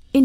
verscheen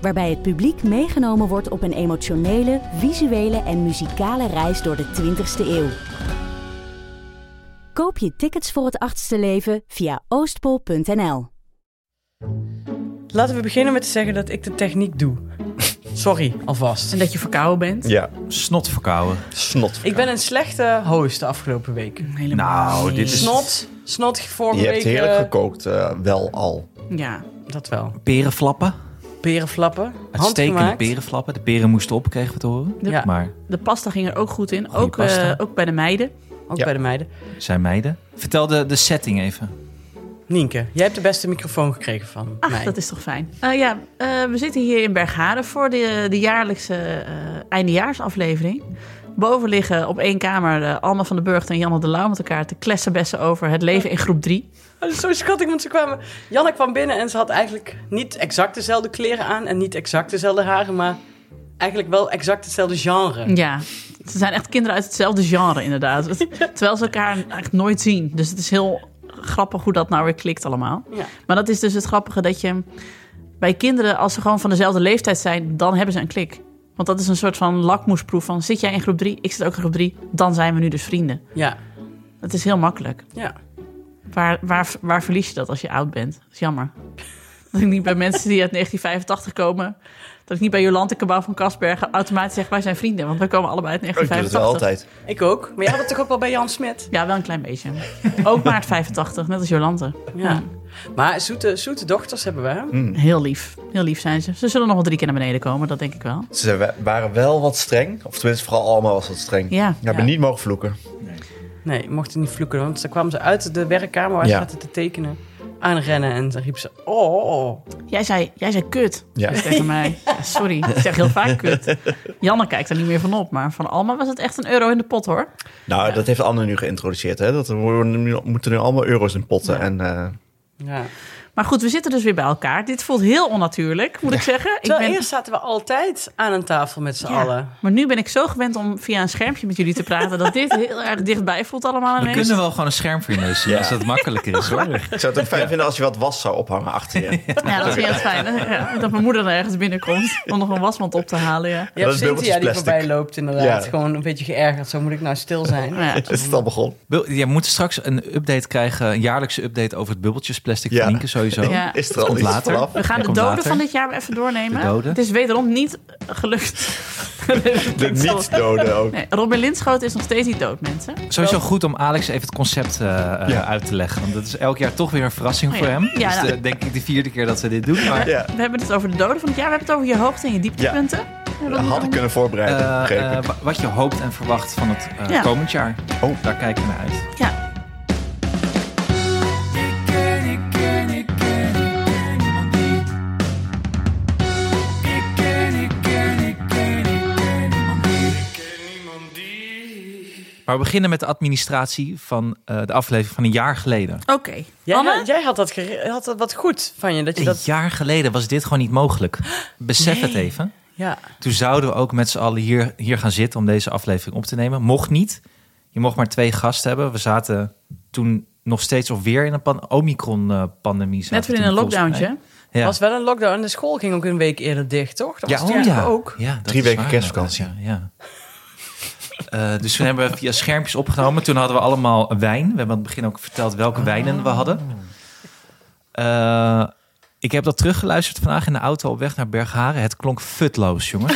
Waarbij het publiek meegenomen wordt op een emotionele, visuele en muzikale reis door de 20ste eeuw. Koop je tickets voor het achtste leven via oostpol.nl. Laten we beginnen met te zeggen dat ik de techniek doe. Sorry, alvast. En dat je verkouden bent. Ja, Snot verkouden. snot. Ik ben een slechte host de afgelopen week. Nou, dit is- Snot, snot vorige Je week. hebt heerlijk eh, gekookt, eh, wel al. Ja. dat wel. Perenflappen. Perenflappen. Uitstekende handgemaakt. perenflappen. De peren moesten op, kregen we te horen. Ja. Maar De pasta ging er ook goed in. Goeie Ook, eh, pasta. ook bij de meiden. Ook Ja. bij de meiden. zijn meiden. Vertel de, de setting even. Nienke, jij hebt de beste microfoon gekregen van Ach, mij. Ah, dat is toch fijn. Eh, ja, eh, we zitten hier in Bergharen voor de, de jaarlijkse eh, eindejaarsaflevering. Boven liggen op één kamer eh, Alma van den Burg en Janne de Lauw met elkaar te klessenbessen over het leven in groep 3. Oh, dat is zo schattig, want ze kwamen... Janne kwam binnen en ze had eigenlijk niet exact dezelfde kleren aan... en niet exact dezelfde haren, maar eigenlijk wel exact hetzelfde genre. Ja, ze zijn echt kinderen uit hetzelfde genre inderdaad. Terwijl ze elkaar eigenlijk nooit zien. Dus het is heel grappig hoe dat nou weer klikt allemaal. Ja. Maar dat is dus het grappige dat je bij kinderen, als ze gewoon van dezelfde leeftijd zijn, dan hebben ze een klik. Want dat is een soort van lakmoesproef van zit jij in groep 3, ik zit ook in groep 3, dan zijn we nu dus vrienden. Ja, Dat is heel makkelijk. ja. Waar, waar, waar verlies je dat als je oud bent? Dat is jammer. Dat ik niet bij mensen die uit 1985 komen, dat ik niet bij Jolante Cabau van Kasbergen automatisch zeg wij zijn vrienden, want wij komen allebei uit Oh, Ik doe het wel 1985. altijd. Ik ook. Maar jij had het toch ook wel bij Jan Smit? Ja, wel een klein beetje. Ook maart 85, net als Jolante. Hm. Ja. Maar zoete, zoete dochters hebben we, hè? Hmm. Heel lief. Heel lief zijn ze. Ze zullen nog wel drie keer naar beneden komen, dat denk ik wel. Ze wa- waren wel wat streng. Of tenminste, vooral Alma was wat streng. Ja. We hebben Ja. niet mogen vloeken. Nee, je mocht het niet vloeken, want dan kwamen ze uit de werkkamer... waar ze Ja. zaten te tekenen, aanrennen en dan riep ze... Oh, Jij zei, jij zei kut. Ja. Dus tegen mij. Ja, sorry, ik zeg heel vaak kut. Janne kijkt er niet meer van op, maar van Alma was het echt een euro in de pot hoor. Nou, dat heeft Anne nu geïntroduceerd. Hè? Dat we nu- moeten nu allemaal euro's in potten. En, eh, ja. Maar goed, we zitten dus weer bij elkaar. Dit voelt heel onnatuurlijk, moet ik zeggen. Ik Terwijl eerst zaten we altijd aan een tafel met z'n Ja, allen. Maar nu ben ik zo gewend om via een schermpje met jullie te praten... dat dit heel erg dichtbij voelt allemaal We ineens. kunnen wel gewoon een scherm voor je neus zien, Ja. als dat makkelijker is. Hoor. ik zou het ook fijn vinden als je wat was zou ophangen achter je. Ja, dat is heel fijn. hè? Ja, dat mijn moeder er ergens binnenkomt om nog een wasmand op te halen, ja. Je hebt is dubbeltjes Cynthia die plastic. voorbij loopt inderdaad. Ja. Gewoon een beetje geërgerd. Zo moet ik nou stil zijn. Maar ja. Is het al begonnen? Bul- Jij moet straks een update krijgen, een jaarlijkse update over het bubbeltjesplastic Ja. van Nienke sowieso. Ja. Is er al Komt iets later. vanaf? We gaan de Komt doden later. van dit jaar even doornemen. De doden. Het is wederom niet gelukt. De niet-doden ook. Nee, Robin Linschoten is nog steeds niet dood, mensen. Sowieso goed om Alex even het concept eh, eh, Ja. uit te leggen. Want dat is elk jaar toch weer een verrassing Oh ja. voor hem. Ja, dus nou. eh, denk ik de vierde keer dat we dit doen. Maar Ja, We hebben het dus over de doden van het jaar. We hebben het over je hoogte en je dieptepunten. We hebben dat het had ik kunnen voorbereiden. eh, begreep eh, ik. wa- wat je hoopt en verwacht van het eh, Ja. komend jaar. Oh. Daar kijken we naar uit. Ja. Maar we beginnen met de administratie van eh, de aflevering van een jaar geleden. Oké. Jij, Anne? jij had, dat gere- had dat wat goed van je. Dat je Een dat... jaar geleden was dit gewoon niet mogelijk. Besef het even. Ja. Toen zouden we ook met z'n allen hier, hier gaan zitten om deze aflevering op te nemen. Mocht niet. Je mocht maar twee gasten hebben. We zaten toen nog steeds of weer in een pan- eh, Omicron-pandemie. Net weer in een lockdowntje. Ja. was wel een lockdown. En de school ging ook een week eerder dicht, toch? Dat was oh toen ook. Ja, dat Drie is weken waar, kerstvakantie. inderdaad, Ja, ja. Eh, dus toen hebben we via schermpjes opgenomen. Toen hadden we allemaal wijn. We hebben aan het begin ook verteld Ah. welke wijnen we hadden. Eh, ik heb dat teruggeluisterd vandaag in de auto op weg naar Bergharen. Het klonk futloos, jongens.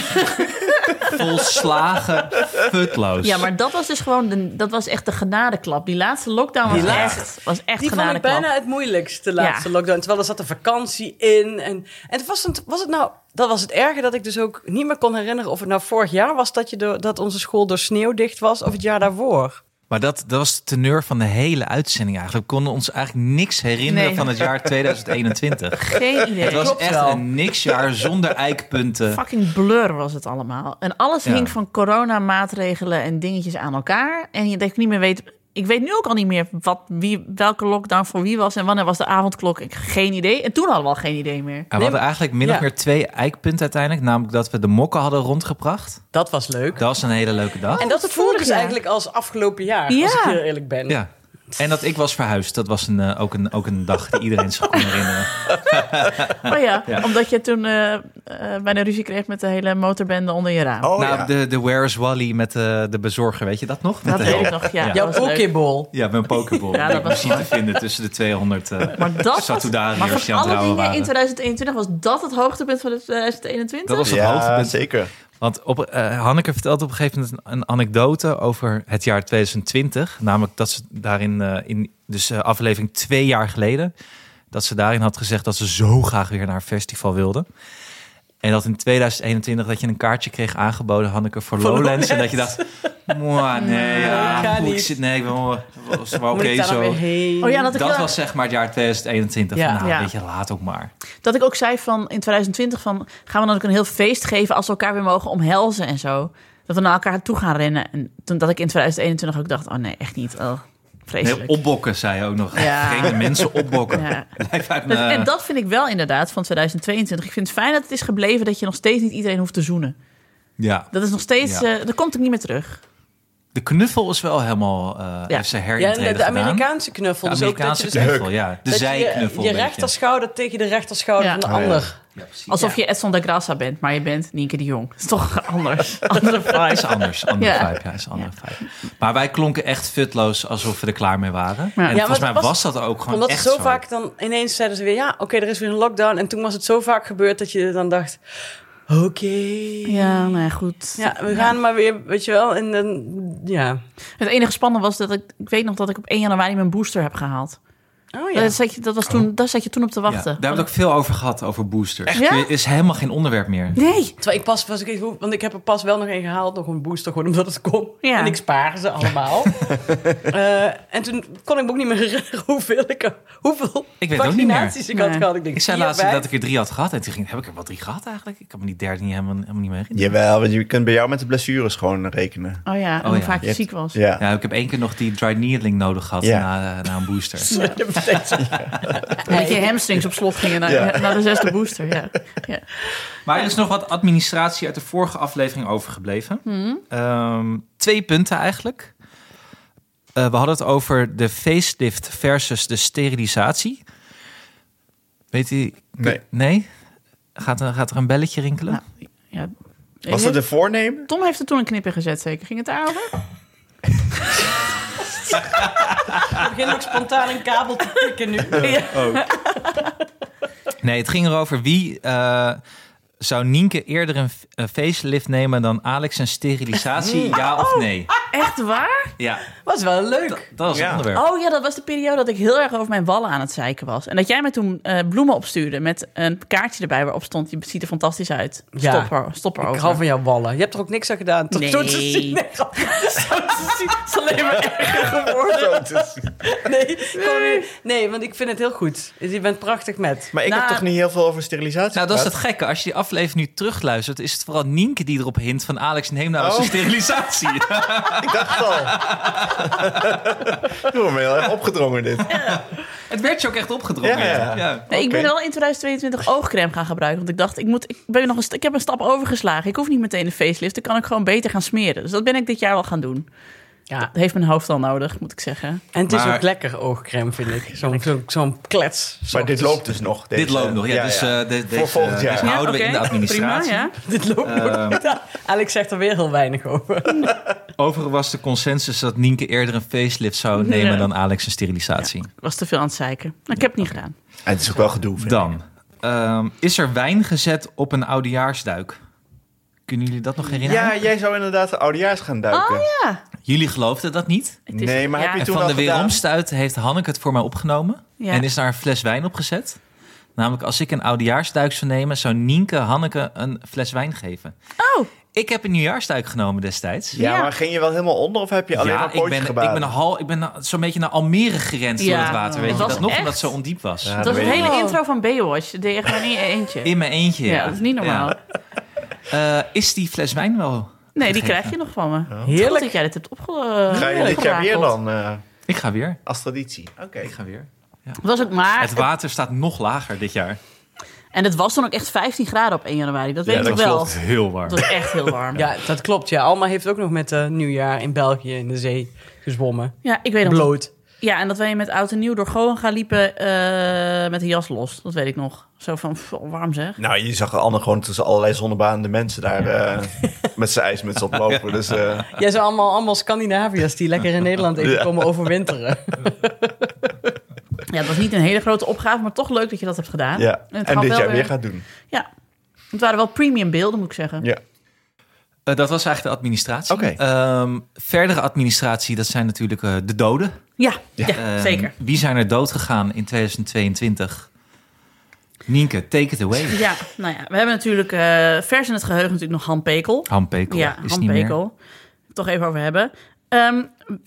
Volslagen futloos. Ja, maar dat was dus gewoon de, dat was echt de genadeklap. Die laatste lockdown was Die laatste- echt, was echt Die vond ik genadeklap. bijna het moeilijkste, de laatste Ja. lockdown. Terwijl er zat een vakantie in. En, en het was, het, was het nou... Dat was het erge dat ik dus ook niet meer kon herinneren... of het nou vorig jaar was dat, je door, dat onze school door sneeuw dicht was... of het jaar daarvoor. Maar dat, dat was de teneur van de hele uitzending eigenlijk. We konden ons eigenlijk niks herinneren Nee. van het jaar 2021. Geen idee. Het was Klopt echt wel. een niksjaar zonder eikpunten. Fucking blur was het allemaal. En alles Ja. hing van coronamaatregelen en dingetjes aan elkaar. En je denkt niet meer weet. Ik weet nu ook al niet meer wat, wie, welke lockdown voor wie was en wanneer was de avondklok. Ik geen idee. En toen hadden we al geen idee meer. En we hadden eigenlijk min of Ja. meer twee eikpunten uiteindelijk. Namelijk dat we de mokken hadden rondgebracht. Dat was leuk. Dat was een hele leuke dag. en dat dat voelde voelde dus ik, ja. eigenlijk als afgelopen jaar, Ja. als ik heel eerlijk ben. Ja. En dat ik was verhuisd. Dat was een, eh, ook, een, ook een dag die iedereen zich kon herinneren. Oh ja, Ja. omdat je toen eh, eh, bijna ruzie kreeg met de hele motorbende onder je raam. Oh nou, ja. de, de Where is Wally met eh, de bezorger, weet je dat nog? dat Met de weet ik help. nog. Ja, Ja. dat Jouw was leuk. pokeball. Ja, met een pokeball. Ja, die dat was misschien te vinden tussen de 200 eh Maar dat was, Satudariërs maar die van aan het alle rouwen dingen in waren. 2021 was dat het eh, hoogtepunt van 2021. Dat was het ja, hoogtepunt. zeker. Want op, eh, Hanneke vertelt op een gegeven moment een, een anekdote over het jaar 2020. Namelijk dat ze daarin, eh, in, dus eh, aflevering twee jaar geleden, dat ze daarin had gezegd dat ze zo graag weer naar een festival wilde. En dat in 2021 dat je een kaartje kreeg aangeboden, Hanneke, voor Lowlands. En dat je dacht, "Mwah, nee, ja, ga poeh, ik niet." zit, nee, ik ben wel, was wel Moet oké ik daar dan zo. weer heen? Oh ja, dat ik Dat wel- was zeg maar het jaar 2021. Ja. nou, Ja. weet je, laat ook maar. Dat ik ook zei van in 2020 van gaan we dan ook een heel feest geven als we elkaar weer mogen omhelzen en zo. Dat we naar elkaar toe gaan rennen. En toen dat ik in 2021 ook dacht, oh nee, echt niet. Oh, vreselijk. Nee, opbokken, zei je ook nog. Ja. Vreemde mensen opbokken. Ja. Blijf uit Dat- mijn- En dat vind ik wel inderdaad van 2022. Ik vind het fijn dat het is gebleven dat je nog steeds niet iedereen hoeft te zoenen. ja. Dat is nog steeds, Ja. eh, dat komt ook niet meer terug. De knuffel is wel helemaal, eh Ja. heeft ze Ja, en herintreden de, de gedaan. Amerikaanse knuffel. De dus ook dat je Amerikaanse dus knuffel, ja. De dat je zijknuffel. Je, een beetje. rechterschouder tegen de rechterschouder Ja. van de Oh ja. ander. Ja, precies. Alsof Ja. je Edson de Grassa bent, maar je bent Nienke de Jong. Dat is toch anders. Andere Ja, vibe. is anders, andere Ja. vibe. Ja, is andere vibe. Maar wij klonken echt futloos alsof we er klaar mee waren. Ja. En Ja, volgens maar mij dat was, was- dat ook gewoon Omdat echt het zo zo. vaak dan ineens zeiden ze weer... ja, oké, er is weer een lockdown. En toen was het zo vaak gebeurd dat je dan dacht... oké, Ja, nou ja, goed. Ja, we gaan maar weer, weet je wel. En dan, ja. Het enige spannende was dat ik, ik weet nog dat ik op 1 januari mijn booster heb gehaald. Oh ja. Dat, zat je, dat was toen, daar zat je toen op te Ja, wachten. daar hebben we ook veel over gehad, over boosters. Echt? Ja? is helemaal geen onderwerp meer. Nee. Terwijl ik pas, was ik even, want ik heb er pas wel nog een gehaald, nog een booster, gewoon omdat het kon. Ja. En ik spaar ze allemaal. Eh, en toen kon ik me ook niet meer herinneren hoeveel ik er- hoeveel Ik weet het ook niet meer. vaccinaties ik had Nee. gehad. Ik, denk, Ik zei vier, laatst vijf. dat ik er drie had gehad. En toen ging, heb ik er wel drie gehad eigenlijk? Ik kan me die derde niet helemaal, helemaal niet meer herinneren. Jawel, want je kunt bij jou met de blessures gewoon rekenen. Oh ja, en Oh hoe ja. vaak je Je hebt- ziek was. Ja. Ja, ik heb één keer nog die dry needling nodig gehad Ja. na, eh, na een booster. En dat je hamstrings op slot gingen naar, Ja. naar de zesde booster. Ja. Ja. Maar er is nog wat administratie uit de vorige aflevering overgebleven. Hmm. Ehm, twee punten eigenlijk. Eh, we hadden het over de facelift versus de sterilisatie. Weet u? Nee. Nee? Gaat er, gaat er een belletje rinkelen? Nou, ja. Was dat de voornemen? Tom heeft er toen een knip in gezet, zeker. Ging het daarover? Ik begin ook spontaan een kabel te prikken nu. Nee, het ging erover wie eh, zou Nienke eerder een, f- een facelift nemen dan Alex een sterilisatie, ja of nee? Echt waar? Ja, Was wel leuk. dat was het Ja. onderwerp. Oh. Oh ja, dat was de periode dat ik heel erg over mijn wallen aan het zeiken was. En dat jij me toen eh, bloemen opstuurde met een kaartje erbij waarop stond... je ziet er fantastisch uit. Ja. Stop, er, stop erover. Ik hou van jouw ballen. Je hebt er ook niks aan gedaan. Tot Nee. zo te zien. Nee, grap. Het is alleen maar erger geworden. nee, gewoon niet. nee, want ik vind het heel goed. Dus Je bent prachtig met. Maar ik Nou, heb toch niet heel veel over sterilisatie Nou, dat is het gehad? gekke. Als je die aflevering nu terugluistert, is het vooral Nienke die erop hint van Alex, neem nou eens Oh. een sterilisatie. Ik dacht het al. Ik word me heel erg opgedrongen dit. het werd je ook echt opgedrongen. Ja, ja. Nee, Ik ben Oké. wel in 2022 oogcreme gaan gebruiken. Want ik dacht, ik, moet, ik, ben nog een, st- ik heb een stap overgeslagen. Ik hoef niet meteen een facelift. Dan kan ik gewoon beter gaan smeren. Dus dat ben ik dit jaar wel gaan doen. Ja. Dat heeft mijn hoofd al nodig, moet ik zeggen. En het is Maar- ook lekker oogcreme, vind ik. Zo'n zo'n zo'n klets. Maar dit Ochtends. loopt dus nog. Dit deze- loopt nog. Ja, dus eh, de- deze, Voor volgend jaar. deze houden we in de administratie. Prima, ja. Dit loopt Ehm. nog niet aan. Alex zegt er weer heel weinig over. Overigens was de consensus dat Nienke eerder een facelift zou nemen Ja. dan Alex een sterilisatie. Ik was te veel aan het zeiken. Maar ik heb het niet gedaan. En Ah, het is ook wel gedoe. vind ik. Dan, ehm, is er wijn gezet op een oudejaarsduik? Kunnen jullie dat nog herinneren? Ja, jij zou inderdaad de oudejaars gaan duiken. Oh, Ja. Jullie geloofden dat niet? Het is- Nee, maar heb je En toen van al de gedaan? weeromstuit heeft Hanneke het voor mij opgenomen. Ja. En is daar een fles wijn op gezet. Namelijk, als ik een oudejaarsduik zou nemen, zou Nienke Hanneke een fles wijn geven. Oh, Ik heb een nieuwjaarsduik genomen destijds. Ja, Ja. maar ging je wel helemaal onder of heb je alleen maar een ik pootje ben, ik gebaden? ben, een hal, ik ben na- zo'n beetje naar Almere gerend Ja. door het water. Weet Het je was dat nog? echt- Omdat het zo ondiep was. Ja, dat was weet het ik. hele Oh. intro van Baywatch. Dat deed je gewoon in je eentje. In mijn eentje. ja. dat is niet normaal. Ja. Eh, is die fles wijn wel? Nee, die Gegeven. krijg je nog van me. Goed Heerlijk. dat jij dit hebt opge Ga je dit jaar weer opgerakeld. dan eh, Ik ga weer. als traditie? Oké. Ik ga weer. Het was ook maar. Het water staat nog lager dit jaar. en het was dan ook echt 15 graden op 1 januari. Dat weet Ja, ik dat wel. klopt. Heel warm. Het was echt heel warm. ja. Ja, dat klopt. Ja. Alma heeft ook nog met eh, nieuwjaar in België in de zee gezwommen. ik weet nog. Bloot. Ja, en dat wij met oud en nieuw door Goen gaan liepen eh, met een jas los. Dat weet ik nog. Zo van, pff, warm zeg. Nou, je zag Anne gewoon tussen allerlei zonnebaande mensen daar eh, met zijn ijsmuts oplopen. Dus eh, Jij zijn allemaal, allemaal Scandinaviërs die lekker in Nederland even Ja. komen overwinteren. Ja, het was niet een hele grote opgave, maar toch leuk dat je dat hebt gedaan. ja. het En gaf dit wel jaar weer weer- gaat doen. Ja. Het waren wel premium beelden, moet ik zeggen. Ja. Eh, dat was eigenlijk de administratie. Oké. Ehm, verdere administratie, dat zijn natuurlijk eh, de doden. Ja, ja, Ehm, zeker. Wie zijn er dood gegaan in 2022? Nienke, take it away. Ja, nou ja, we hebben natuurlijk eh, vers in het geheugen natuurlijk nog Han Pekel. Han Pekel ja, is Han niet meer. Pekel. Toch even over hebben. Ehm,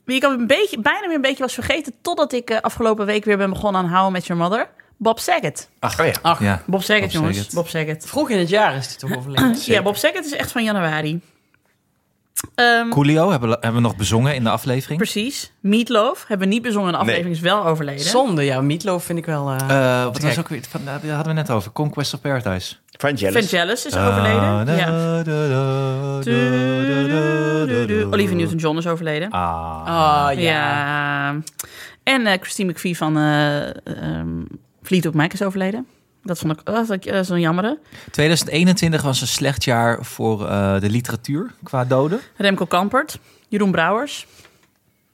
wie ik al een beetje, bijna weer een beetje was vergeten... totdat ik eh, afgelopen week weer ben begonnen aan How I Met Your Mother. Bob Saget. Ach, ja. Ach, oh Ja. Bob Saget, Bob jongens. Saget. Bob Saget. vroeg in het jaar is het toch overleden. Ja, Bob Saget is echt van januari. Ehm, Coolio hebben, we- hebben we nog bezongen in de aflevering. Precies. Meatloaf hebben we niet bezongen. De aflevering is wel overleden. Zonde, ja. Meatloaf vind ik wel... eh, Eh, wat Te was gek. ook weer? Van, daar hadden we net over. Conquest of Paradise. Ah, Vangelis is overleden. ja. Olivia Newton-John is overleden. Ah. ah, ja. Ja. En eh, Christine McVie van eh ehm Fleetwood Mac is overleden. Dat vond ik, oh, dat, eh, zo'n jammerde. 2021 was een slecht jaar voor eh, de literatuur qua doden. Remco Kampert, Jeroen Brouwers,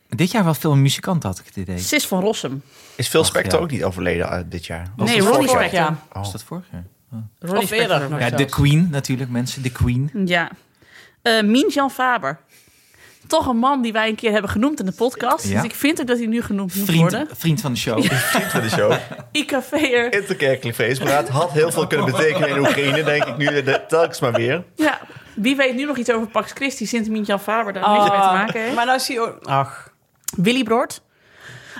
Dit jaar wel veel muzikanten had ik het idee. Sis van Rossum. Is Phil Ach, Spector ja. ook niet overleden eh, dit jaar? Was nee, dat Ronnie vorig jaar? Spector. Ja. Was dat vorig jaar? Ronnie Of eerder. Spector. Oh. Ja, de Queen natuurlijk, mensen. De Queen. Ja. Eh Mien Jan Faber. Toch een man die wij een keer hebben genoemd in de podcast. Ja. Dus ik vind ook dat hij nu genoemd moet Vriend, worden. vriend van de show. Vriend van de show. IKV'er. Interkerkelijk feestberaad. Had heel veel kunnen betekenen in Oekraïne, denk ik nu de, telkens maar weer. Ja. Wie weet nu nog iets over Pax Christi sinds Mien Jan Faber daar Ah, niks mee te maken heeft. Maar nou zie je ook... Ach, Willy Broert.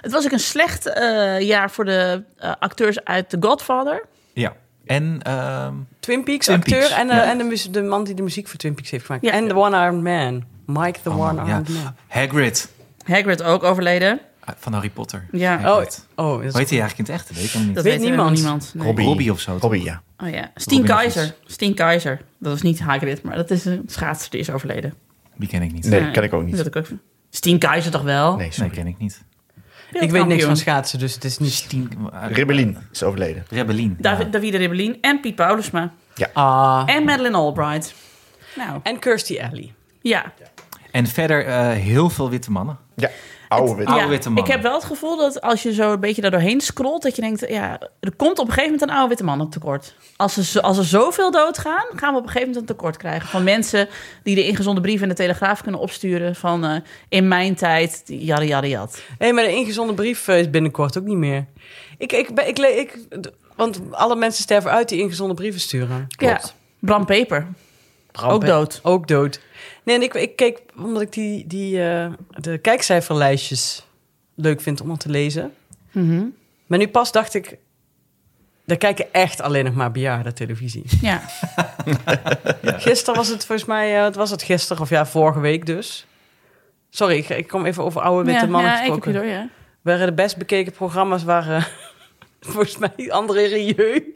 Het was ook een slecht eh, jaar voor de eh, acteurs uit The Godfather. Ja. En ehm, Twin Peaks Twin acteur Peaks, en, eh, ja. en de, mu- de man die de muziek voor Twin Peaks heeft gemaakt. Ja. En de One-Armed Man. Mike the allemaal, Oh, ja. One-Armed Man. Hagrid Hagrid ook overleden. eh, van Harry Potter. Ja. Oh, Hagrid. oh dat is- Hoe heet hij eigenlijk in het echt? Weet ik hem niet. Dat Weet weet niemand. niemand. niemand. nee. Robbie. Robbie of zo, toch? Robbie, ja. Oh ja. Steen Robin Keizer. Hood. Steen Keizer. Dat was niet Hagrid, maar dat is een schaatser die is overleden. Die ken ik niet. Nee, ken ik ook Dat niet. ik ook. Steen Keizer toch wel? Nee, Nee, sorry. ken ik niet. Ik weet niks van Wereldkampioen. schaatsen, dus het is niet... Stien... eh, Ribbelin is overleden. Rebellin. Davi- Davide Rebellin en Piet Paulusma. Ah. En Madeleine Albright. Nou, En Kirstie Alley. ja. En verder eh, heel veel witte mannen. Ja, oude wit. Oude witte mannen. Ik heb wel het gevoel dat als je zo een beetje daar doorheen scrolt, dat je denkt, ja, er komt op een gegeven moment een oude witte mannen tekort. Als er, zo- als er zoveel doodgaan, gaan we op een gegeven moment een tekort krijgen van mensen die de ingezonden brief in de Telegraaf kunnen opsturen van eh, in mijn tijd, jadde jadde jad. Hé, maar de ingezonden brief eh, is binnenkort ook niet meer. Ik, ik, ben- ik, le- ik, d- want alle mensen sterven uit die ingezonden brieven sturen. Ja, Bram Peper, ook dood. Ook dood. Nee, en ik, ik keek, omdat ik die, die, eh, de kijkcijferlijstjes leuk vind om aan te lezen. Mhm. Maar nu pas dacht ik, daar kijken echt alleen nog maar bejaarden televisie. Ja, Gisteren was het volgens mij, eh, wat was het gisteren? Of ja, vorige week dus. Sorry, ik, ik kom even over oude witte ja, mannen ja, ik heb gesproken. je door, ja. waren de best bekeken programma's waren volgens mij André Rieu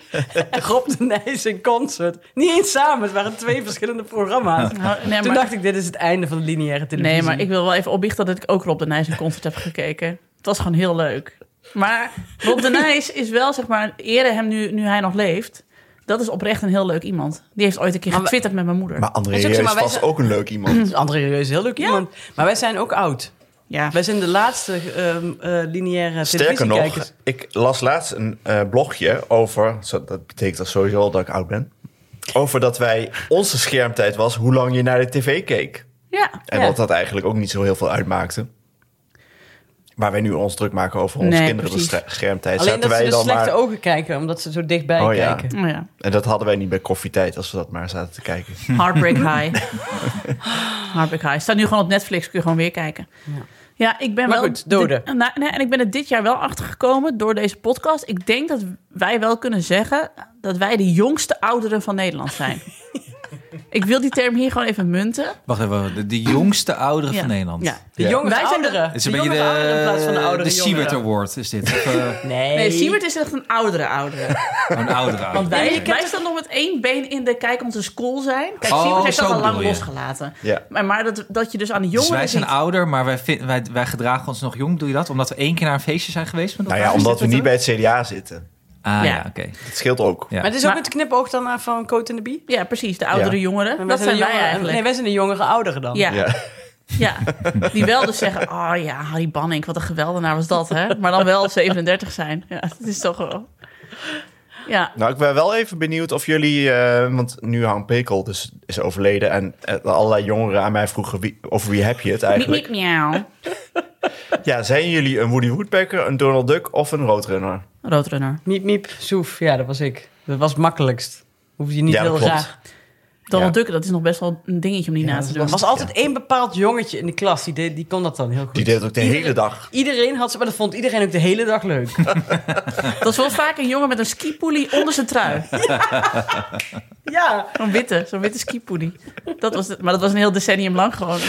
en Rob de Nijs in concert. Niet eens samen, het waren twee verschillende programma's. Nou, nee, Toen maar, dacht ik, dit is het einde van de lineaire televisie. nee, maar ik wil wel even opbiechten dat ik ook Rob de Nijs een concert heb gekeken. Het was gewoon heel leuk. Maar Rob de Nijs is wel, zeg maar, ere hem nu, nu hij nog leeft. Dat is oprecht een heel leuk iemand. Die heeft ooit een keer Maar we- getwitterd met mijn moeder. Maar André Hij zegt, is maar wij vast zijn- ook een leuk iemand. André Rieu is heel leuk Ja. iemand. Maar wij zijn ook oud. ja. Wij zijn de laatste ehm eh lineaire Sterker nog, televisiekijkers. ik las laatst een eh, blogje over... Zo, dat betekent dat sowieso al dat ik oud ben. Over dat wij... Onze schermtijd was hoe lang je naar de tv keek. ja. En Ja. dat dat eigenlijk ook niet zo heel veel uitmaakte. waar wij nu ons druk maken over onze Nee, Alleen kinderenbeschermdheid. Zaten dat ze wij de dan slechte maar... ogen kijken, omdat ze zo dichtbij Oh, ja. kijken. Nou ja, En dat hadden wij niet bij koffietijd als we dat maar zaten te kijken. Heartbreak High. Heartbreak High. Staat nu gewoon op Netflix, kun je gewoon weer kijken. Ja. Ja, ik ben Maar wel... goed, doden. dit- nou, nee, en ik ben er dit jaar wel achtergekomen door deze podcast. Ik denk dat wij wel kunnen zeggen dat wij de jongste ouderen van Nederland zijn. ik wil die term hier gewoon even munten. Wacht even, de, de jongste ouderen Ja. van Nederland. Ja. De Ja. jonge Wij zijn de- ouderen. Het is de een beetje jongere ouderen in plaats van de de, oudere de Siebert jongeren. Award, is dit? Of, eh, Nee, Nee, Siebert is echt een oudere oudere. een oudere Want ouder. wij, Nee, ik heb wij het- staan nog met één been in de kijk onze school zijn. Kijk, Oh, Siebert heeft dat zo al lang bedoel je. losgelaten. Ja. Maar, maar dat, dat je dus aan de Dus jongeren wij zijn ziet- ouder, maar wij, vin- wij, wij gedragen ons nog jong. Doe je dat? Omdat we één keer naar een feestje zijn geweest met Nou ja, elkaar? Is omdat we dit niet bij het het CDA zitten. dan? Ah ja, Ja. oké. Dat scheelt ook. Ja. Maar het is ook Maar- met de knipoog dan naar van Coat en de Bie. Ja, precies. De oudere Ja. jongeren. En dat de zijn wij jongere- eigenlijk. Nee, wij zijn de jongere ouderen dan. ja. Ja. Ja, die wel dus zeggen, oh ja, Harry Banning, wat een geweldenaar was dat, hè? Maar dan wel 37 zijn. Ja, dat is toch wel... Ja, Nou, ik ben wel even benieuwd of jullie, eh, want nu Harm Pekel dus is overleden en eh, allerlei jongeren aan mij vroegen wie, over wie heb je het miep, miep, eigenlijk? miauw. Ja, zijn jullie een Woody Woodpecker, een Donald Duck of een Roadrunner? Roadrunner. Miep, miep, soef. Ja, dat was ik. Dat was het makkelijkst. Hoef je niet Ja, dat heel klopt. raar. Donald Ja. Duck, dat is nog best wel een dingetje om die na te doen. Er was altijd één bepaald jongetje in de klas, die, deed, die kon dat dan heel goed. Die deed het ook de Iedereen- hele dag. Iedereen had ze, maar dat vond iedereen ook de hele dag leuk. Dat is wel vaak een jongen met een skipoelie onder zijn trui. ja, Zo'n witte, zo'n witte skipoelie. Dat was het, maar dat was een heel decennium lang gewoon.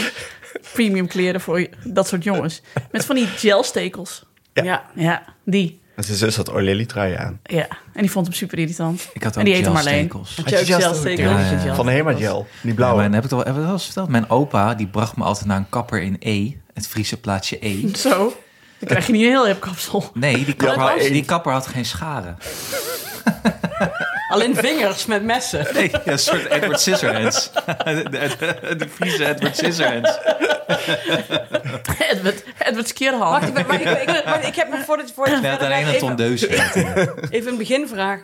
Premium kleren voor dat soort jongens. Met van die gelstekels. Ja. ja. Ja, die. En zijn zus had Orlely trui aan. Ja, en die vond hem super irritant. Ik had En die ook heette Marleen. gelstekels. Had je ook zelf Ja, zeker? ja, ja. Van Hema Gel, die Ja, blauwe. mijn, heb ik het al, heb ik het al eens verteld? Mijn opa die bracht me altijd naar een kapper in E, het Friese plaatsje E. Zo. Dan krijg je niet een heel hip kapsel. Nee, die kapper, maar had, één. die kapper had geen scharen. Alleen vingers met messen. Nee, ja, een soort Edward Scissorhands. De, de, de Friese Edward Scissorhands. Edward, Edward Skierhal. Wacht, ik, maar, ik, ik, maar ik heb me voordat je voordat je Met verder alleen gaat, een even, tondeus. even een beginvraag.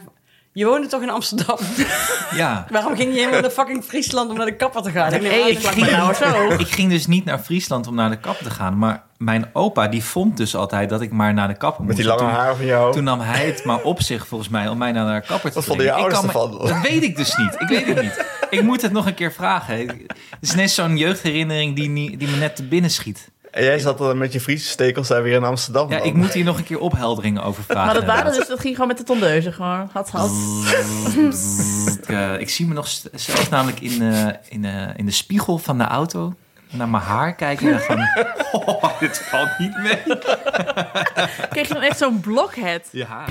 Je woonde toch in Amsterdam? Ja. Waarom ging je helemaal naar fucking Friesland om naar de kapper te gaan? Ik neem Hey, aan ik dat- plak me nou zo. Ik ging dus niet naar Friesland om naar de kap te gaan. Maar mijn opa die vond dus altijd dat ik maar naar de kapper Met moest. die lange En toen- haar van jou. Toen nam hij het maar op zich, volgens mij, om mij naar haar kapper te Oh. Wat vonden je brengen. Ik ouders kan me- ervan? Dat weet ik dus niet. Ik weet het niet. Ik moet het nog een keer vragen. Het is net zo'n jeugdherinnering die, niet- die me net te binnen schiet. En jij zat dan met je Friese stekels daar weer in Amsterdam. Ja, dan. ik moet hier nog een keer ophelderingen over vragen. Maar dat waren inderdaad. dus, dat ging gewoon met de tondeuzen. Gewoon, had, had. Ik, eh, ik zie me nog st- zelf namelijk in, eh, in, eh, in de spiegel van de auto naar mijn haar kijken. En van, oh, dit valt niet mee. Kreeg je dan echt zo'n blockhead. Ja.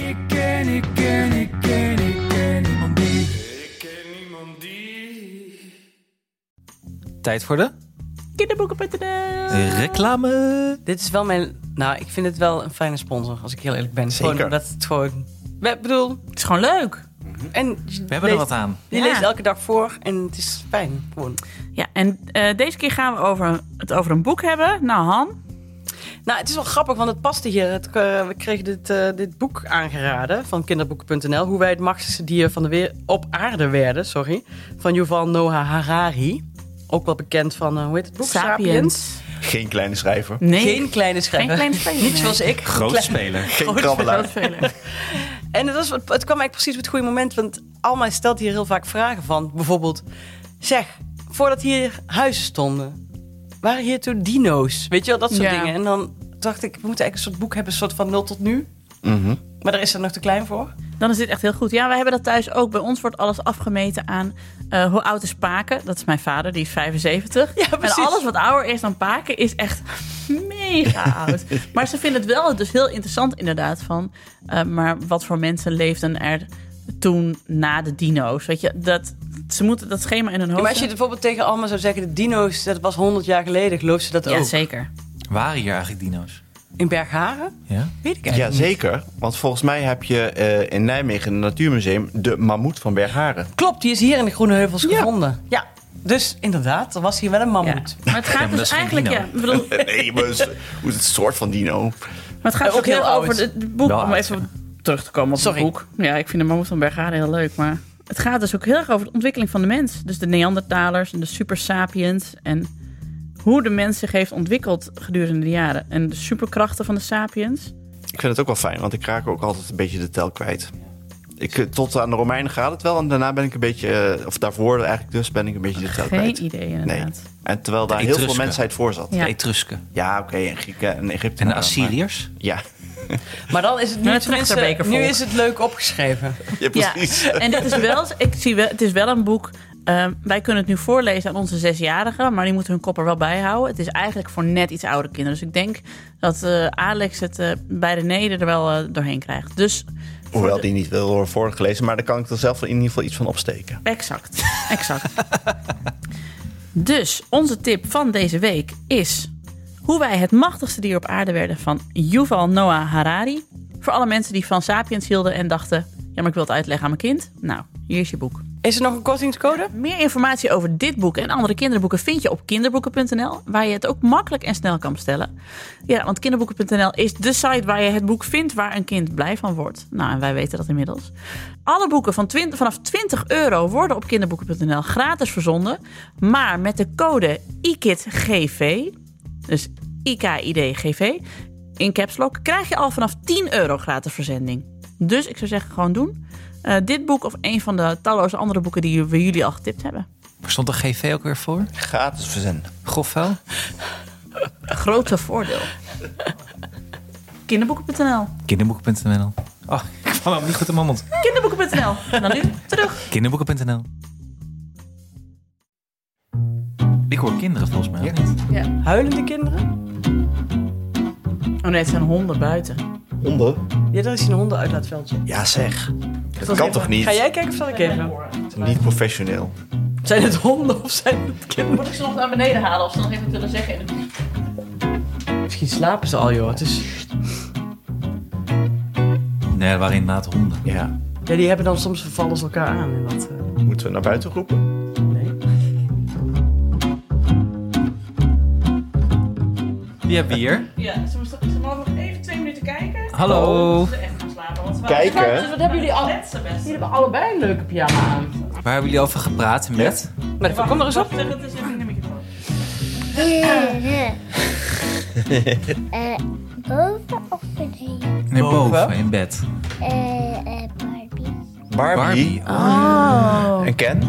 Tijd voor de Kinderboeken.nl reclame. Dit is wel mijn... Nou, ik vind het wel een fijne sponsor, als ik heel eerlijk ben. Zeker. Gewoon, dat het gewoon... Ik bedoel, Het is gewoon leuk. en je We hebben leest- er wat aan. Je Ja. leest elke dag voor en het is fijn. Gewoon. Ja, en eh, deze keer gaan we over, het over een boek hebben. Nou, Han. Nou, het is wel grappig, want het paste hier. Het, eh, we kregen dit, eh, dit boek aangeraden van kinderboeken.nl. Hoe wij het machtigste dier van de weer op aarde werden, sorry. Van Yuval Noah Harari. Ook wel bekend van, eh, hoe heet het boek? Geen kleine schrijver. Nee. Geen kleine schrijver. Geen kleine schrijver, Niet nee. zoals ik. Groot Klein- speler. Geen Groot krabbelaar. Grootspeler. En het, was, het kwam eigenlijk precies op het goede moment. Want Alma stelt hier heel vaak vragen van. Bijvoorbeeld, zeg, voordat hier huizen stonden, waren hier toen dino's? Weet je wel, dat soort Ja. dingen. En dan dacht ik, we moeten eigenlijk een soort boek hebben, een soort van nul tot nu. Mhm. Maar daar is er nog te klein voor. Dan is dit echt heel goed. Ja, wij hebben dat thuis ook. Bij ons wordt alles afgemeten aan eh, hoe oud is Paken. Dat is mijn vader, die is 75. Ja, precies. en alles wat ouder is dan Paken is echt mega oud. maar ze vinden het wel dus heel interessant inderdaad van... eh, maar wat voor mensen leefden er toen na de dino's? Weet je, dat, ze moeten dat schema in hun hoofd... maar als je bijvoorbeeld tegen Alma zou zeggen, de dino's, dat was 100 jaar geleden, gelooft ze dat ja, ook? zeker. Waren hier eigenlijk dino's? In Bergharen? Ja? Weet ik eigenlijk Ja, niet. zeker. Want volgens mij heb je eh, in Nijmegen in het Natuurmuseum de mammoet van Bergharen. Klopt, die is hier in de Groene Heuvels gevonden. Ja. Dus inderdaad, er was hier wel een Ja. mammoet. Maar het gaat maar dat dus is geen eigenlijk... dino. Ja, ik bedoel, Nee, maar het is een soort van dino. Maar het gaat Ook Eh, ook heel heel Nou, oud. over het boek. Wel Om oud, even terug te komen op Sorry. het boek. Ja, ik vind de Mammoet van Bergharen heel leuk. Maar het gaat dus ook heel erg over de ontwikkeling van de mens. Dus de Neandertalers en de Super Sapiens. En hoe de mens zich heeft ontwikkeld gedurende de jaren. En de superkrachten van de sapiens. Ik vind het ook wel fijn, want ik raak ook altijd een beetje de tel kwijt. Ik, eh, tot aan de Romeinen gaat het wel en daarna ben ik een beetje, eh, of daarvoor eigenlijk dus, ben ik een beetje de tel kwijt. Geen idee inderdaad. En terwijl daar De heel veel Etrusken. mensheid voor zat. Ja. De Etrusken Ja, oké, en Grieken en Egypte. en de Assyriërs. Ja, Maar dan is het nu, Ja, het tenminste- Trachterbekervolk. nu is het leuk opgeschreven. ja precies. Ja, en dit is wel, ik zie wel, het is wel een boek. ehm, wij kunnen het nu voorlezen aan onze zesjarigen, maar die moeten hun kop er wel bij houden. Het is eigenlijk voor net iets oudere kinderen. Dus ik denk dat eh, Alex het eh, bij René er wel eh, doorheen krijgt. Dus Hoewel die niet wil worden voorgelezen, maar daar kan ik er zelf in ieder geval iets van opsteken. Exact, exact. dus onze tip van deze week is hoe wij het machtigste dier op aarde werden van Yuval Noah Harari. Voor alle mensen die van Sapiens hielden en dachten, ja maar ik wil het uitleggen aan mijn kind. Nou, hier is je boek. Is er nog een kortingscode? Meer informatie over dit boek en andere kinderboeken vind je op kinderboeken.nl, waar je het ook makkelijk en snel kan bestellen. Ja, want kinderboeken.nl is de site waar je het boek vindt waar een kind blij van wordt. Nou, en wij weten dat inmiddels. Alle boeken van 20 vanaf 20 euro worden op kinderboeken.nl gratis verzonden, maar met de code IKIDGV, dus IKIDGV, in caps lock, krijg je al vanaf 10 euro gratis verzending. Dus ik zou zeggen, gewoon doen. Eh, dit boek of een van de talloze andere boeken die we jullie al getipt hebben. Waar stond de GV ook weer voor? Gratis verzenden. Grofvuil? Grote voordeel. Kinderboeken.nl. Kinderboeken.nl. Oh, ik kwam hem niet goed in mijn mond. Kinderboeken.nl. En dan nu terug. Kinderboeken.nl. Ik hoor kinderen volgens mij. of niet? Huilende kinderen? Oh nee, het zijn honden buiten. Honden? Ja, daar is een hondenuitlaatveldje. Ja zeg. Dat kan toch niet? Ga jij kijken of zal ik even? Niet professioneel. Zijn het honden of zijn het kinderen? Moet ik ze nog naar beneden halen of ze nog even willen zeggen? in de- Misschien slapen ze al, joh. Het is... Nee, dat waren inderdaad honden. Ja. Ja, die hebben dan soms vervallen ze elkaar aan. En dat, eh, Moeten we naar buiten roepen? Die hebben we hier. Ja, ze moesten ze mogen nog even twee minuten kijken. Hallo. Ze echt gaan slapen. Want ze Kijken? Dus Oh. wat hebben jullie al? Jullie hebben allebei een leuke pyjama aan. Waar hebben jullie over gepraat met? Maar kom er eens op. Zeg het eens even in de microfoon. Eh, boven of beneden? Nee, boven in bed. Eh, eh, Barbie. Barbie, Barbie. Oh, en Ken?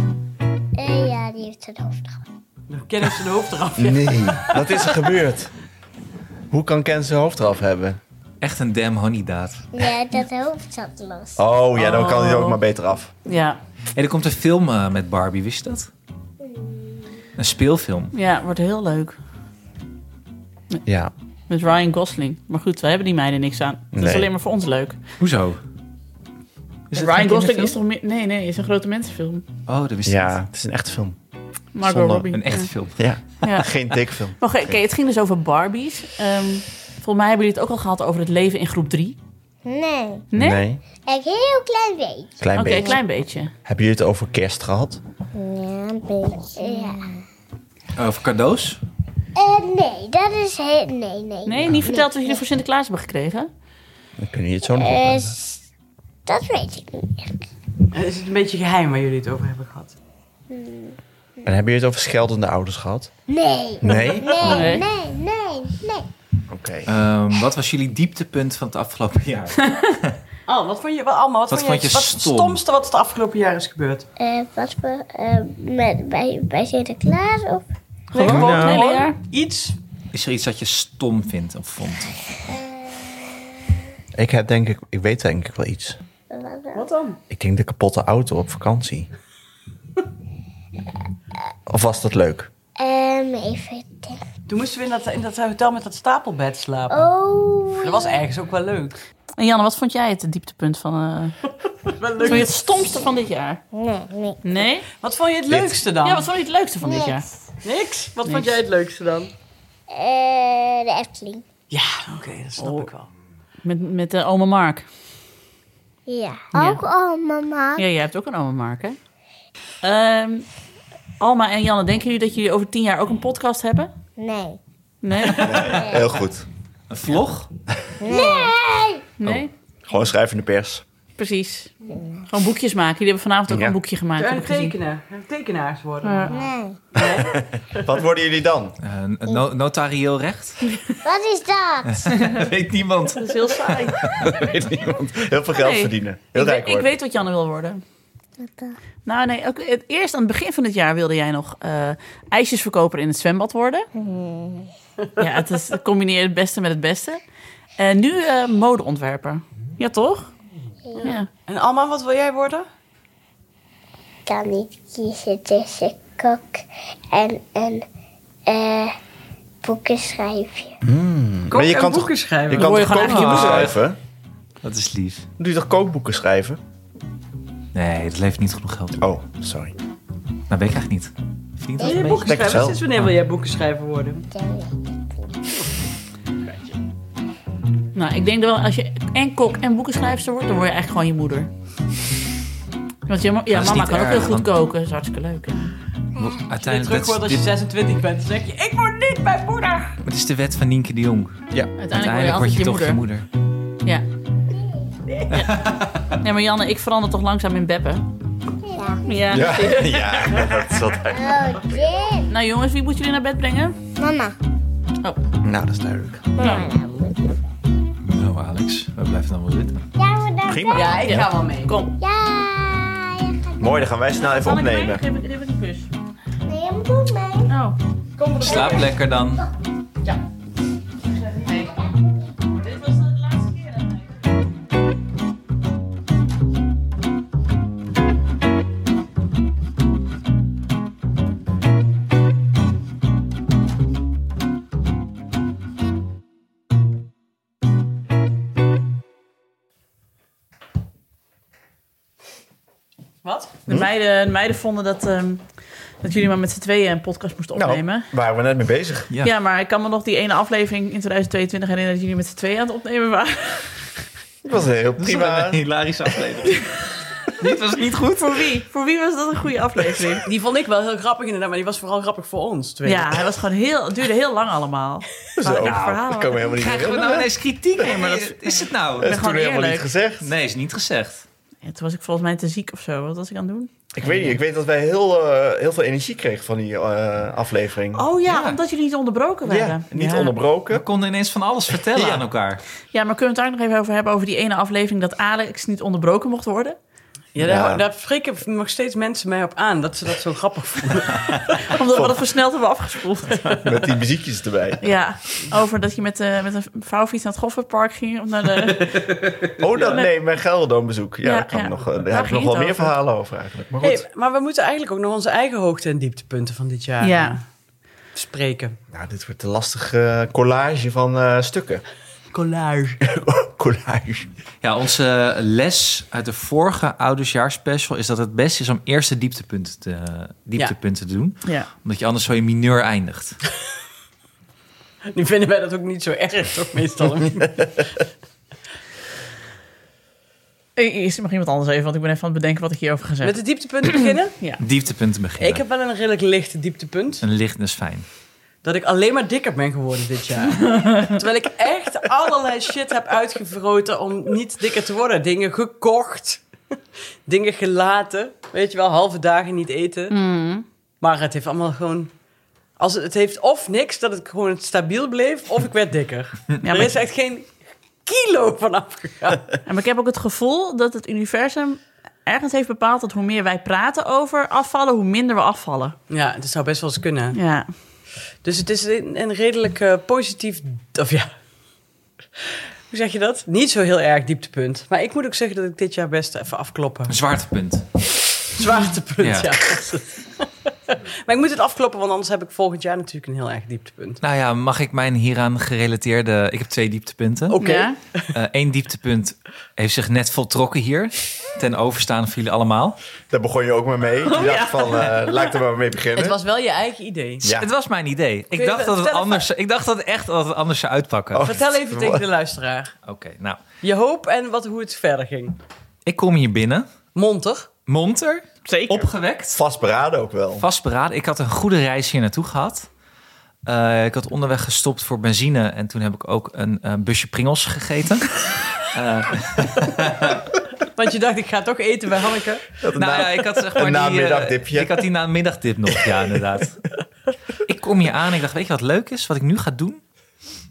Eh, ja, die heeft het hoofd gehad. Dan kennen ze de hoofd eraf. Nee. Wat is er gebeurd? Hoe kan Ken zijn hoofd eraf hebben? Echt een damn honeydaad. Ja, dat hoofd zat los. Oh ja, dan kan hij er ook maar beter af. Ja, En er komt een film eh, met Barbie, wist je dat? Een speelfilm. ja, wordt heel leuk. Ja. Met Ryan Gosling. Maar goed, we hebben die meiden niks aan. Het is Nee. alleen maar voor ons leuk. Hoezo? Is het Ryan geen Gosling is kinderfilm? toch meer... Nee, nee, is een grote mensenfilm. Oh, dat wist ik Ja, niet. het is een echte film. Margot Zonde. Robbie. Een echte film. Ja. Ja. Ja. Geen tekenfilm. Maar oké, oké, het ging dus over Barbies. Ehm, volgens mij hebben jullie het ook al gehad over het leven in groep 3. Nee, Nee? een heel klein beetje. Klein Oké, beetje. een klein beetje. Hebben jullie het over kerst gehad? Ja, een beetje. Ja. Over cadeaus? Eh, nee, dat is heel... Nee, nee. Nee, niet verteld wat jullie voor Sinterklaas hebben gekregen? Dan kunnen jullie het zo nog Eh, opnemen. s- dat weet ik niet echt. Is het een beetje geheim waar jullie het over hebben gehad? En hebben jullie het over scheldende ouders gehad? Nee. Nee? Nee, Nee. nee, nee, nee. Oké. Ehm, wat was jullie dieptepunt van het afgelopen jaar? Oh, wat vond je, wat, allemaal, wat, Wat vond je, vond je wat stom? het stomste wat het afgelopen jaar is gebeurd? Eh, wat voor... eh, met, bij, bij Sinterklaas of... Gewoon, nou. het hele jaar? iets. Is er iets dat je stom vindt of vond? Ik heb denk ik, ik weet denk ik wel iets. Wat, dan? Wat dan? Ik denk de kapotte auto op vakantie. Of was dat leuk? Ehm, even denken. Toen moesten we in dat, in dat hotel met dat stapelbed slapen. Oh, Dat was ergens ook wel leuk. En Janne, wat vond jij het dieptepunt van... eh, Wel vond je leuk. het stomste van dit jaar? nee, nee. Nee? Wat vond je het leukste dan? Ja, wat vond je het leukste van dit jaar? Niks. Niks. Wat vond Niks. jij het leukste dan? Eh, de Efteling. Ja, oké, dat snap ik wel. Met, met eh, oma Mark. Ja. Ja. Ook al, mama. Ja, jij hebt ook een oma Mark, hè? Ehm, Alma en Janne, denken jullie dat jullie over tien jaar ook een podcast hebben? Nee. Nee? Heel goed. Een vlog? Nee! Nee? Gewoon schrijven in de pers. Precies. Gewoon boekjes maken. Jullie hebben vanavond ook Ja. een boekje gemaakt. Zou heb je ik gezien. tekenen? Zou je tekenaars worden? Ja. Nee. Wat worden jullie dan? Eh, no- notarieel recht? Wat is Eh. dat? Dat weet niemand. Dat is heel saai. Weet niemand. Heel veel geld Nee. verdienen. Heel ik, rijk weet, ik worden. weet wat Janne wil worden. Wat dan? Nou nee, ook, het, eerst aan het begin van het jaar wilde jij nog eh, ijsjesverkoper in het zwembad worden. Hmm. Ja, het is, combineer het beste met het beste. En nu eh, modeontwerper. Ja, toch? Ja. En Alma, wat wil jij worden? kan niet kiezen tussen kok en een eh, boekenschrijfje. Kook je en kan toch- boeken schrijven. Je Dan kan word je toch gewoon kookboeken eigenlijk- schrijven? Dat is lief. Doe je toch kookboeken schrijven? Nee, dat levert niet genoeg geld op. Oh, sorry. Maar weet ik eigenlijk niet. Verdient dat Wil een jij beetje? boeken Lekker schrijven? zelf. Sinds wanneer wil jij boeken schrijven worden? Nou, ik denk dat wel, als je en kok en boekenschrijfster wordt, dan word je eigenlijk gewoon je moeder. Want je, ma- ja, Dat is mama niet kan ook erg, heel goed want- koken. Dat is hartstikke leuk. hè. Je Uiteindelijk, terug dat wordt is, als je dit- 26 bent, dan zeg je, ik word niet mijn moeder. het is de wet van Nienke de Jong. Uiteindelijk word je, toch altijd je je moeder. moeder. Ja. Ja. Nee, maar Janne, ik verander toch langzaam in Beppe? Ja. Ja, ja dat is altijd. Oh, dit. Nou jongens, wie moet jullie naar bed brengen? Mama. Nou, dat is duidelijk. Nou, Nou Alex, we blijven dan wel zitten. Ja, maar dan Prima. Ja, ik ga wel mee. kom. Ja, je gaat... Mooi, dan gaan wij snel even Kan ik mee? opnemen. Geef ik geef ik een kus. Nee, je moet mee. Oh. Slaap lekker dan. Dit was de laatste keer. Wat? De meiden, de meiden vonden dat, ehm, dat jullie maar met z'n tweeën een podcast moesten Nou, opnemen. waren we net mee bezig. Ja. Ja. maar ik kan me nog die ene aflevering in 2022 herinneren dat jullie met z'n tweeën aan het opnemen waren. Dat was een heel prima. hilarische aflevering. Dit was niet goed. Voor wie? Voor wie was dat een goede aflevering? Die vond ik wel heel grappig inderdaad, maar die was vooral grappig voor ons. Twee. Ja, hij was gewoon heel, het duurde heel lang allemaal. Zo, Nou, nou, dat kan me helemaal niet Krijgen we herinneren. nou ineens kritiek? Nee, maar dat is het Dat nou. is gewoon toen helemaal niet eerlijk. gezegd. Nee, is niet gezegd. Ja, toen was ik volgens mij te ziek of zo. Wat was ik aan het doen? Ik weet niet, ik weet dat wij heel, eh, heel veel energie kregen van die eh, aflevering. Oh ja, Ja. omdat jullie niet onderbroken ja, werden. niet ja. We onderbroken. konden ineens van alles vertellen Ja. aan elkaar. Ja, maar kunnen we het daar nog even over hebben? Over die ene aflevering dat Alex niet onderbroken mocht worden? Ja, daar, Ja. daar spreken nog steeds mensen mij op aan, dat ze dat zo grappig vonden. Omdat we dat versneld hebben afgespoeld. Met die muziekjes erbij. ja, over dat je met, eh, met een vouwfiets naar het Goffertpark ging. Of naar de... Oh, dat, nee, mijn Gelderdoom-bezoek. Ja, Ja, daar kan ja. ik nog, eh, Daar daar heb ik ging nog wel het meer over. verhalen over eigenlijk. Maar goed, Hey, maar we moeten eigenlijk ook nog onze eigen hoogte- en dieptepunten van dit jaar eh, ja. spreken. nou, dit wordt een lastige eh, collage van eh, stukken. Collage. collage. Ja, onze eh, les uit de vorige Oudejaarsspecial is dat het best is om eerst de dieptepunten te, eh, dieptepunten te doen. ja. Omdat je anders zo in mineur eindigt. Nu vinden wij dat ook niet zo erg, toch meestal? Eerst mag iemand anders even, want ik ben even aan het bedenken wat ik hierover ga Met zeggen. de dieptepunten beginnen? Dieptepunten beginnen. Ik heb wel een redelijk lichte dieptepunt. Een licht is fijn. Dat ik alleen maar dikker ben geworden dit jaar. Terwijl ik echt allerlei shit heb uitgevroten om niet dikker te worden. Dingen gekocht. Dingen gelaten. Weet je wel, halve dagen niet eten. Maar het heeft allemaal gewoon... Als het, het heeft of niks, dat het gewoon stabiel bleef, of ik werd dikker. maar- er is echt geen kilo van afgegaan. En maar ik heb ook het gevoel dat het universum ergens heeft bepaald dat hoe meer wij praten over afvallen, hoe minder we afvallen. Ja, dat zou best wel eens kunnen. Ja. Dus het is een, een redelijk eh, positief. Of ja. Hoe zeg je dat? Niet zo heel erg dieptepunt. Maar ik moet ook zeggen dat ik dit jaar best even afkloppen. Een zwaartepunt. Zwaartepunt, ja. Ja. maar ik moet het afkloppen, want anders heb ik volgend jaar natuurlijk een heel erg dieptepunt. Nou ja, mag ik mijn hieraan gerelateerde... Ik heb twee dieptepunten. Oké. Ja? Eén dieptepunt heeft zich net voltrokken hier. Ten overstaan van jullie allemaal. Daar begon je ook maar mee. Je dacht Oh, ja. van, eh, laat ik er maar mee beginnen. Het was wel je eigen idee. Ja. Het was mijn idee. Ik je dacht dat dat het vertellen? anders... Ik dacht dat echt dat het anders zou uitpakken. Oh. Vertel even tegen de luisteraar. Oké, nou. Je hoop en wat, hoe het verder ging. Ik kom hier binnen. Monter. Monter. Zeker. Opgewekt. vastberaden ook wel. Vastberaden. Ik had een goede reis hier naartoe gehad. Eh, ik had onderweg gestopt voor benzine. En toen heb ik ook een eh, busje Pringles gegeten. Eh, Want je dacht, ik ga toch eten bij Hanneke. Nou ja, ik had zeg maar Een die, eh, namiddagdipje. ik had die namiddagdip nog, ja, inderdaad. Ik kom hier aan en ik dacht, weet je wat leuk is? Wat ik nu ga doen?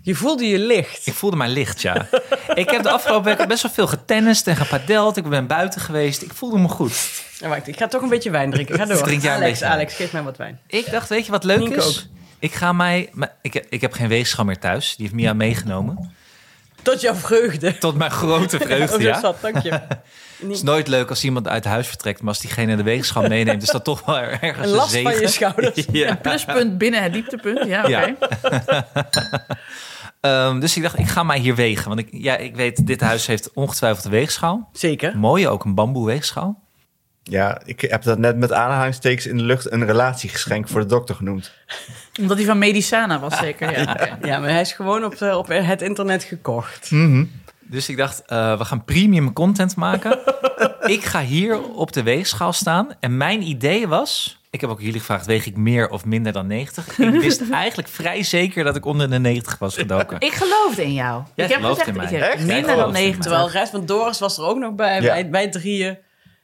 Je voelde je licht. Ik voelde mij licht, ja. Ik heb de afgelopen weken best wel veel getennist en gepadeld. Ik ben buiten geweest. Ik voelde me goed. Ja, Oh, wacht, ik ga toch een beetje wijn drinken. Ga door. Drink jij een Alex, beetje Alex, geef mij wat wijn. Ik dacht, weet je wat leuk Nienke is? Ik ga mij... maar Ik heb, ik heb geen weegschaal meer thuis. Die heeft Mia meegenomen. Tot jouw vreugde. Tot mijn grote vreugde, Oh, ja. zo zat, dank je. Het is nooit leuk als iemand uit huis vertrekt. Maar als diegene de weegschaal meeneemt, is dat toch wel ergens Een last van je zegen. schouders. Ja. Pluspunt binnen het dieptepunt. Ja, oké. Ja. Ehm, dus ik dacht, ik ga mij hier wegen. Want ik, ja, ik weet, dit huis heeft ongetwijfeld een weegschaal. Zeker. Mooie, ook een bamboe weegschaal. Ja, ik heb dat net met aanhalingstekens in de lucht een relatiegeschenk voor de dokter genoemd. Omdat die van Medicana was zeker. Ja, oké. Ja, maar hij is gewoon op, eh, op het internet gekocht. Dus ik dacht, eh, we gaan premium content maken. ik ga hier op de weegschaal staan. En mijn idee was... Ik heb ook jullie gevraagd, weeg ik meer of minder dan 90? Ik wist eigenlijk vrij zeker dat ik onder de 90 was gedoken. Ik geloofde in jou. Jij ik heb gelooft gezegd, in mij. ik heb Echt? Jij minder gelooft in dan mij. 90. Terwijl de rest van Doris was er ook nog bij. Ja. Wij, wij drieën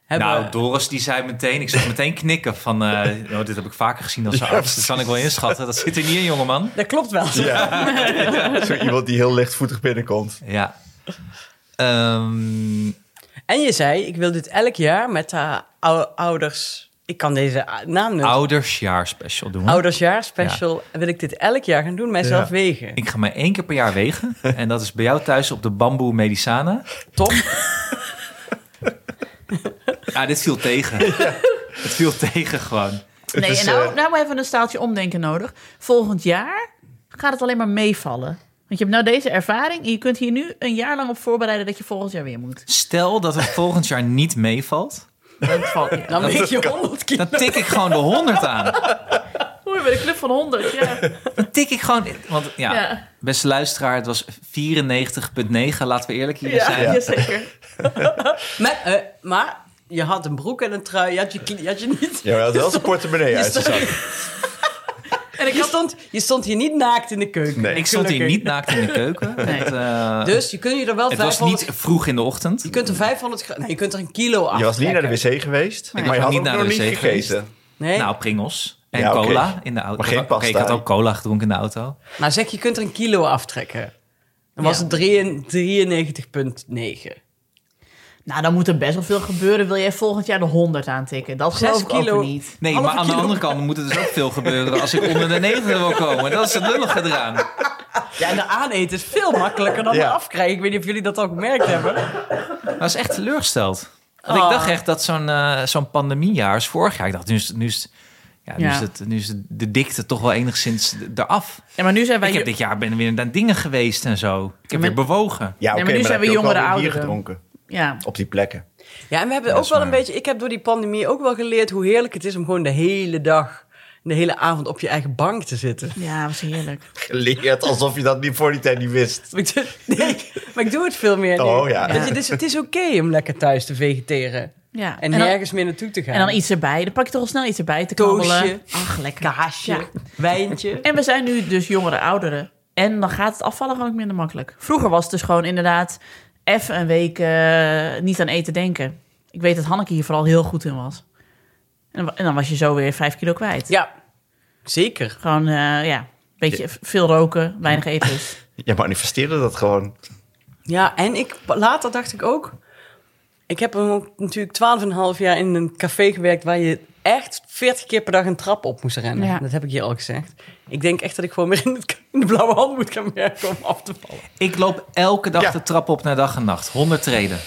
hebben... Nou, Doris die zei meteen, ik zag meteen knikken van... eh, oh, dit heb ik vaker gezien als arts, dat kan ik wel inschatten. Dat zit er niet in, jongeman. dat klopt wel. Zo iemand die heel lichtvoetig binnenkomt. Ja. Ehm, En je zei, ik wil dit elk jaar met haar ou- ouders... Ik kan deze a- naam noemen. oudersjaar special doen. Oudersjaar special. Wil ik dit elk jaar gaan doen, mijzelf Ja. wegen. Ik ga mij één keer per jaar wegen. En dat is bij jou thuis op de Bamboe Medicana. Top. Ja, dit viel tegen. Het viel tegen gewoon. Het Nee, is, en nou, eh, nou hebben we een staaltje omdenken nodig. Volgend jaar gaat het alleen maar meevallen. Want je hebt nou deze ervaring en je kunt hier nu een jaar lang op voorbereiden dat je volgend jaar weer moet. Stel dat het volgend jaar niet meevalt. Dat valt niet. Dan weeg je 100 kilo. Dan tik ik gewoon de 100 aan. Oei, bij de club van 100, ja. Dan tik ik gewoon... Want ja, Ja. beste luisteraar, het was 94,9. Laten we eerlijk hier zijn. Ja, zeker. Maar, eh, maar je had een broek en een trui. Je had je, knie- je, had je niet... Ja, maar hij had wel zijn portemonnee uit zijn zak. En ik Je had... stond, je stond hier niet naakt in de keuken. Nee. Ik stond hier Gelukkig. niet naakt in de keuken. Nee. Het, eh, Dus je kunt je er wel het was 500... niet vroeg in de ochtend. Je kunt er 500 gra- nee, je kunt er een kilo af. Je was niet naar de wc geweest, maar je was had niet ook naar nog de niet wc gegeten. Nee. Nou, Pringles. En Ja, oké. cola in de auto. Maar geen Oké, pasta, ik had hè? ook cola gedronken in de auto. Nou zeg, je kunt er een kilo aftrekken. Dan was Ja. het 93,9. Nou, dan moet er best wel veel gebeuren. Wil jij volgend jaar de 100 aantikken? Dat Zes geloof ik kilo. ook niet. Nee, Halve maar aan de kilo. andere kant moet er dus ook veel gebeuren als ik onder de 90 wil komen. Dat is het lullige eraan. Ja, en de aaneten is veel makkelijker dan Ja. de afkrijgen. Ik weet niet of jullie dat al gemerkt hebben. Dat is echt teleurgesteld. Want Oh. Ah. ik dacht echt dat zo'n eh, zo'n pandemiejaar is vorig jaar. Ik dacht, nu is, het- nu is, het- ja, nu Ja. is, het, nu is het- de dikte toch wel enigszins d- eraf. Ja, maar nu zijn wij... ik heb dit jaar ben weer naar dingen geweest en zo. Ik heb Maar- weer bewogen. Ja, Nee, oké, maar nu maar, zijn dan we heb je ook wel jongere weer bier ouderen. gedronken Ja. op die plekken. Ja, en we hebben ook is wel een waar. beetje... Ik heb door die pandemie ook wel geleerd hoe heerlijk het is... om gewoon de hele dag, de hele avond op je eigen bank te zitten. ja, was heerlijk. Geleerd alsof je dat niet voor die tijd niet wist. Maar ik doe, nee, maar ik doe het veel meer nu. Oh, ja. Weet je, dus het is oké om lekker thuis te vegeteren. Ja. En, dan- nergens meer naartoe te gaan. En dan iets erbij. Dan pak je toch al snel iets erbij te Toastje. kabbelen. Ach, lekker. Kaasje, Ja. wijntje. En we zijn nu dus jongere ouderen. En dan gaat het afvallen gewoon ook minder makkelijk. Vroeger was het dus gewoon inderdaad even een week eh, niet aan eten denken. Ik weet dat Hanneke hier vooral heel goed in was. En, wa- en dan was je zo weer vijf kilo kwijt. Ja, zeker. Gewoon, eh, ja, een beetje v- veel roken, weinig eten. dus. Je manifesteerde dat gewoon. Ja, en ik, later dacht ik ook... Ik heb hem ook natuurlijk 12,5 jaar in een café gewerkt... waar je echt 40 keer per dag een trap op moest rennen. Ja. Dat heb ik hier al gezegd. Ik denk echt dat ik gewoon weer in, het- in de blauwe hand moet gaan werken om af te vallen. Ik loop elke dag Ja. de trap op naar dag en nacht. 100 treden.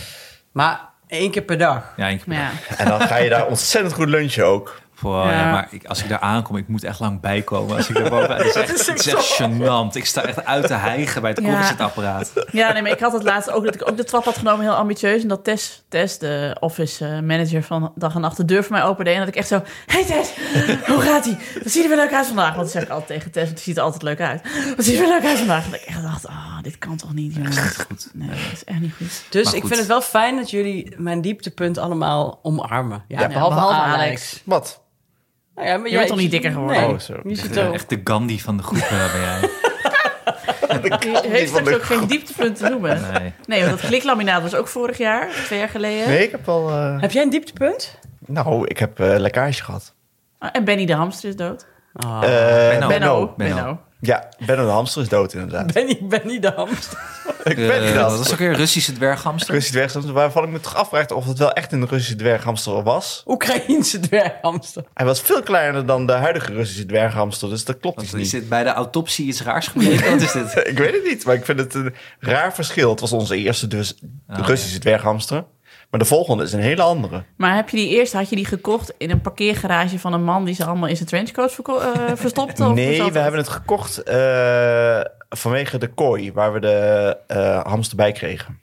Maar één keer per dag. Ja, ik, Maar ja, En dan ga je daar ontzettend goed lunchen ook. Wow, ja. Ja. maar ik, als ik daar aankom, ik moet echt lang bijkomen. Als ik daar boven, het is echt, het is echt gênant. Ik sta echt uit te hijgen bij het Ja. koffiezetapparaat. ja nee, maar ik had het laatst ook dat ik ook de trap had genomen, heel ambitieus. En dat Tess, Tess de office eh, manager van dag en nacht, de deur voor mij opende. En dat ik echt zo, hey Tess, hoe gaat ie? Wat ziet er weer leuk uit vandaag? Want dat zeg ik altijd tegen Tess, want die ziet er altijd leuk uit. Wat ziet er weer leuk uit vandaag? En dat ik echt dacht, ah, dit kan toch niet, jongens. Goed. Nee, dat is echt niet goed. Dus Maar ik goed. vind het wel fijn dat jullie mijn dieptepunt allemaal omarmen. Ja, Ja, behalve, behalve Alex. Alex. Wat? Nou ja, maar jij bent toch niet dikker geworden? Nee. Oh, zo. Je ziet Ja, er echt de Gandhi van de groep eh, ben jij. Heeft van straks de ook geen dieptepunt te noemen. Nee. Nee. want dat kliklaminaat was ook vorig jaar, twee jaar geleden. Nee, ik heb al... eh, Heb jij een dieptepunt? nou, ik heb eh, lekkage gehad. Ah, En Benny de hamster is dood. Ah. Eh, Benno. Benno. Benno. Benno. Ja, Benno de hamster is dood inderdaad. Benny, Benny de hamster. ik weet Eh, niet dat dat. is ook weer een Russische dwerghamster. Russische dwerghamster, waarvan ik me toch afvraag of het wel echt een Russische dwerghamster was. Oekraïense dwerghamster. Hij was veel kleiner dan de huidige Russische dwerghamster, dus dat klopt dus Is niet. dit bij de autopsie iets raars gebleken? Wat is dit? Ik weet het niet, maar ik vind het een raar verschil. Het was onze eerste dus Ah, Russische dwerghamster. Maar de volgende is een hele andere. Maar heb je die eerst, had je die gekocht in een parkeergarage van een man die ze allemaal in zijn trenchcoat verko- eh, verstopte? Of hoe nee, zat we het? hebben het gekocht eh, vanwege de kooi waar we de eh, hamster bij kregen.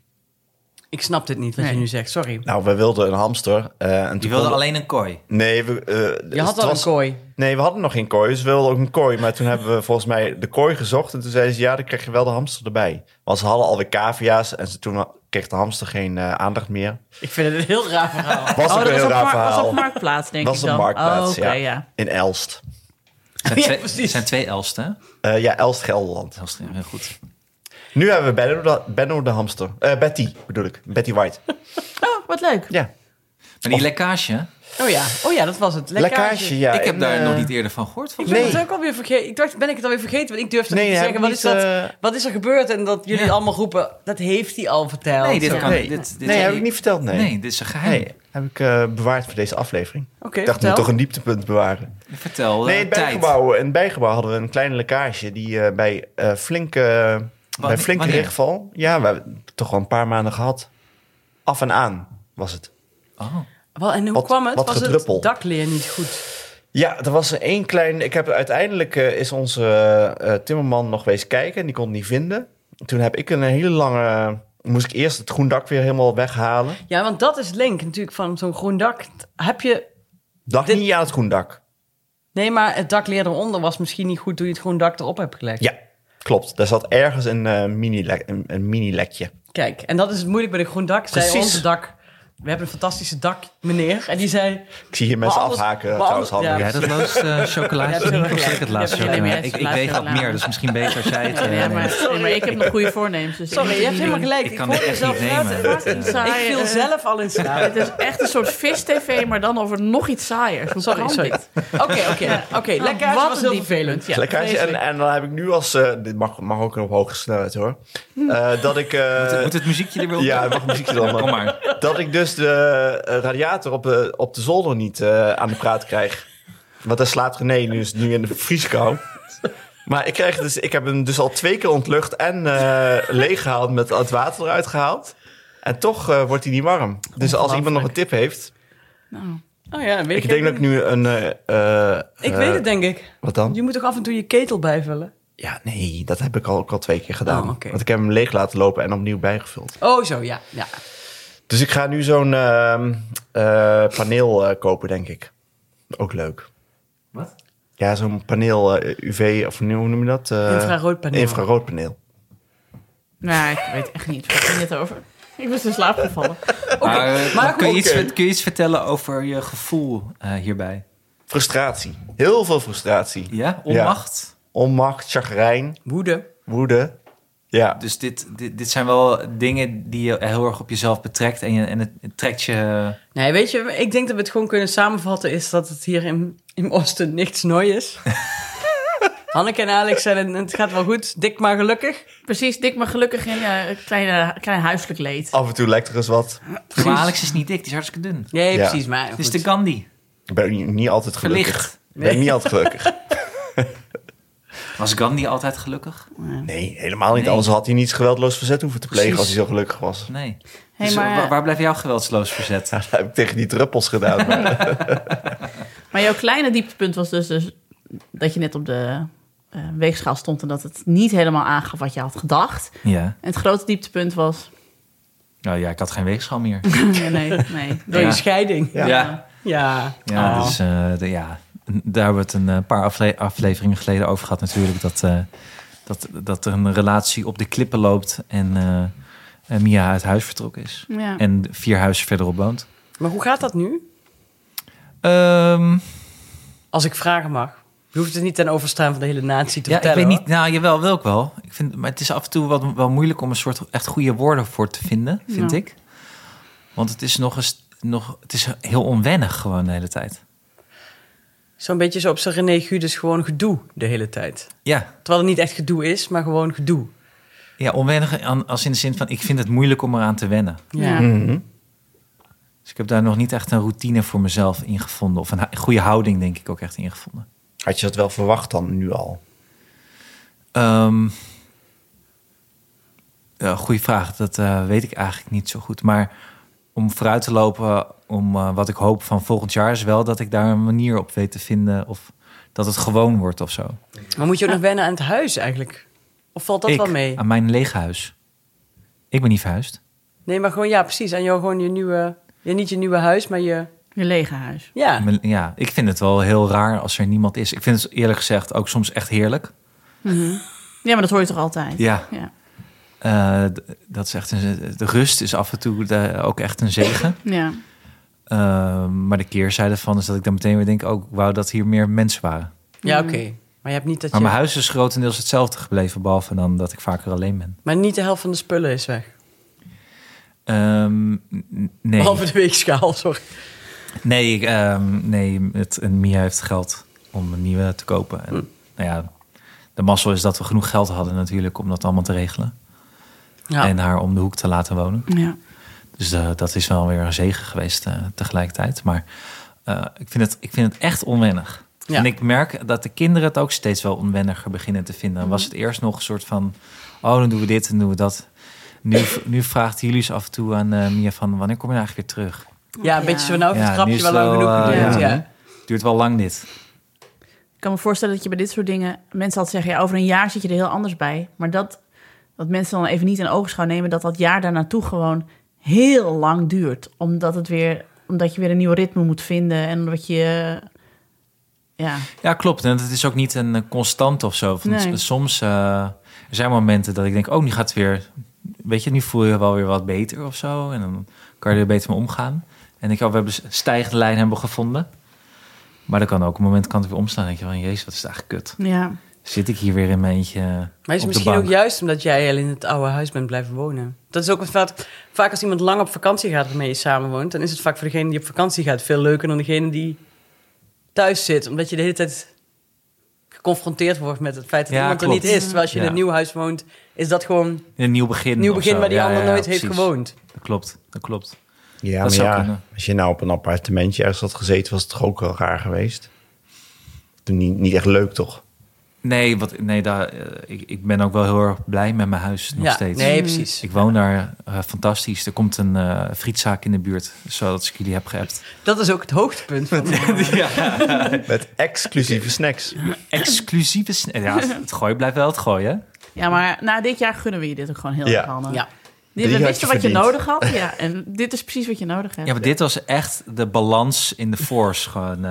Ik snap dit niet wat Nee. je nu zegt, sorry. Nou, we wilden een hamster. eh, en Je toen wilde konden- alleen een kooi. Nee, we, eh, dus Je had het al een was- kooi. Nee, we hadden nog geen kooi, dus we wilden ook een kooi. Maar toen hebben we volgens mij de kooi gezocht. En toen zeiden ze, ja, dan krijg je wel de hamster erbij. Want ze hadden alweer cavia's en ze, toen kreeg de hamster geen eh, aandacht meer. Ik vind het een heel raar verhaal. Was ook oh, een dat was heel op, raar mar- was verhaal. op Marktplaats, denk Dat ik is dan. een marktplaats, Oh, oké, ja. ja. In Elst. Het zijn, Ja, twee, precies. het zijn twee Elsten. hè? Eh, ja, Elst Gelderland. Elsten, heel goed. Nu hebben we Benno de, Benno de hamster. Eh, Betty, bedoel ik. Betty White. Oh, wat leuk. Ja. Maar die lekkage, Oh ja, oh ja dat was het. Lekkage, ja. ik heb en, daar eh, nog niet eerder van gehoord. Ik Volgens ben Nee. het ook alweer vergeten. Ik dacht, ben ik het alweer vergeten? Want ik durfde Nee, niet te heb zeggen, wat niet, is, dat, eh, wat is er gebeurd? En dat jullie Ja. allemaal roepen, dat heeft hij al verteld. Nee, dit Zo. kan Nee, dit, dit nee heb ik niet verteld, nee. Nee, dit is een geheim. Nee, heb ik eh, bewaard voor deze aflevering. Oké, ik dacht, ik moet vertel. toch een dieptepunt bewaren. Vertel, Nee, nee, in het tijd. bijgebouw, in het bijgebouw hadden we een kleine lekkage die eh, bij, eh, flinke, bij flinke wanneer? regenval... Ja, we hebben het toch al een paar maanden gehad. Af en aan was het. Oh, Wel, en hoe Wat- kwam het? wat was gedruppel. het dakleer niet goed? Ja, er was één klein... Ik heb uiteindelijk eh, is onze eh, eh, timmerman nog wees kijken en die kon het niet vinden. Toen heb ik een hele lange... Moest ik eerst het groen dak weer helemaal weghalen. Ja, want dat is link natuurlijk van zo'n groen dak. T- Heb je... Lag Dit- niet aan het groen dak. Nee, maar het dakleer eronder was misschien niet goed toen je het groen dak erop hebt gelegd. Ja, klopt. Daar zat ergens een, eh, mini-lek- een, een mini-lekje. Kijk, en dat is het moeilijk bij een groen dak. Zei Precies. onze dak, we hebben een fantastische dak, meneer. En die zei, Ik zie hier mensen Maar anders- afhaken. maar Trouwens, anders- hadden jij dat laatste eh, chocolaatje Ja, niet? Of tuurlijk, zeg ik ja. het laatste Ja, maar jullie chocolaatje? Ik, mensen ik weet dat luisteren meer, dus misschien beter als jij het... eh, Ja, maar, neemt. nee, maar ik heb nog goede voornemens. Dus sorry, je hebt helemaal gelijk. Ik Ik, kan hoor dit echt mezelf niet praten. nemen. Fucking Ik saai, viel eh. zelf al in slaap. Het is echt een soort vis-tv, maar dan over nog iets saaiers. Hoe Sorry, kan sorry. dit? Oké, oké, oké. Lekker, Wat was een heel diep vervelend. punt, ja. Lekkage. En, en dan heb ik nu als... eh, dit mag, mag ook op hoge snelheid hoor. Hm. Eh, dat ik... eh, Moet het muziekje er weer op? ja, mag muziekje dan. Kom maar. Dat ik dus de eh, radiator op de, op de zolder niet eh, aan de praat krijg. Want daar slaapt René nu, is nu in de vrieskou. Maar ik, krijg dus, ik heb hem dus al twee keer ontlucht en eh leeggehaald met het water eruit gehaald. En toch eh, wordt hij niet warm. Dus als iemand nog een tip heeft. Oh ja, weet Ik denk dat ik nu een. eh, eh, Ik eh, weet het, denk ik. Wat dan? Je moet toch af en toe je ketel bijvullen? Ja, nee, dat heb ik al, ook al twee keer gedaan. Oh, oké. Want ik heb hem leeg laten lopen en opnieuw bijgevuld. Oh, zo, ja. ja. Dus ik ga nu zo'n ehm, eh, paneel eh, kopen, denk ik. Ook leuk. Wat? Ja, zo'n paneel eh, UV, of hoe noem je dat? Eh, Infraroodpaneel. Infraroodpaneel. Nou, ik weet echt niet. Waar ging het over? Ik was in slaap gevallen. Maar, eh, maar kun, je iets, oké. ver- kun je iets vertellen over je gevoel eh, hierbij? Frustratie. Heel veel frustratie. Ja, onmacht? Onmacht, chagrijn, Woede. woede. Ja, Dus dit, dit, dit zijn wel dingen die je heel erg op jezelf betrekt en, je, en het, het trekt je... eh, Nee, weet je, ik denk dat we het gewoon kunnen samenvatten... is dat het hier in, in Oosten niks nooi is. Hanneke en Alex zijn en het gaat wel goed. Dik maar gelukkig. Precies, dik maar gelukkig in eh, kleine, klein huiselijk leed. af en toe lijkt er eens wat. Maar Alex is niet dik, die is hartstikke dun. Nee, Ja. precies, maar Het is goed. de Gandhi. Ik ben niet, niet altijd gelukkig. Verlicht. Ik ben niet altijd gelukkig. Was Gandhi altijd gelukkig? Nee, helemaal niet. Nee. Anders had hij niets geweldloos verzet hoeven te plegen Precies. als hij zo gelukkig was. Nee. Hey, dus maar- waar, waar blijft jouw geweldsloos verzet? Dat heb ik tegen die druppels gedaan. maar- Maar jouw kleine dieptepunt was dus, dus dat je net op de eh, weegschaal stond en dat het niet helemaal aangaf wat je had gedacht. Ja. En het grote dieptepunt was. Nou ja, ik had geen weegschaal meer. Nee, nee, nee. Door Ja. je scheiding. Ja. Ja, Ja. ja Ah. Oh. dus eh, de- ja, daar hebben we het een eh, paar afle- afleveringen geleden over gehad natuurlijk. Dat, eh, dat, dat er een relatie op de klippen loopt en eh, en Mia uit huis vertrokken is. Ja. En vier huizen verderop woont. Maar hoe gaat dat nu? Ehm, Als ik vragen mag. Je hoeft het niet ten overstaan van de hele natie te Ja, ik vertellen. weet hoor. niet. Nou, jawel, wil ik wel. Ik vind, maar het is af en toe wat, wel moeilijk om een soort echt goede woorden voor te vinden, vind Ja. ik. Want het is nog eens nog, het is heel onwennig gewoon de hele tijd. Zo'n beetje zo op zijn René Gudes gewoon gedoe de hele tijd. Ja, Terwijl het niet echt gedoe is, maar gewoon gedoe. ja onwennig aan- als in de zin van ik vind het moeilijk om eraan te wennen. Ja. Mhm. Dus ik heb daar nog niet echt een routine voor mezelf in gevonden. Of een hu- goede houding, denk ik, ook echt in gevonden. Had je dat wel verwacht dan nu al? Ehm ja, goeie vraag. Dat eh, weet ik eigenlijk niet zo goed. Maar om vooruit te lopen, om eh, wat ik hoop van volgend jaar, is wel dat ik daar een manier op weet te vinden. Of dat het gewoon wordt of zo. Maar moet je ook nog wennen aan het huis eigenlijk? Of valt dat ik, wel mee? Aan mijn leeg huis. Ik ben niet verhuisd. Nee, maar gewoon, ja, precies. Aan jou gewoon je nieuwe... Ja, niet je nieuwe huis, maar je... Je lege huis. Ja, Mijn- Ja, ik vind het wel heel raar als er niemand is. Ik vind het eerlijk gezegd ook soms echt heerlijk. Ja, maar dat hoor je toch altijd? Ja. Ja. Eh, d- dat is echt een, de rust is af en toe de- ook echt een zegen. ja. Ehm, maar de keerzijde van is dat ik dan meteen weer denk... ook wou dat hier meer mensen waren. ja oké. Maar je hebt niet dat Maar je... mijn huis is grotendeels hetzelfde gebleven... behalve dan dat ik vaker alleen ben. Maar niet de helft van de spullen is weg. Ehm, n- nee, Behalve de weegschaal, sorry. nee, ik, ehm, nee het, en Mia heeft geld om een nieuwe te kopen. Hm. En, nou ja, de mazzel is dat we genoeg geld hadden natuurlijk... om dat allemaal te regelen. Ja. En haar om de hoek te laten wonen. ja. Dus eh, dat is wel weer een zegen geweest eh, tegelijkertijd. Maar eh, ik, vind het, ik vind het echt onwennig. Ja. En ik merk dat de kinderen het ook steeds wel onwenniger beginnen te vinden. Was het eerst nog een soort van... oh, dan doen we dit en doen we dat. Nu, nu vraagt Julius af en toe aan eh, Mia van... wanneer kom je nou eigenlijk weer terug? ja, een Ja. beetje zo, nou, Ja, het nu grapje is wel lang wel, genoeg eh, geduurd, ja. ja. Duurt wel lang dit. Ik kan me voorstellen dat je bij dit soort dingen... Mensen altijd zeggen, ja, over een jaar zit je er heel anders bij. Maar dat, dat mensen dan even niet in oogschouw nemen... dat dat jaar daarnaartoe gewoon heel lang duurt. Omdat, het weer, omdat je weer een nieuw ritme moet vinden. En omdat je... Ja, Ja, klopt. En het is ook niet een eh, constant of zo. Van, Nee. s- Soms eh, er zijn momenten dat ik denk... oh, nu gaat het weer... weet je, nu voel je wel weer wat beter of zo. En dan kan je er beter mee omgaan. En ik denk, oh, we hebben een stijgende lijn hebben we gevonden. Maar dan kan ook een moment kan het weer omslaan. Dan denk je van, jezus, wat is het eigenlijk kut. ja. Zit ik hier weer in mijn eentje Maar is op het de misschien bank? ook juist omdat jij al in het oude huis bent blijven wonen? Dat is ook wat vaak als iemand lang op vakantie gaat waarmee je samenwoont, dan is het vaak voor degene die op vakantie gaat veel leuker dan degene die thuis zit. Omdat je de hele tijd geconfronteerd wordt met het feit dat Ja, iemand klopt. er niet is. Terwijl als je in Ja. een nieuw huis woont, is dat gewoon een In een nieuw begin nieuw of begin zo. waar die Ja, ander ja, ja, nooit heeft precies. gewoond. Dat klopt, dat klopt. Ja, Dat maar zou ja, kunnen. als je nou op een appartementje ergens had gezeten, was het toch ook wel raar geweest. Toen niet, niet echt leuk, toch? Nee, wat, nee daar, eh, ik, ik ben ook wel heel erg blij met mijn huis nog ja, steeds. nee, precies. Ik woon daar eh, fantastisch. Er komt een eh, frietzaak in de buurt, zodat ik jullie heb geappt. Dat is ook het hoogtepunt van Met exclusieve snacks. Exclusieve... sn- Ja, het gooien blijft wel het gooien. ja, maar na dit jaar gunnen we je dit ook gewoon heel Ja. erg, Hanne. Ja. Dit- Die We had wisten je wat je verdiend. nodig had. Ja, en dit is precies wat je nodig hebt. Ja, maar dit was echt de balans in de force. Gewoon,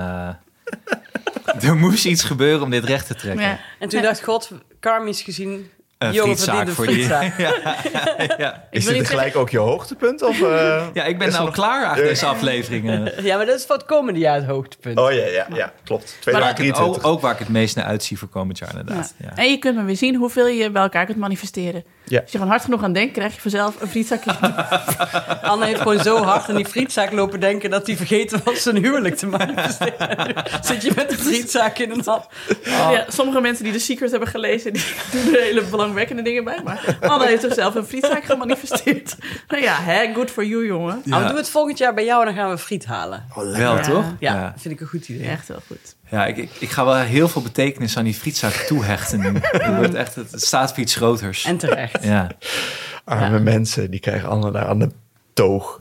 eh, er moest iets gebeuren om dit recht te trekken. Ja. En toen dacht God, karmisch gezien, Een jongen verdient frietzaak een voor die. frietzaak. Ik Is wil dit niet zeggen, gelijk ook je hoogtepunt? Of, eh? Ja, ik ben nou klaar achter deze afleveringen. Ja, maar dat is voor het komende jaar het hoogtepunt. Oh ja, ja, ja klopt. Waar ik het 2023. ook, Oh, ook waar ik het meest naar uitzie voor komend jaar, Ja. inderdaad. Ja. En je kunt maar weer zien hoeveel je bij elkaar kunt manifesteren. Ja. Als je gewoon hard genoeg aan denkt, krijg je vanzelf een frietzakje. Anne heeft gewoon zo hard aan die frietzaak lopen denken dat hij vergeten was zijn huwelijk te manifesteren. Zit je met de frietzaak in een hand? Oh. Ja, sommige mensen die de Secret hebben gelezen, die doen er hele belangwekkende dingen bij. Maar Anne heeft zichzelf een frietzaak gemanifesteerd. Nou ja, hè, good for you, jongen. Nou, we doen het volgend jaar bij jou en dan gaan we friet halen. Wel, Ja. toch? Ja, dat vind ik een goed idee. Echt wel goed. Oh, Ja, ik, ik, ik ga wel heel veel betekenis aan die frietzaak toehechten. nu. Het wordt echt, het staat voor iets groters. En terecht. Ja. oh. Arme mensen, die krijgen allemaal daar aan de toog.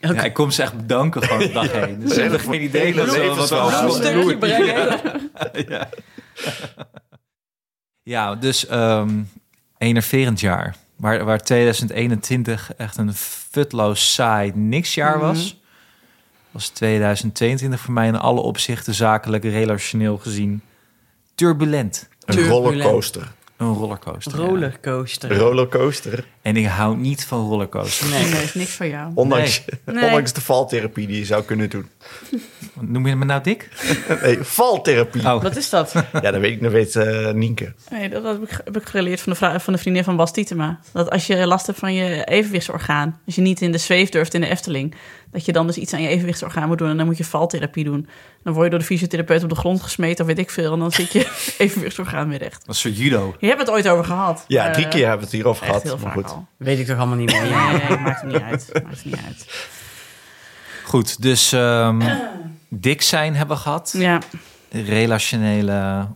Ja, ik kom ze echt bedanken gewoon de dag heen. Dus Ja. ik heb geen idee dat Hele ze wat levensverhaal. wel Een stukje brengen. Oh, ja. ja, dus ehm enerverend jaar. Waar, waar 2021 echt een futloos saai niks jaar Mhm. was... was 2022 voor mij in alle opzichten zakelijk, relationeel gezien... turbulent. Een Turbulent. rollercoaster. een rollercoaster. ja. Rollercoaster. Rollercoaster. En ik hou niet van rollercoasters. Nee, dat is niks voor jou. Ondanks, Nee. ondanks de valtherapie die je zou kunnen doen. Eh, Noem je me nou dik? Nee, Ah. valtherapie. Oh. Wat is dat? Ja, dat weet ik, dat weet eh, Nienke. Nee, dat heb ik, heb ik geleerd van de, vrou- van de vriendin van Bas Tietema. Dat als je last hebt van je evenwichtsorgaan, als je niet in de zweef durft in de Efteling, dat je dan dus iets aan je evenwichtsorgaan moet doen en dan moet je valtherapie doen. Dan word je door de fysiotherapeut op de grond gesmeten of weet ik veel en dan zit je evenwichtsorgaan weer recht. Dat is soort judo. Je hebt het ooit over gehad. Ja, drie Eh, keer hebben we het hierover Echt gehad. heel maar vaak goed. al. Weet ik toch allemaal niet meer. Nee, nee, maakt het niet uit. Maakt het niet uit. Goed, dus ehm, dik zijn hebben we gehad. Ja, Relationele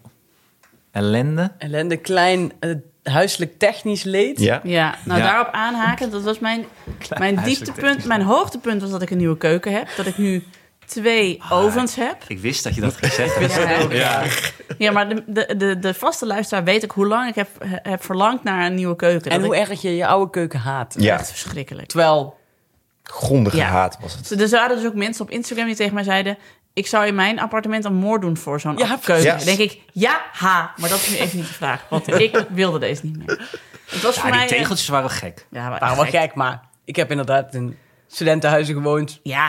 ellende. Ellende, klein eh, huiselijk technisch leed. Ja. ja. nou Ja. daarop aanhaken, dat was mijn, mijn huiselijk dieptepunt. technisch. Mijn hoogtepunt was dat ik een nieuwe keuken heb. Dat ik nu twee Oh, ovens heb. Ik wist dat je dat ging zeggen. Ja, Ja. Ja, maar de, de, de, de vaste luisteraar weet ik hoe lang ik heb, heb verlangd naar een nieuwe keuken. En Dat hoe ik- erg je je oude keuken haat. Ja, Echt verschrikkelijk. Terwijl, grondige Ja. haat was het. Dus Er waren dus ook mensen op Instagram die tegen mij zeiden... ik zou in mijn appartement een moord doen voor zo'n Ja, keuken. precies. Dan denk ik, ja, ha. Maar dat is nu even niet de vraag. Want ik wilde deze niet meer. Het was voor die mij... eh, tegeltjes waren gek. Ja, maar waren wel gek. gek, maar ik heb inderdaad in studentenhuizen gewoond. Ja,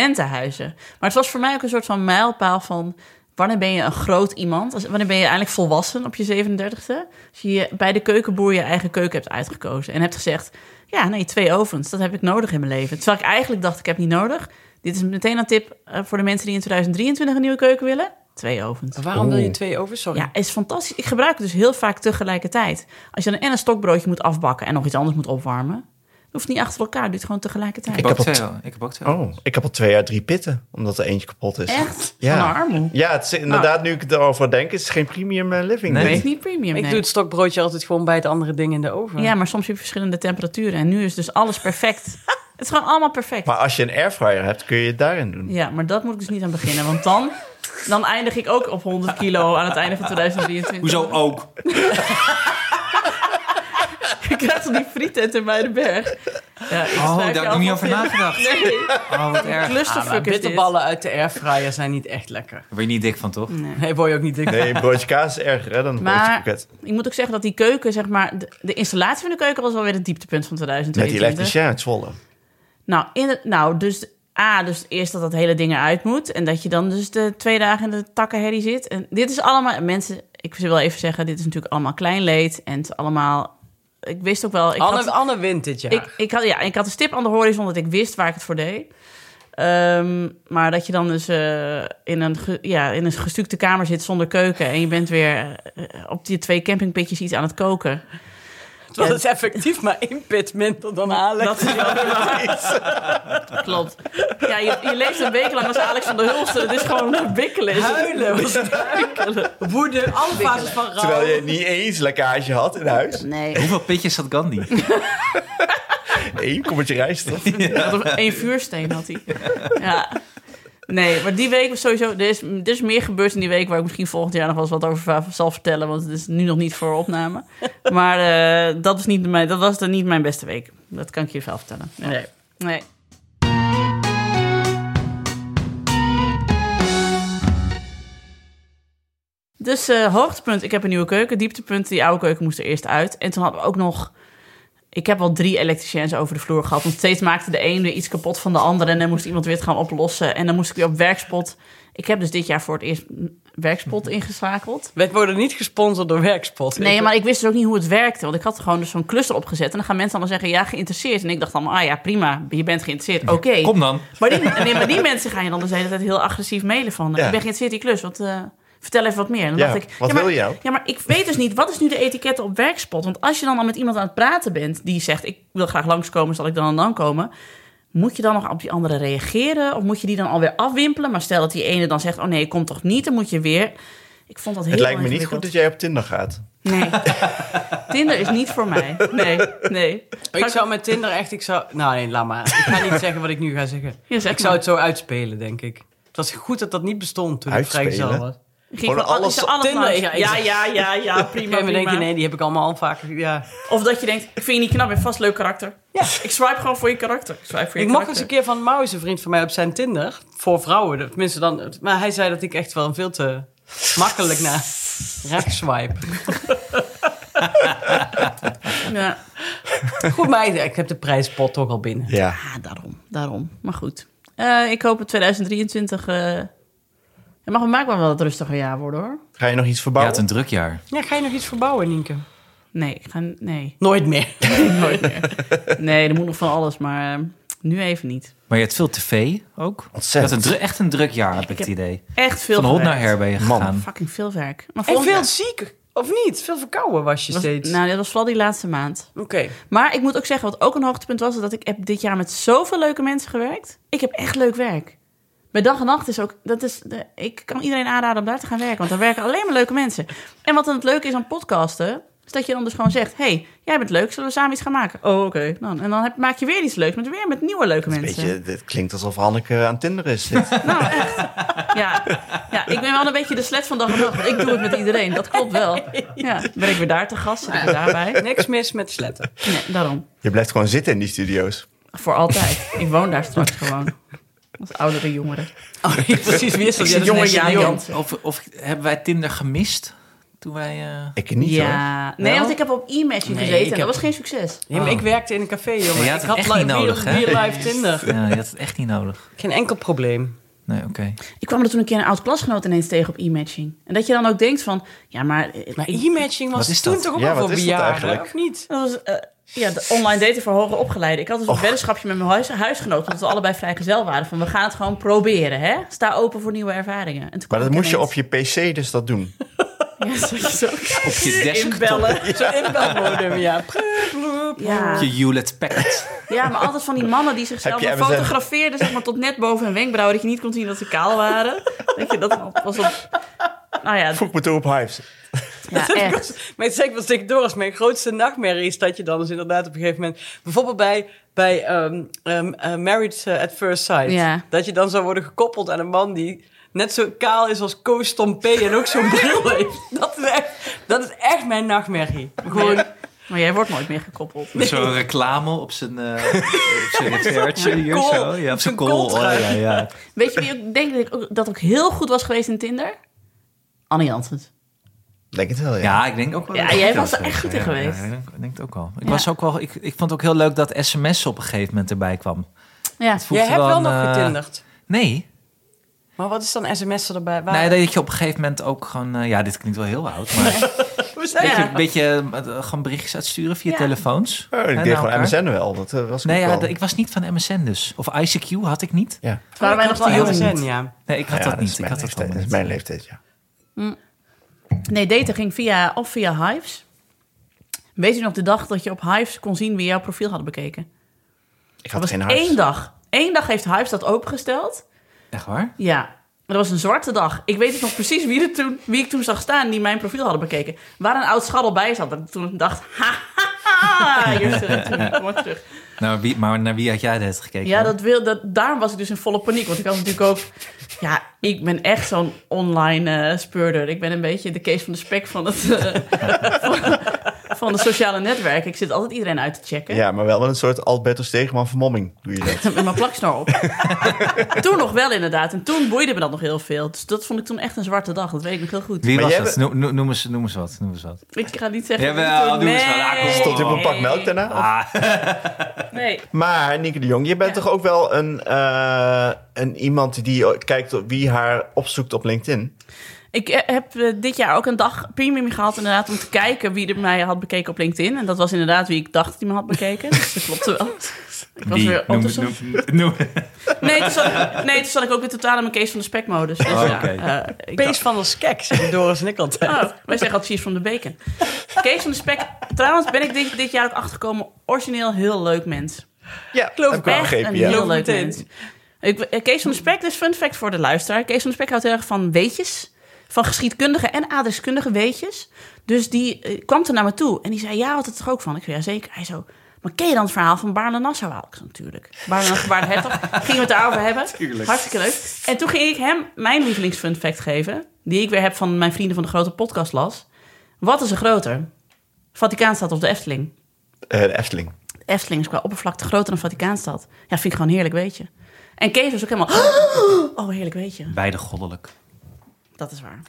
studentenhuizen. Maar het was voor mij ook een soort van mijlpaal van... wanneer ben je een groot iemand? Als- Wanneer ben je eigenlijk volwassen op je 37e? Als je je bij de keukenboer je eigen keuken hebt uitgekozen... en hebt gezegd, ja, nee, twee ovens, dat heb ik nodig in mijn leven. Terwijl ik eigenlijk dacht, ik heb niet nodig. Dit is meteen een tip eh, voor de mensen die in 2023 een nieuwe keuken willen. Twee ovens. Waarom wil je twee over? Sorry. Ja, is fantastisch. Ik gebruik het dus heel vaak tegelijkertijd. Als je dan en een stokbroodje moet afbakken... en nog iets anders moet opwarmen... hoeft niet achter elkaar, doe het gewoon tegelijkertijd. Ik heb ook heb al twee. Ik heb ook twee. Oh, ik heb al twee jaar drie pitten, omdat er eentje kapot is. Echt? Ja. Van een armoe. Ja, het is inderdaad, nu ik erover denk, is het geen premium eh, living. Nee. Dat dit. is niet premium, Ik nee. doe het stokbroodje altijd gewoon bij het andere ding in de oven. Ja, maar soms heb je verschillende temperaturen. En nu is dus alles perfect. het is gewoon allemaal perfect. Maar als je een airfryer hebt, kun je het daarin doen. Ja, maar dat moet ik dus niet aan beginnen. Want dan, dan eindig ik ook op 100 kilo aan het einde van 2023. Hoezo ook? Ik krijg toch die frietent in Muidenberg? Ja, ik Oh, schrijf daar je heb ik niet alvast over in. nagedacht. Nee, Oh, wat erg. Ah, maar clusterfuck is dit. bitterballen uit de airfryer zijn niet echt lekker. Daar word je niet dik van, toch? Nee, word je ook niet dik. Nee, een broodje kaas is erger hè, dan een broodje Maar pakket. ik moet ook zeggen dat die keuken, zeg maar... De, de installatie van de keuken was wel weer het dieptepunt van Met 2022. die elektricien uit Zwolle. Nou, in het- nou, dus A, dus eerst dat dat hele ding eruit moet. En dat je dan dus de twee dagen in de takkenherrie zit. En dit is allemaal, mensen, ik wil even zeggen, dit is natuurlijk allemaal klein leed. En het is allemaal, ik wist ook wel... Ik Anne, had, Anne wint dit jaar. ik, ik had, ja, ik had een stip aan de horizon dat ik wist waar ik het voor deed. Ehm, maar dat je dan dus eh, in, een ge- ja, in een gestukte kamer zit zonder keuken... en je bent weer eh, op die twee campingpitjes iets aan het koken. Terwijl het is effectief maar één pit minder dan Alex. Dat is wel Klopt. Ja, je, je leeft een week lang als Alex van der Hulsten. Het is gewoon wikkelen. Is het? Huilen, was het huilen. Woede, alle fases van rouw. Terwijl je niet eens lekkage had in huis. Nee. Hoeveel pitjes had Gandhi? Eén kommetje rijst. toch? Eén vuursteen had hij. Ja. Nee, maar die week was sowieso... Er is, er is meer gebeurd in die week waar ik misschien volgend jaar nog wel eens wat over va- zal vertellen. Want het is nu nog niet voor opname. Maar eh, dat, was niet mijn, dat was dan niet mijn beste week. Dat kan ik je wel vertellen. Nee. Nee. Dus eh, hoogtepunt, ik heb een nieuwe keuken. Dieptepunt, die oude keuken moest er eerst uit. En toen hadden we ook nog... Ik heb al drie elektriciens over de vloer gehad. Want steeds maakte de een weer iets kapot van de ander. En dan moest iemand weer het gaan oplossen. En dan moest ik weer op werkspot. Ik heb dus dit jaar voor het eerst mm, werkspot ingeschakeld. Wij worden niet gesponsord door Werkspot. Nee, maar ik wist dus ook niet hoe het werkte. Want ik had gewoon dus zo'n cluster opgezet. En dan gaan mensen allemaal zeggen, ja, geïnteresseerd. En ik dacht allemaal, ah ja, prima, je bent geïnteresseerd. Oké. Kom dan. Maar die, nee, maar die mensen gaan je dan dus de hele tijd heel agressief mailen van... eh, Ja. ik ben geïnteresseerd in die klus, wat, eh, vertel even wat meer. En dan Ja, dacht ik, wat ja, maar, wil je nou? Ja, maar ik weet dus niet, wat is nu de etiketten op werkspot? Want als je dan al met iemand aan het praten bent die zegt... ik wil graag langskomen, zal ik dan en dan komen... Moet je dan nog op die andere reageren? Of moet je die dan alweer afwimpelen? Maar stel dat die ene dan zegt, oh nee, kom toch niet, dan moet je weer... Ik vond dat heel Het lijkt me niet ingewikkeld. goed dat jij op Tinder gaat. Nee. Tinder is niet voor mij. Nee, nee. Ik zou met Tinder echt, ik zou... Nou nee, laat maar. Ik ga niet zeggen wat ik nu ga zeggen. Ja, zeg ik zou maar. het zo uitspelen, denk ik. Het was goed dat dat niet bestond toen Uitspelen? ik vrijgezel was. Ik ging Gewoon van alles ik zou op Tinder, langs. ja, ik Ja, zeg- ja, ja, ja, prima, En we prima. denken, nee, die heb ik allemaal al vaker... Ja. Of dat je denkt, ik vind je niet knap, je hebt vast leuk karakter. Ja. Ik swipe gewoon voor je karakter. Ik, swipe voor je Ik mocht eens karakter. een keer van Maus, een vriend van mij, op zijn Tinder. Voor vrouwen, tenminste dan. Maar hij zei dat ik echt wel een veel te makkelijk naar rechts swipe. Ja, Goed, maar ik heb de prijspot toch al binnen. Ja. ah, daarom, daarom. Maar goed. Eh, ik hoop het 2023... eh het mag maakt wel wel het rustiger jaar worden, hoor. Ga je nog iets Je verbouwen? had een druk jaar. Ja, ga je nog iets verbouwen, Nienke? Nee, ik ga... Nee, Nooit meer. nooit meer. Nee, er moet nog van alles, maar eh, nu even niet. Maar je had veel tv ook. Je had Ontzettend. een dru- echt een druk jaar, heb ik, Ik het heb idee. Echt veel Van hond naar gewerkt. her ben je Man. gegaan. Fucking veel werk. En Maar volgend veel jaar- ziek, of niet? Veel verkouden was je was- steeds. Nou, dat was vooral die laatste maand. Oké. Maar ik moet ook zeggen, wat ook een hoogtepunt was... is dat ik heb dit jaar met zoveel leuke mensen gewerkt. Ik heb echt leuk werk. Bij dag en nacht is ook... Dat is, de- ik kan iedereen aanraden om daar te gaan werken. Want daar werken alleen maar leuke mensen. En wat dan het leuke is aan podcasten... is dat je dan dus gewoon zegt... hey, jij bent leuk, zullen we samen iets gaan maken? Oh, oké. Nou, en dan heb- maak je weer iets leuks... met weer met nieuwe leuke Een mensen. beetje, dit klinkt alsof Hanneke aan Tinder is. Dit. Nou, echt. Ja. ja, ik ben wel een beetje de slet van dag en nacht. want Ik doe het met iedereen, dat klopt wel. Ja, ben ik weer daar te gast, zit ik weer daarbij. Niks mis met sletten. Nee, daarom. Je blijft gewoon zitten in die studio's. Voor altijd. Ik woon daar straks gewoon. Als oudere jongeren. Oh, precies. Wissel Ik zie jonge Jaan Jansen. Of, of hebben wij Tinder gemist toen wij... eh, Ik niet hoor. ja. Nee, Wel? want ik heb op e-matching Nee, gezeten. ik en heb- Dat was geen succes. Ja, maar ik werkte in een café, jongen. Ja, ik dat is had echt li- niet nodig, weer- hè? weer live Tinder. Ja, je had het echt niet nodig. Geen enkel probleem. Nee, oké. Ik kwam er toen een keer een oud-klasgenoot ineens tegen op e-matching. En dat je dan ook denkt van... Ja, maar... eh, Maar ik- e-matching was Wat is toen dat? toch ook Ja, al wat voor is dat bejaarden, eigenlijk? of niet? Dat was, eh, ja, de online daten voor hoger opgeleiden. Ik had dus een weddenschapje met mijn huis, huisgenoot, omdat we allebei vrijgezel waren. Van we gaan het gewoon proberen, hè? Sta open voor nieuwe ervaringen. En toen Maar dat kwam ik moest je op ineens- je pc dus dat doen. Ja, dat je zo. Op je desktop. Inbellen. Zo'n inbelmodem, ja. Prup, prup. Ja. Op je Hewlett Packard. ja, maar altijd van die mannen die zichzelf Heb je maar MSN? fotografeerden, zeg maar tot net boven hun wenkbrauw, dat je niet kon zien dat ze kaal waren. Weet je, dat was op. Nou ja, Voeg me toe op Hives. ja echt. Maar het zeg ik wel tegen Doris, mijn grootste nachtmerrie is dat je dan dus inderdaad op een gegeven moment... Bijvoorbeeld bij, bij ehm, ehm, eh, Married eh, at First Sight. Ja. Dat je dan zou worden gekoppeld aan een man die net zo kaal is als Koos Tompé en ook zo'n bril heeft. Dat is echt, dat is echt mijn nachtmerrie. Gewoon, Maar jij wordt nooit meer gekoppeld. Met zo'n reclame op zijn, eh op zijn refertje hier kool. zo. Ja, op Op zijn zijn kool. Oh, kooltrui. ja, ja. Weet je wie ik denk dat ik ook, dat ook heel goed was geweest in Tinder? Annie Janssens. Denk het wel, ja. Ja, ik denk ook wel. Ja, dat ik jij dat was er geweest echt goed ben. in Ja, ja, geweest. ik denk- ik denk het ook wel. Ik, Ja. was ook wel ik, ik vond het ook heel leuk dat sms op een gegeven moment erbij kwam. Ja. voelt jij hebt wel gewoon, nog eh, getinderd. Nee, Maar wat is dan sms'en erbij? Waar- nee, dat je op een gegeven moment ook gewoon... eh, ja, dit klinkt wel heel oud, maar... We zijn- Beetje, beetje eh, gewoon berichtjes uitsturen via Ja. telefoons. Oh, Hè, ik naar deed gewoon elkaar. MSN wel. Dat eh, was ik nou, Nee, ook ja, wel. d- ik was niet van MSN dus. Of ICQ had ik niet. Ja. Waren wij nog wel Ja, jong? we zijn, ja. Nee, ik had Ja, dat niet. is ik mijn had dat leeftijd. allemaal Dat is niet. mijn leeftijd, ja. Nee, daten ging via, of via Hives. Weet je nog de dag dat je op Hives kon zien wie jouw profiel hadden bekeken? Ik Dat had was geen één hart. dag. Eén dag heeft Hives dat opengesteld. Echt waar? Ja, maar dat was een zwarte dag. Ik weet dus nog precies wie, er toen, wie ik toen zag staan die mijn profiel hadden bekeken. Waar een oud scharrel bij zat. Dat ik toen dacht, ha, ha, ha, hier zit het terug. Kom maar terug. Nou, wie, maar naar wie had jij net gekeken? Ja, dat wil, dat, daarom was ik dus in volle paniek. Want ik had natuurlijk ook... Ja, ik ben echt zo'n online eh, speurder. Ik ben een beetje de case van de spek van het... eh, van, van de sociale netwerken. Ik zit altijd iedereen uit te checken. Ja, maar wel met een soort Alberto Stegeman vermomming doe je dat. Met mijn plaksnor op. toen nog wel inderdaad. En toen boeide me dat nog heel veel. Dus dat vond ik toen echt een zwarte dag. Dat weet ik nog heel goed. Wie Maar was jij dat? Noem, noem, noem eens, noem eens wat. Noem eens wat. Ik ga niet zeggen... Jawel, wie toen- doe eens wel. Ah, kom op. Dus Stond je op een pak melk daarna? Ah, Nee. Maar Nieke de Jong, je bent Ja. toch ook wel een, eh, een iemand die kijkt op wie haar opzoekt op LinkedIn? Ik eh, heb eh, dit jaar ook een dag premium gehad inderdaad om te kijken wie er mij had bekeken op LinkedIn. En dat was inderdaad wie ik dacht dat hij me had bekeken. Dus dat klopte wel. Ik was wie? weer op Noem, de zoek. noem, noem- Nee, toen zat, nee, toen zat ik ook weer totaal in mijn case van de spekmodus. Dus Oh, ja, oké. eh, ik Pees van de skek, zeggen Doris en ik altijd. dacht- oh, wij zeggen altijd cheese van de bacon. Kees van de spek. Trouwens ben ik dit, dit jaar ook achtergekomen. Origineel heel leuk mens. Ja, geloof heb ik wel echt begrepen, een ja. heel leuk Meteen. mens. Ik, eh, Kees van de Spek, dus fun fact voor de luisteraar. Kees van de Spek houdt heel erg van weetjes. Van geschiedkundige en aardrijkskundige weetjes. Dus die eh, kwam er naar me toe. En die zei, ja, had het er ook van? Ik zei, ja, zeker. Hij zo, maar ken je dan het verhaal van Baarle Nassau? Ik zei, natuurlijk. Baarle Nassau, Baarle Hertog. Gingen we het daarover hebben. Hartstikke leuk. En toen ging ik hem mijn lievelingsfun fact geven. Die ik weer heb van mijn vrienden van de grote podcast las. Wat is er groter? Vaticaanstad of de Efteling? Eh, de Efteling. Efteling is qua oppervlakte groter dan Vaticaanstad. Ja, vind ik gewoon heerlijk, weet je. En Kees was ook helemaal... Oh, heerlijk, weet je. Beide goddelijk. Dat is waar.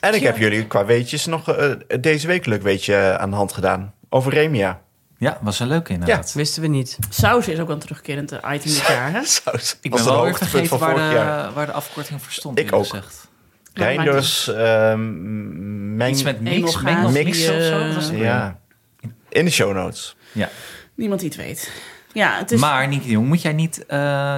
En ik heb jullie qua weetjes nog eh, deze week leuk weetje aan de hand gedaan. Over Remia. Ja, was een leuke inderdaad. Wisten we niet. Saus is ook wel een terugkerend eh, item dit jaar, hè? Saus. Was Ik ben het wel weer hoogtepunt vergeten waar vorig jaar. de, waar de afkorting voor stond. Ik eerlijk ook. gezegd. Reinders, ehm, meng- Iets met mix, Edelgaas, mengels, die, mix of zo. eh, wat was het? Ja. In de show notes. Ja. Niemand die het weet. Ja, het is... Maar Nienke de Jong, moet jij niet eh,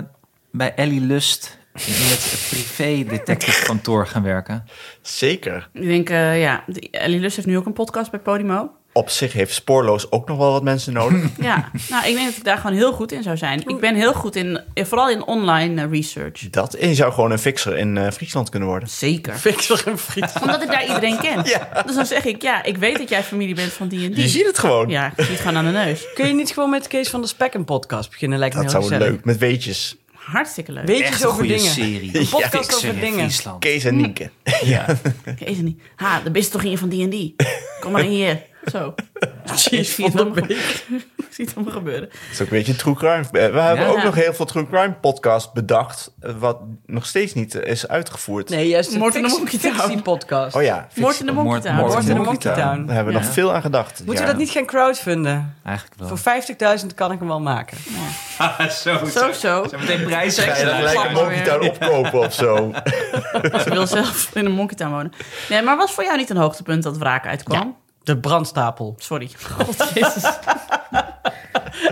bij Ellie Lust in het privé detective kantoor gaan werken? Zeker. Ik denk, eh, ja, die- Ellie Lust heeft nu ook een podcast bij Podimo. Op zich heeft spoorloos ook nog wel wat mensen nodig. Ja, nou, ik denk dat ik daar gewoon heel goed in zou zijn. Ik ben heel goed in, eh, vooral in online eh, research. Dat en je zou gewoon een fixer in eh, Friesland kunnen worden. Zeker. Fixer en friet. Omdat ik daar iedereen ken. Dus dan zeg ik, ja, ik weet dat jij familie bent van die en Je die. ziet het gewoon. Ja, ik zie het gewoon aan de neus. Kun je niet gewoon met Kees van der Spek een podcast beginnen? Lijkt me Dat heel zou gezellig. leuk. Met weetjes. Hartstikke leuk. Weet je Echt een over goede dingen? serie. Een podcast Fixer over in dingen. Friesland. Kees en Nienke. Ja. Kees en die. Ha, de beste toch in van die en die. Kom maar in hier. Zo. Jeez, Zie je het van de allemaal- Ik zie het allemaal gebeuren. Dat is ook een beetje true crime. Eh, We hebben Ja. ook nog heel veel true crime podcast bedacht. eh, Wat nog steeds niet eh, is uitgevoerd. Nee, juist Moord in de een Monkey Town. podcast. Oh ja. fix- Moord in de Moord- Monkey Town. moord- Moord in de Monkey Monkey Town. Daar hebben we Ja. nog veel aan gedacht. Moeten Ja. we dat niet gaan crowdfunden? Eigenlijk wel. Voor 50.000 kan ik hem wel maken. zo, Zo, zo. meteen prijzen. Ga je dat Luisteraars. gelijk Monkey Town opkopen of zo? Ze wil zelf in de Monkey Town wonen. Nee, maar was voor jou niet een hoogtepunt dat wraak uitkwam? De brandstapel. Sorry. God, jezus.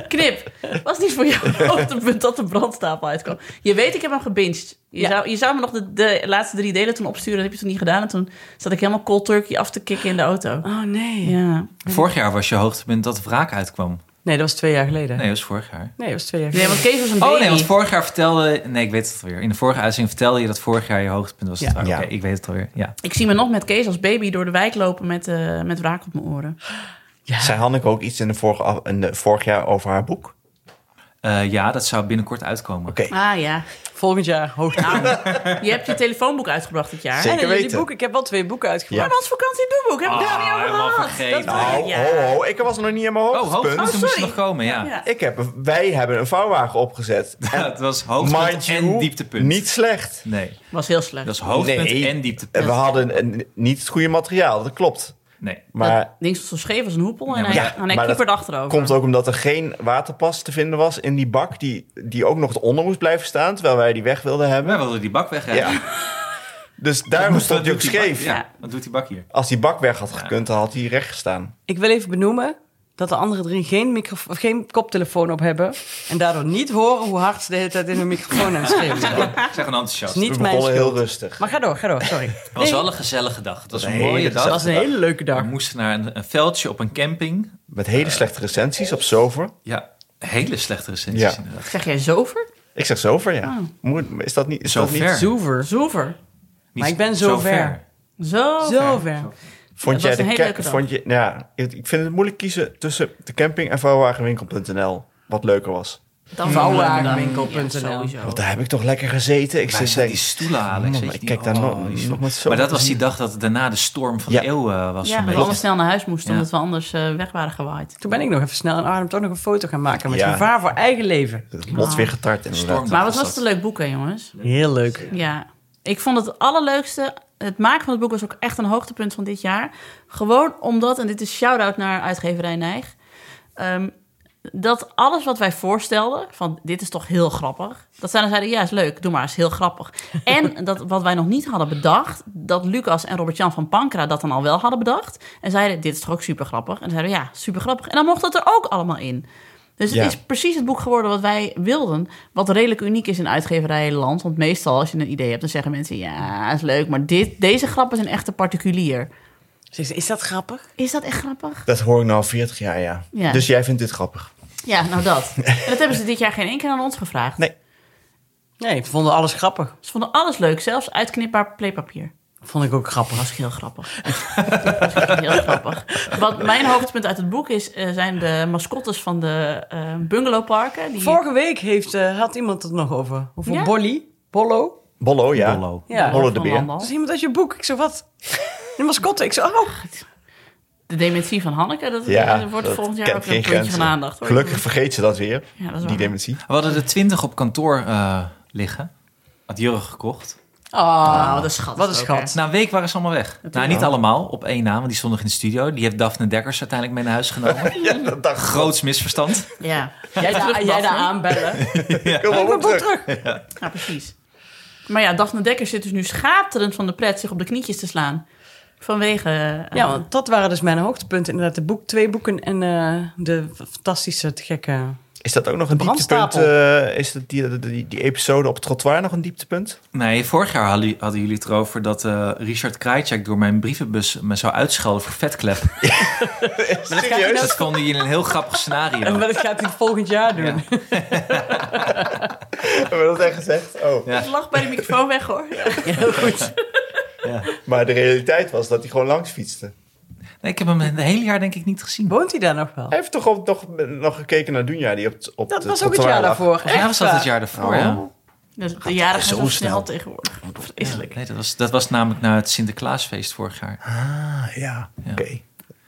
Knip. Was niet voor jou een hoogtepunt dat de brandstapel uitkwam? Je weet, ik heb hem gebinged. Je, zou, je zou me nog de, de laatste drie delen toen opsturen. Dat heb je toen niet gedaan. En toen zat ik helemaal cold turkey af te kicken in de auto. Ah. Oh nee. Ja. Vorig jaar was je hoogtepunt dat wraak uitkwam. Nee, dat was twee jaar geleden. Nee, dat was vorig jaar. Nee, dat was twee jaar Nee, geleden. want Kees was een baby. Oh nee, want vorig jaar vertelde... Nee, ik weet het alweer. In de vorige uitzending vertelde je dat vorig jaar je hoogtepunt was. Ja. Ja. Oké, Ja. ik weet het alweer. Ja. Ik zie me nog met Kees als baby door de wijk lopen met, eh, met wraak op mijn oren. Zei Hanneke ook iets in de vorige, af- in de, vorig jaar over haar boek? Eh, ja, dat zou binnenkort uitkomen. Oké. Ah ja. Volgend jaar hoogte. Nou, je hebt je telefoonboek uitgebracht dit jaar. Zeker En jullie weten. boeken. Ik heb wel twee boeken Maar uitgebracht. ons vakantiedoeboek heb ik daar niet over Ah, helemaal gehad. Dat vergeten. dacht ik, Ah, Oh, ja. ho, ho, ik was nog niet in mijn Oh, hoogtepunt. hoogtepunt moest sorry. nog komen, ja. Ja. ik heb, wij hebben een vouwwagen opgezet. Het was Mind hoogtepunt en you, dieptepunt. niet slecht. Nee, Was heel slecht. dat is hoogtepunt Nee. en En dieptepunt. We hadden een- niet het goede materiaal, dat klopt. Nee. Maar Dat ding stond zo scheef als een hoepel en maar hij, ja, en hij maar kieperde dat achterover. komt ook omdat er geen waterpas te vinden was in die bak... die, die ook nog eronder moest blijven staan, terwijl wij die weg wilden hebben. Wij wilden die bak wegrijden. Ja. Dus daarom Wat stond hij ook doet die bak- scheef. Ja, Ja. wat doet die bak hier? Als die bak weg had gekund, dan had hij recht gestaan. Ik wil even benoemen dat de andere drie geen, microf- of geen koptelefoon op hebben. En daardoor niet horen hoe hard ze de hele tijd in hun microfoon aan het schreeuwen zijn. Dat Ik zeg een enthousiast. is We niet mijn begonnen schuld. heel rustig. Maar ga door, ga door, sorry. Het was wel een gezellige dag. Het was een Nee, mooie dat dag. is- Dat was een hele leuke dag. We moesten naar een, een veldje op een camping. Met hele slechte recensies op Zover. Ja, hele slechte recensies Ja. inderdaad. Zeg jij zover? Ik zeg Zover, ja. Oh. Moet- Is dat niet... Is dat Zover. niet Zoever. Zover. Niet Maar ik ben zo ver. Zo. Zover. Ja, het was Vond jij een de hele ca- leuke dag. vond je, nou ja, ik ik vind het moeilijk kiezen tussen de camping en vrouwenwagenwinkel.nl. Wat leuker was. Dan Vouwagenwinkel.nl. sowieso. Want daar heb ik toch lekker gezeten. Ik Wij zit zijn denk, die stoelen halen. man, zit Mm, ik niet- kijk daar oh, nog, die nog stoelen. met zo. Maar dat was die dag dat daarna de storm van Ja. de eeuw eh, was. Ja, zo'n dat we beetje. allemaal snel naar huis moesten, Ja. omdat we anders eh, weg waren gewaaid. Toen ben ik nog even snel in Arnhem toch nog een foto gaan maken met Ja. gevaar voor eigen leven. Het lot weer getart inderdaad. Storm. Maar was wat was dat. het een leuk boek, hè, jongens? Heel leuk. Ja. Ik vond het allerleukste. Het maken van het boek was ook echt een hoogtepunt van dit jaar. Gewoon omdat, en dit is shout-out naar uitgeverij Nijg. ehm, dat alles wat wij voorstelden, van dit is toch heel grappig. Dat zij dan zeiden, ja is leuk, doe maar, is heel grappig. En dat wat wij nog niet hadden bedacht, dat Lucas en Robert-Jan van Pankra dat dan al wel hadden bedacht. En zeiden, dit is toch ook super grappig. En zeiden, ja, super grappig. En dan mocht dat er ook allemaal in. Dus het Ja. is precies het boek geworden wat wij wilden. Wat redelijk uniek is in uitgeverijenland. Want meestal als je een idee hebt, dan zeggen mensen... ja, is leuk, maar dit, deze grappen zijn echt een particulier. Zeg ze, is dat grappig? Is dat echt grappig? Dat hoor ik nou al 40 jaar, ja. Ja. Dus jij vindt dit grappig. Ja, nou dat. En dat hebben ze dit jaar geen één keer aan ons gevraagd. Nee. Nee, ik vond alles grappig. Ze vonden alles leuk, zelfs uitknipbaar playpapier. Vond ik ook Oh, grappig. Dat was heel grappig. Dat was echt heel grappig. Wat mijn hoogtepunt uit het boek is, eh, zijn de mascottes van de eh, bungalowparken. Die... Vorige week heeft, eh, had iemand het nog over. Over Ja? Bolly. Bollo. Bollo, ja. Bollo. Ja. Bollo. Dat Hollo de Van Beer. Landal. is iemand uit je boek. Ik zo, wat? De mascotte. Ik zo, oh. De dementie van Hanneke, dat Ja, dat wordt dat volgend jaar kent ook een geen puntje grenzen. van aandacht. hoor. Gelukkig vergeet ze dat weer, Ja, dat is die waar. dementie. We hadden er twintig op kantoor eh, liggen. Had Jurgen gekocht. Oh, wat een schat. Wat een ook, hè. schat. Na een week waren ze allemaal weg. Nou, niet allemaal op één naam, want die stond nog in de studio. Die heeft Daphne Dekkers uiteindelijk mee naar huis genomen. Ja, dat dacht ik. Groots misverstand. Ja. Jij, daar- jij daar Daphne? aanbellen. Kom maar op terug. Ja, precies. Maar ja, Daphne Dekker zit dus nu schaterend van de pret zich op de knietjes te slaan. Vanwege... eh, Ja, want dat waren dus mijn hoogtepunten. Inderdaad, de boek, twee boeken en eh, de fantastische, te gekke... Is dat ook nog een Brandstapel. dieptepunt? eh, is dat die, die, die episode op het trottoir nog een dieptepunt? Nee, vorig jaar hadden jullie- hadden jullie het erover dat eh, Richard Krajcek door mijn brievenbus me zou uitschelden voor vetklep. Serieus? nou- Dat vonden jullie een heel grappig En scenario. wat gaat hij het volgend jaar doen? Ja. Hebben we dat echt gezegd? Oh. Ja. Lach bij de microfoon weg, hoor. Ja. Heel goed. Maar de realiteit was dat hij gewoon langs fietste. Nee, ik heb hem het hele jaar denk ik niet gezien. Woont hij daar nog wel? Hij heeft toch ook nog, nog gekeken naar Dunja die op, het- op Dat het was ook het trottoir jaar lag. daarvoor. Volgens mij Echt was dat waar. het jaar daarvoor, ja. Dus De, de jaren Zo gaan zo snel. snel tegenwoordig. Vreselijk. Nee, dat was, dat was namelijk na het Sinterklaasfeest vorig jaar. Ah, ja, oké.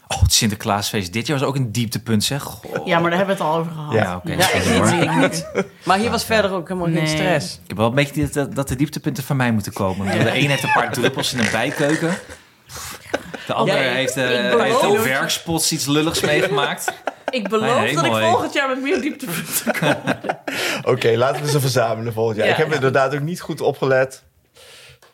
Oh, het Sinterklaasfeest dit jaar was ook een dieptepunt, zeg. Goh. Ja, maar daar hebben we het al over gehad. Ja, oké. Ja, ik sorry, niet, hoor. ik niet. Maar hier was verder ook helemaal geen Nee. stress. Ik heb wel een beetje het idee dat, dat de dieptepunten van mij moeten komen. Want De een heeft een paar druppels in een bijkeuken. De ander Ja, ik- heeft, eh ik beloof- heeft op werkspots iets lulligs meegemaakt. Ik beloof Nee, nee, dat ik mooi. volgend jaar met meer dieptepunten kom. Oké, laten we ze verzamelen volgend jaar. Ja, ik heb ja. inderdaad ook niet goed opgelet.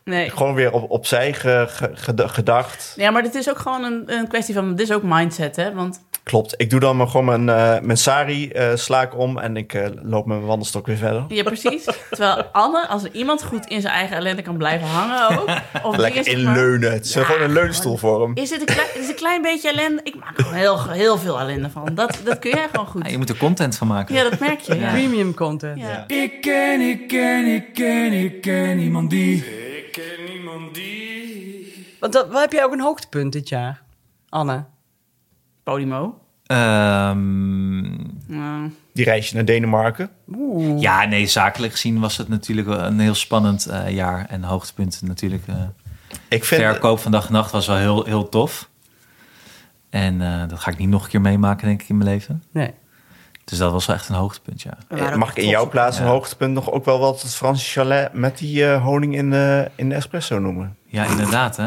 Nee. Gewoon weer op, opzij ge- ge- ged- gedacht. Ja, maar dit is ook gewoon een, een kwestie van... Dit is ook mindset, hè? Want Klopt. Ik doe dan maar gewoon mijn, eh, mijn sari eh, sla ik om en ik eh, loop met mijn wandelstok weer verder. Ja, precies. Terwijl Anne, als er iemand goed in zijn eigen ellende kan blijven hangen ook... Of Lekker dingen, zeg maar, inleunen. Het is gewoon een leunstoel voor hem. Is dit een klein, is een klein beetje ellende? Ik maak er heel, heel veel ellende van. Dat, dat kun jij gewoon Ja, goed. je moet er content van maken. Ja, dat merk je. Ja. Premium content. Ja. Ik ken, ik ken, ik ken, ik ken niemand die. Ik ken niemand die. Want dat, wat heb jij ook een hoogtepunt dit jaar, Anne? Podimo. Ehm, Nou, Die reisje naar Denemarken. ja, nee, zakelijk gezien was het natuurlijk wel een heel spannend eh, jaar. En hoogtepunt natuurlijk. eh, Ik vind, verkoop van dag en nacht was wel heel, heel tof. En eh, dat ga ik niet nog een keer meemaken, denk ik, in mijn leven. Nee. Dus dat was wel echt een hoogtepunt, ja. we eh, waren mag ook ik trots in jouw op- plaats een hoogtepunt nog ook wel wat het Franse chalet met die eh, honing in de, in de espresso noemen? Ja, inderdaad, hè.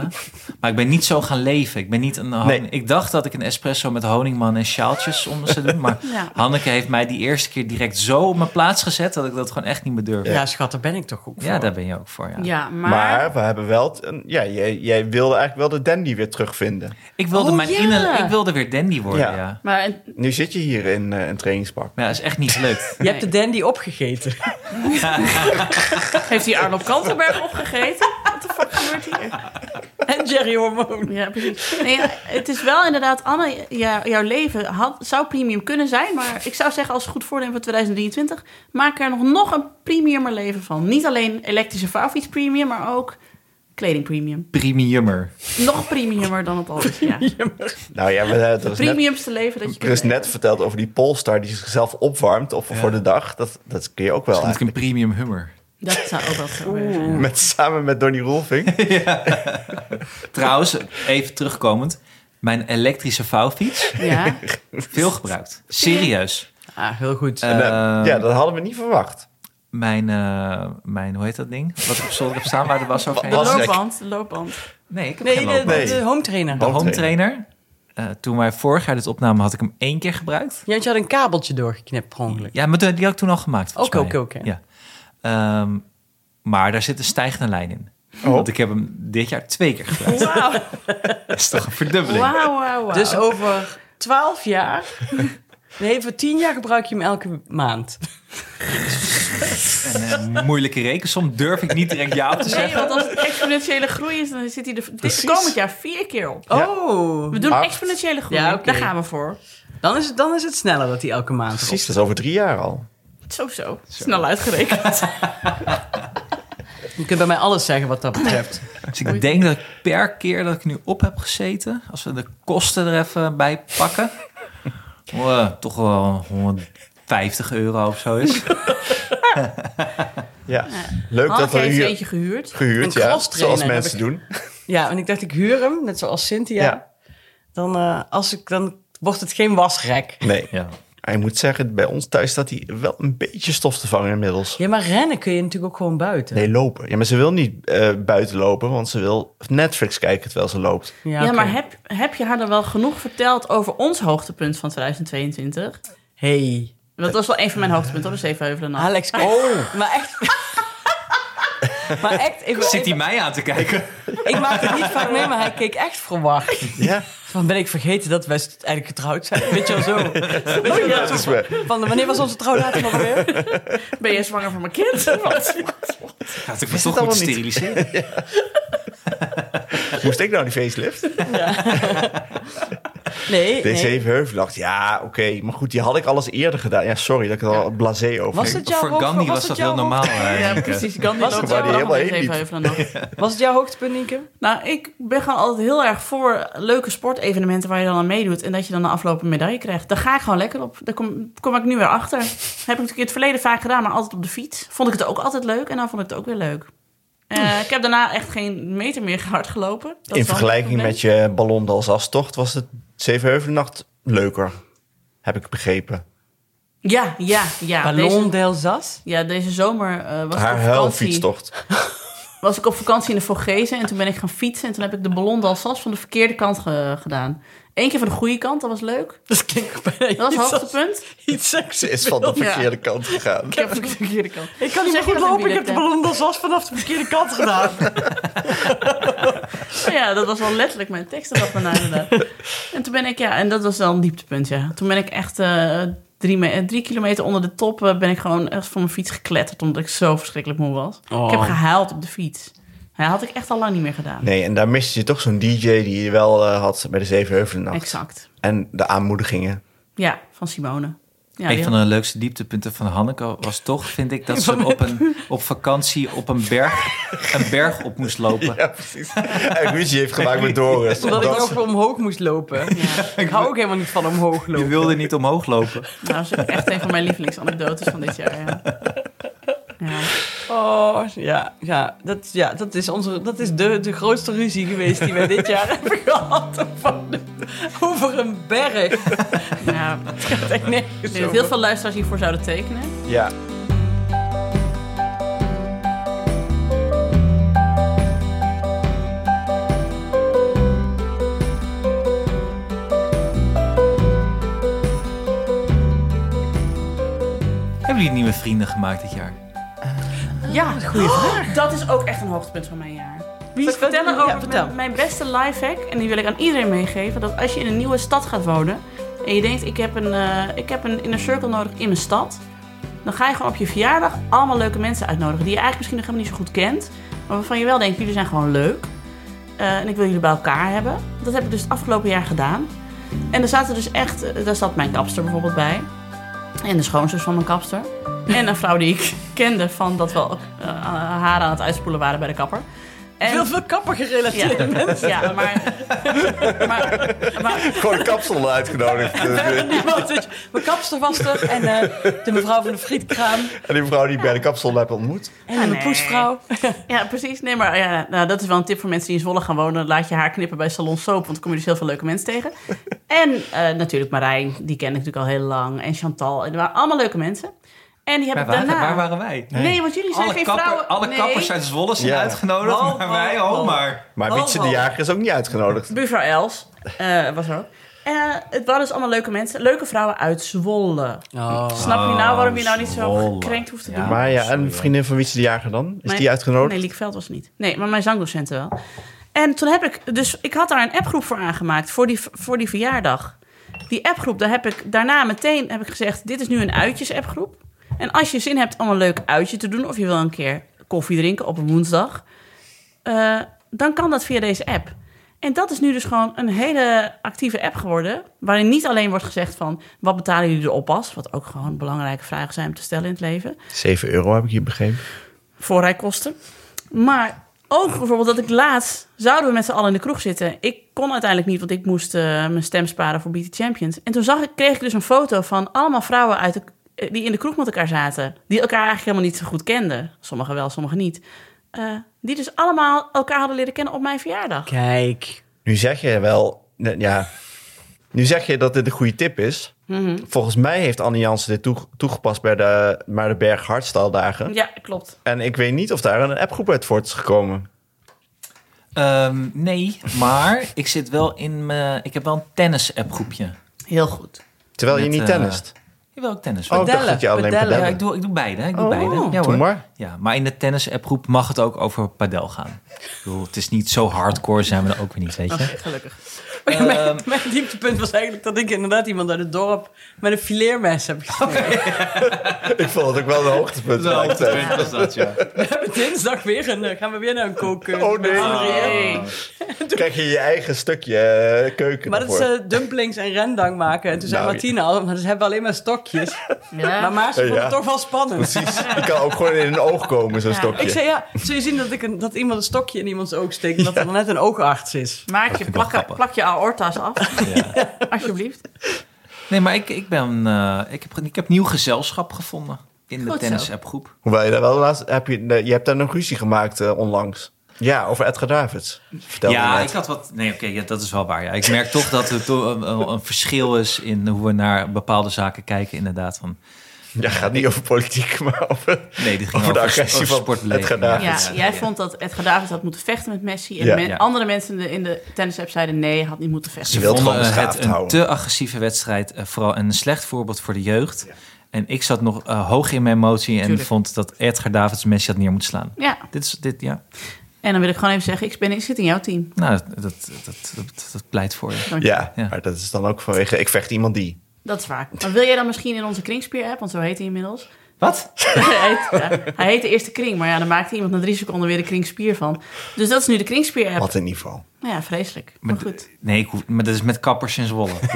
Maar ik ben niet zo gaan leven. Ik ben niet een honing- Nee. Ik dacht dat ik een espresso met honingman en sjaaltjes om me zou doen. Maar Ja. Hanneke heeft mij die eerste keer direct zo op mijn plaats gezet... dat ik dat gewoon echt niet meer durfde. Ja, Ja, schat, daar ben ik toch goed voor. daar ben je ook voor, ja. Ja, maar... Maar, we hebben wel... t- een- ja, jij, jij wilde eigenlijk wel de dandy weer terugvinden. Ik, wilde Oh, mijn ja. innerl- ik wilde weer dandy worden, ja. Ja. ja. maar en- Nu zit je hier in eh, een trainingspak. Maar ja, is echt niet gelukt. Je hebt de dandy opgegeten. heeft hij Arnold Kantenberg opgegeten? Wat de fuck gebeurt hier? en Jerry Hormoon. Ja, precies. Nee, ja, het is wel inderdaad, Anne, ja, jouw leven had, zou premium kunnen zijn. Maar ik zou zeggen, als goed voornemen voor 2023, maak er nog, nog een premiumer leven van. Niet alleen elektrische vouwfiets premium, maar ook kleding premium. Premiummer. Nog premiumer dan het al is. Ja. Nou ja, we, eh, er, is net, Premiumste leven dat je er kunt is leven. net verteld over die Polestar die zichzelf opwarmt of voor de dag. Dat, dat kun je ook wel Dan moet ik een eigenlijk. premium hummer. Dat zou ook wel gebeuren. Met, samen met Donnie Roelving. Trouwens, even terugkomend. Mijn elektrische vouwfiets, Ja. veel gebruikt. Serieus. Ah, heel goed. Eh, Nou, ja, dat hadden we niet verwacht. Mijn, eh, mijn, hoe heet dat ding? Wat ik op zolder heb staan, waar de was De overheen Was- gaat. loopband, de loopband. Nee, ik heb nee, geen de, loopband. Nee. de home trainer. De Home home trainer. eh, toen wij vorig jaar dit opnamen, had ik hem één keer gebruikt. Ja, want je had een kabeltje doorgeknipt, per ongeluk. Ja, maar toen- die had ik toen al gemaakt. volgens Oké, mij. oké, oké. Ja. Ehm, maar daar zit een stijgende lijn in. Want ik heb hem dit jaar twee keer gebruikt. Wauw, Dat is toch een verdubbeling? wauw, wauw. wauw. Dus over twaalf jaar... Nee, voor tien jaar gebruik je hem elke maand. Een eh, moeilijke rekensom durf ik niet direct ja op te Nee, zeggen. want als het exponentiële groei is, dan zit hij er dit komend jaar vier keer op. Ja. Oh, We doen Acht. exponentiële groei. Ja, oké. Daar gaan we voor. dan is, het, dan is het sneller dat hij elke maand erop Precies, dat is over drie jaar al. Zo, zo. Snel uitgerekend. Je kunt bij mij alles zeggen wat dat betreft. Dus ik denk dat ik per keer dat ik nu op heb gezeten, als we de kosten er even bij pakken, eh, toch wel 150 euro of zo is. Ja. Leuk Had dat jij we eens hier Oh, eentje gehuurd? gehuurd, Een ja, crosstrainer zoals mensen heb doen. Ja, en ik dacht, ik huur hem, net zoals Cynthia. Ja. Dan, eh, als ik, dan wordt het geen wasrek. Nee. Ja. Maar ik moet zeggen, bij ons thuis staat hij wel een beetje stof te vangen inmiddels. Ja, maar rennen kun je natuurlijk ook gewoon buiten. Nee, lopen. Ja, maar ze wil niet eh, buiten lopen, want ze wil Netflix kijken terwijl ze loopt. Ja, oké. maar heb, heb je haar dan wel genoeg verteld over ons hoogtepunt van 2022? Hey, Dat was wel een van mijn hoogtepunten, hoor, de Zevenheuvelen Nacht. Alex. Oh, maar echt. maar echt, ik, Zit ik, hij mij aan te kijken? ik maak het niet vaak mee, maar hij keek echt verwacht. Ja, Van ben ik vergeten dat we eigenlijk getrouwd zijn? Weet je wel zo. Weet je wel dat zo is waar. van, wanneer was onze trouwdatum alweer? Ben je zwanger van mijn kind? Wat? Gaat ik me het toch allemaal goed niet? steriliseren? Moest ik nou die facelift? Nee, Deze nee. even heuvelnacht. Ja, oké. Maar goed, die had ik alles eerder gedaan. Ja, sorry dat ik er al blasé over Was ging. het jouw Voor hoogte- Gandhi was, het dat jouw heel normaal. eh, Ja, Nienke. precies. Gandhi Was was het loopt waar wel die allemaal helemaal heen Zevenheuvelen Nacht. hoogte- Was het jouw hoogtepunt, Nienke? Nou, ik ben gewoon altijd heel erg voor leuke sportevenementen waar je dan aan meedoet. En dat je dan de afgelopen medaille krijgt. Daar ga ik gewoon lekker op. Daar kom, kom ik nu weer achter. Heb ik natuurlijk in het verleden vaak gedaan, maar altijd op de fiets. Vond ik het ook altijd leuk en dan vond ik het ook weer leuk. Eh, ik heb daarna echt geen meter meer hard gelopen. Dat is wel In een vergelijking probleem. met je ballondalsaftocht was het Zevenheuvelnacht leuker. Heb ik begrepen. Ja, ja, ja. Ballon Deze, del Zas? ja, deze zomer eh, was, ik Haar op vakantie, huilfietstocht. was ik op vakantie in de Vorgezen. En toen ben ik gaan fietsen. En toen heb ik de ballon d'Alsace van de verkeerde kant ge- gedaan. Eén keer van de goede kant, dat was leuk. Dat klinkt bijna Dat was iets het als- hoogtepunt. iets seks. Ze is van de verkeerde kant gegaan. Ik heb van de verkeerde kant. Ik kan niet Zeg meer goed je dat in lopen, ik heb de ballon wielertermen? del Zas vanaf de verkeerde kant gedaan. Ja, dat was wel letterlijk mijn tekst eraf daarna inderdaad. En toen ben ik, ja, en dat was dan een dieptepunt, ja. Toen ben ik echt eh, drie, me- eh, drie kilometer onder de top... eh, ben ik gewoon echt van mijn fiets gekletterd... omdat ik zo verschrikkelijk moe was. Ik Oh. heb gehuild op de fiets. Dat had ik echt al lang niet meer gedaan. Nee, en daar miste je toch zo'n DJ die je wel eh, had bij de Zevenheuvelennacht. Exact. En de aanmoedigingen. Ja, van Simone. Ja, een die van de leukste dieptepunten van Hanneke was toch, vind ik, dat ze op, een, op vakantie op een berg, een berg op moest lopen. Ja, precies. En ruzie heeft gemaakt met Doris. Omdat ik omdat- nog omhoog moest lopen. Ik hou ook helemaal niet van omhoog Je lopen. wilde niet omhoog lopen. Nou, dat is echt een van mijn lievelingsanekdotes van dit jaar. Ja. Ja. Oh, ja, ja, dat, ja, dat is, onze, dat is de, de grootste ruzie geweest die wij dit jaar hebben gehad. Van de- over een berg. Ja. Dat echt nergens Ik denk dat over. heel veel luisteraars hiervoor zouden tekenen. Ja. Hebben jullie nieuwe vrienden gemaakt dit jaar? Ja, goede vraag. Dat is ook echt een hoogtepunt van mijn jaar. Wie Vertel- vertellen ja, over vertel. mijn, mijn beste lifehack, en die wil ik aan iedereen meegeven, dat als je in een nieuwe stad gaat wonen en je denkt ik heb een, eh, ik heb een inner circle nodig in mijn stad, dan ga je gewoon op je verjaardag allemaal leuke mensen uitnodigen die je eigenlijk misschien nog helemaal niet zo goed kent, maar waarvan je wel denkt jullie zijn gewoon leuk eh, en ik wil jullie bij elkaar hebben. Dat heb ik dus het afgelopen jaar gedaan. En er zaten dus echt, eh, daar zat mijn kapster bijvoorbeeld bij. En de schoonzus van mijn kapster. En een vrouw die ik kende van dat we eh, haar aan het uitspoelen waren bij de kapper. En- Veel, veel kapper ja, gerelateerd. ja, maar, maar, maar Gewoon een kapsel uitgenodigd. Niemand dat je- Mijn kapster was er en eh, de mevrouw van de frietkraam en die vrouw die ik bij de kapsel heb ontmoet. en Ah, mijn nee. poesvrouw. ja, precies. Nee, maar ja, nou, dat is wel een tip voor mensen die in Zwolle gaan wonen. Laat je haar knippen bij Salon Soap, want dan kom je dus heel veel leuke mensen tegen. En eh, natuurlijk Marijn, die ken ik natuurlijk al heel lang. En Chantal, en er waren allemaal leuke mensen. En die heb Waar, ik waren- daarna... waar waren wij? Nee, want jullie zijn Alle, geen kapper- vrouwen. alle nee. kappers uit Zwolle zijn Ja. uitgenodigd, Wow, maar wow, wij oh wow. maar. Maar Oh, Wietse de oh. Jager is ook niet uitgenodigd. Buurvrouw Els eh, was er ook. Eh, het waren dus allemaal leuke mensen. Leuke vrouwen uit Zwolle. Snap je nou waarom je nou niet zo Oh. Zwolle. gekrenkt hoeft te Ja. doen? Maar ja, sorry, en hoor. vriendin van Wietse de Jager dan? Is Mijn- die uitgenodigd? Nee, Lieke Veld was het niet. Nee, maar mijn zangdocenten wel. En toen heb ik... Dus ik had daar een appgroep voor aangemaakt. Voor die, voor die verjaardag. Die appgroep, daar heb ik daarna meteen heb ik gezegd... Dit is nu een uitjes-appgroep. En als je zin hebt om een leuk uitje te doen... of je wil een keer koffie drinken op een woensdag... eh, dan kan dat via deze app. En dat is nu dus gewoon een hele actieve app geworden... waarin niet alleen wordt gezegd van... wat betalen jullie de oppas? Wat ook gewoon belangrijke vragen zijn om te stellen in het leven. 7 euro heb ik hier begrepen. voorrijkosten. Maar ook bijvoorbeeld dat ik laatst... zouden we met z'n allen in de kroeg zitten. Ik kon uiteindelijk niet, want ik moest eh, mijn stem sparen voor BT Champions. En toen zag ik, kreeg ik dus een foto van allemaal vrouwen uit de, eh, die in de kroeg met elkaar zaten. Die elkaar eigenlijk helemaal niet zo goed kenden. Sommigen wel, sommigen niet. Eh, die dus allemaal elkaar hadden leren kennen op mijn verjaardag. Kijk. Nu zeg je wel, ne- ja, Nu zeg je dat dit een goede tip is. Mhm. Volgens mij heeft Anne Jansen dit toe- toegepast bij de, bij de Berg Hartstaldagen. Ja, klopt. En ik weet niet of daar een appgroep uit voort is gekomen. Ehm, nee, maar ik zit wel in mijn... Ik heb wel een tennis-appgroepje. Heel goed. Terwijl Met, je niet eh, tennist. Jawel, ik tennis. Oh, ik dacht padellen, dat je alleen padellen. ja, padellen. ik doe, ik doe beide. hè. Ik doe Oh, beide. Ja, doe hoor. maar. Ja, maar in de tennis-appgroep mag het ook over padel gaan. Ik bedoel, het is niet zo hardcore, zijn we dan ook weer niet, weet je. Gelukkig. mijn, mijn dieptepunt was eigenlijk dat ik inderdaad iemand uit het dorp met een fileermes heb Oh, gezien. Ik vond het ook wel een hoogtepunt. Zo, gelijk. op het punt was dat, ja. We hebben dinsdag weer een, eh, gaan we weer naar een koken. Oh, nee. Krijg je je eigen stukje eh, keuken Maar dat is ervoor. eh, dumplings en rendang maken. En toen zei Nou, Martina al, maar ze hebben alleen maar stokjes. Maar Maas vond Ja. het toch wel spannend. Precies. Je kan ook gewoon in een oog komen, zo'n Ja. stokje. Ik zei, ja, zul je zien dat, ik een, dat iemand een stokje in iemands oog steekt... en dat er dan net een oogarts is? Maak vind je, ik wel plak, grappig. plak je aorta's af, ja. alsjeblieft. Nee, maar ik, ik, ben, eh, ik, heb, ik heb nieuw gezelschap gevonden in de Goed zo. tennis-appgroep. Hoewel je daar wel laatst... Heb je, nee, je hebt daar nog ruzie gemaakt eh, onlangs. Ja, over Edgar Davids. Vertel je Ja, net. ik had wat. Nee, oké, ja, dat is wel waar. Ja. Ik merk toch dat er toch een, een- een verschil is in hoe we naar bepaalde zaken kijken, inderdaad. Van, Ja, gaat niet over politiek, maar over... nee, die ging Over over, de agressie over van sportbeleving. Edgar Davids. Ja, jij vond dat Edgar Davids had moeten vechten met Messi. En Ja. men- Ja. andere mensen in de, in de tennis-app zeiden nee, hij had niet moeten Ze Je vechten. wilt vonden gewoon beschaafd het een houden. te agressieve wedstrijd, eh, vooral een slecht voorbeeld voor de jeugd. En ik zat nog eh, hoog in mijn emotie en Tuurlijk. vond dat Edgar Davids Messi had neer moeten slaan. Ja, Dit is dit, ja. en dan wil ik gewoon even zeggen, ik, ben, ik zit in jouw team. Nou, dat, dat, dat, dat, dat pleit voor je. Ja, Ja. maar dat is dan ook vanwege... Ik vecht iemand die. Dat is waar. Maar wil jij dan misschien in onze kringspier-app, want zo heet hij inmiddels. Wat? hij, heet, ja, hij heet de eerste kring, maar ja, dan maakte iemand na drie seconden weer de kringspier van. Dus dat is nu de kringspier-app. Wat een niveau. Nou ja, vreselijk. Maar, Maar goed. Nee, ik hoef- maar dat is met kappers in Zwolle. ik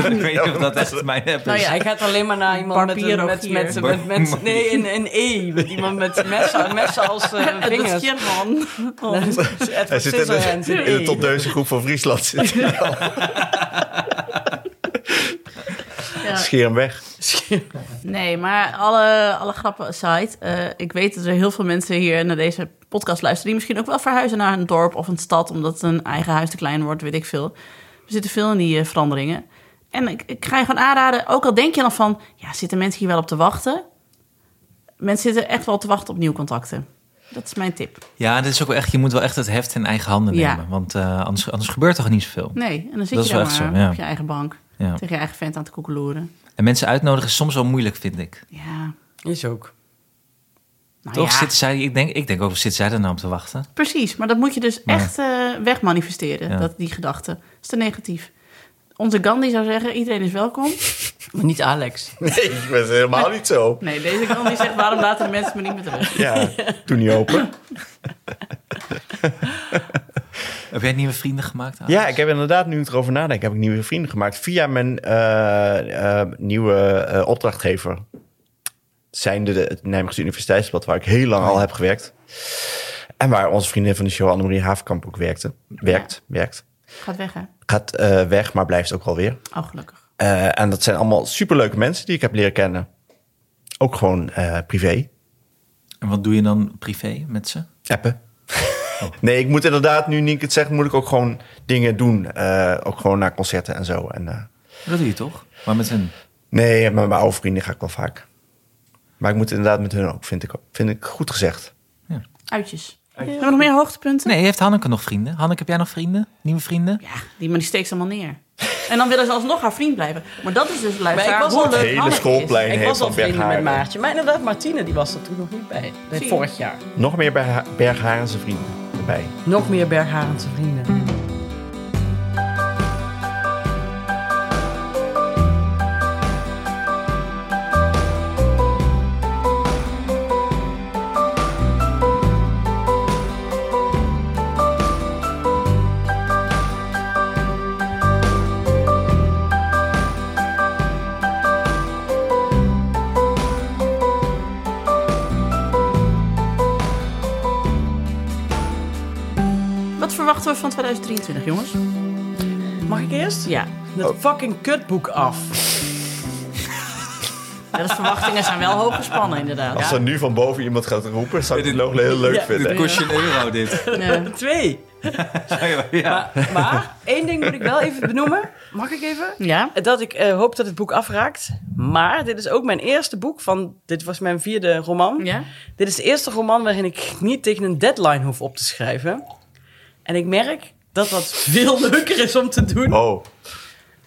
weet niet of dat echt mijn app is. Nou ja, Hij gaat alleen maar naar iemand met, een- Barbier ook met, hier. met, met, met- Nee, een, een E. Met iemand met messen, messen als eh, Dat is vingers. German. Dat is Hij Edward zit in Scissorhands, de, een in de E. top 1000 groep van Friesland. Zit hij. Ja. Scheer hem weg. Nee, maar alle, alle grappen aside. eh, ik weet dat er heel veel mensen hier naar deze podcast luisteren... die misschien ook wel verhuizen naar een dorp of een stad... omdat hun eigen huis te klein wordt, weet ik veel. We zitten veel in die eh, veranderingen. En ik, ik ga je gewoon aanraden, ook al denk je dan van... ja, zitten mensen hier wel op te wachten? Mensen zitten echt wel te wachten op nieuwe contacten. Dat is mijn tip. Ja, dit is ook wel echt, je moet wel echt het heft in eigen handen Ja. nemen. Want eh, anders, anders gebeurt er niet zoveel. Nee, en dan zit Dat je daar is wel maar echt zo, ja. op je eigen bank... Ja. tegen je eigen vent aan te koekeloeren. En mensen uitnodigen is soms wel moeilijk, vind ik. Ja, Is ook. nou Toch ja. zitten zij, ik denk, ik denk ook, zitten zij er nou op te wachten? Precies, maar dat moet je dus Maar- echt eh, wegmanifesteren, Ja. dat, die gedachte. Dat is te negatief. Onze Gandhi zou zeggen, iedereen is welkom. Maar niet Alex. Nee, ik ben helemaal niet zo. Nee, deze Gandhi zegt, waarom laten de mensen me niet met rust? Ja, doe niet open. Heb jij nieuwe vrienden gemaakt? Alex? Ja, ik heb inderdaad, nu ik erover nadenk, heb ik nieuwe vrienden gemaakt. Via mijn eh, eh, nieuwe eh, opdrachtgever. Zijnde de, het Nijmeegse Universiteitsblad, waar ik heel lang al heb gewerkt. En waar onze vriendin van de show, Annemarie Haafkamp, ook werkte. Werkt, werkt. Gaat weg, hè? Gaat eh, weg, maar blijft ook wel weer. Oh, gelukkig. Eh, en dat zijn allemaal superleuke mensen die ik heb leren kennen. Ook gewoon eh, privé. En wat doe je dan privé met ze? Appen. nee, ik moet inderdaad, nu Nienke het zegt, moet ik ook gewoon dingen doen. Eh, ook gewoon naar concerten en zo. En, eh, Dat doe je toch? Maar met hun. nee, met mijn oude vrienden ga ik wel vaak. Maar ik moet inderdaad met hun ook, vind ik, vind ik goed gezegd. Uitjes. Hebben we nog meer hoogtepunten? Nee, heeft Hanneke nog vrienden? Hanneke, heb jij nog vrienden? Nieuwe vrienden? Ja, die, maar die steekt ze allemaal neer. En dan willen ze alsnog haar vriend blijven. Maar dat is dus luisteraar. was hoe al- leuk Het hele Hanneke is. schoolplein. Een Ik heel was al van vrienden met Bergharen. Maartje. Maar inderdaad, Martine die was er toen nog niet bij. Nee, Zie je. Vorig jaar. Nog meer Bergha- Bergharense vrienden erbij. Nog meer Bergharense vrienden. Wat verwachten we van 2023, jongens? Mag ik eerst? Ja, Dat Oh. fucking kutboek af. Ja, de verwachtingen zijn wel hoog gespannen, inderdaad. Als er nu van boven iemand gaat roepen, zou ik dit nog heel leuk Ja, vinden. kost je een euro, dit. Ja. Twee. ja. Maar, maar één ding moet ik wel even benoemen. Mag ik even? Ja? Dat ik eh, hoop dat het boek afraakt. Maar dit is ook mijn eerste boek van... Dit was mijn vierde roman. Ja? Dit is de eerste roman waarin ik niet tegen een deadline hoef op te schrijven. En ik merk dat dat veel leuker is om te doen. Oh,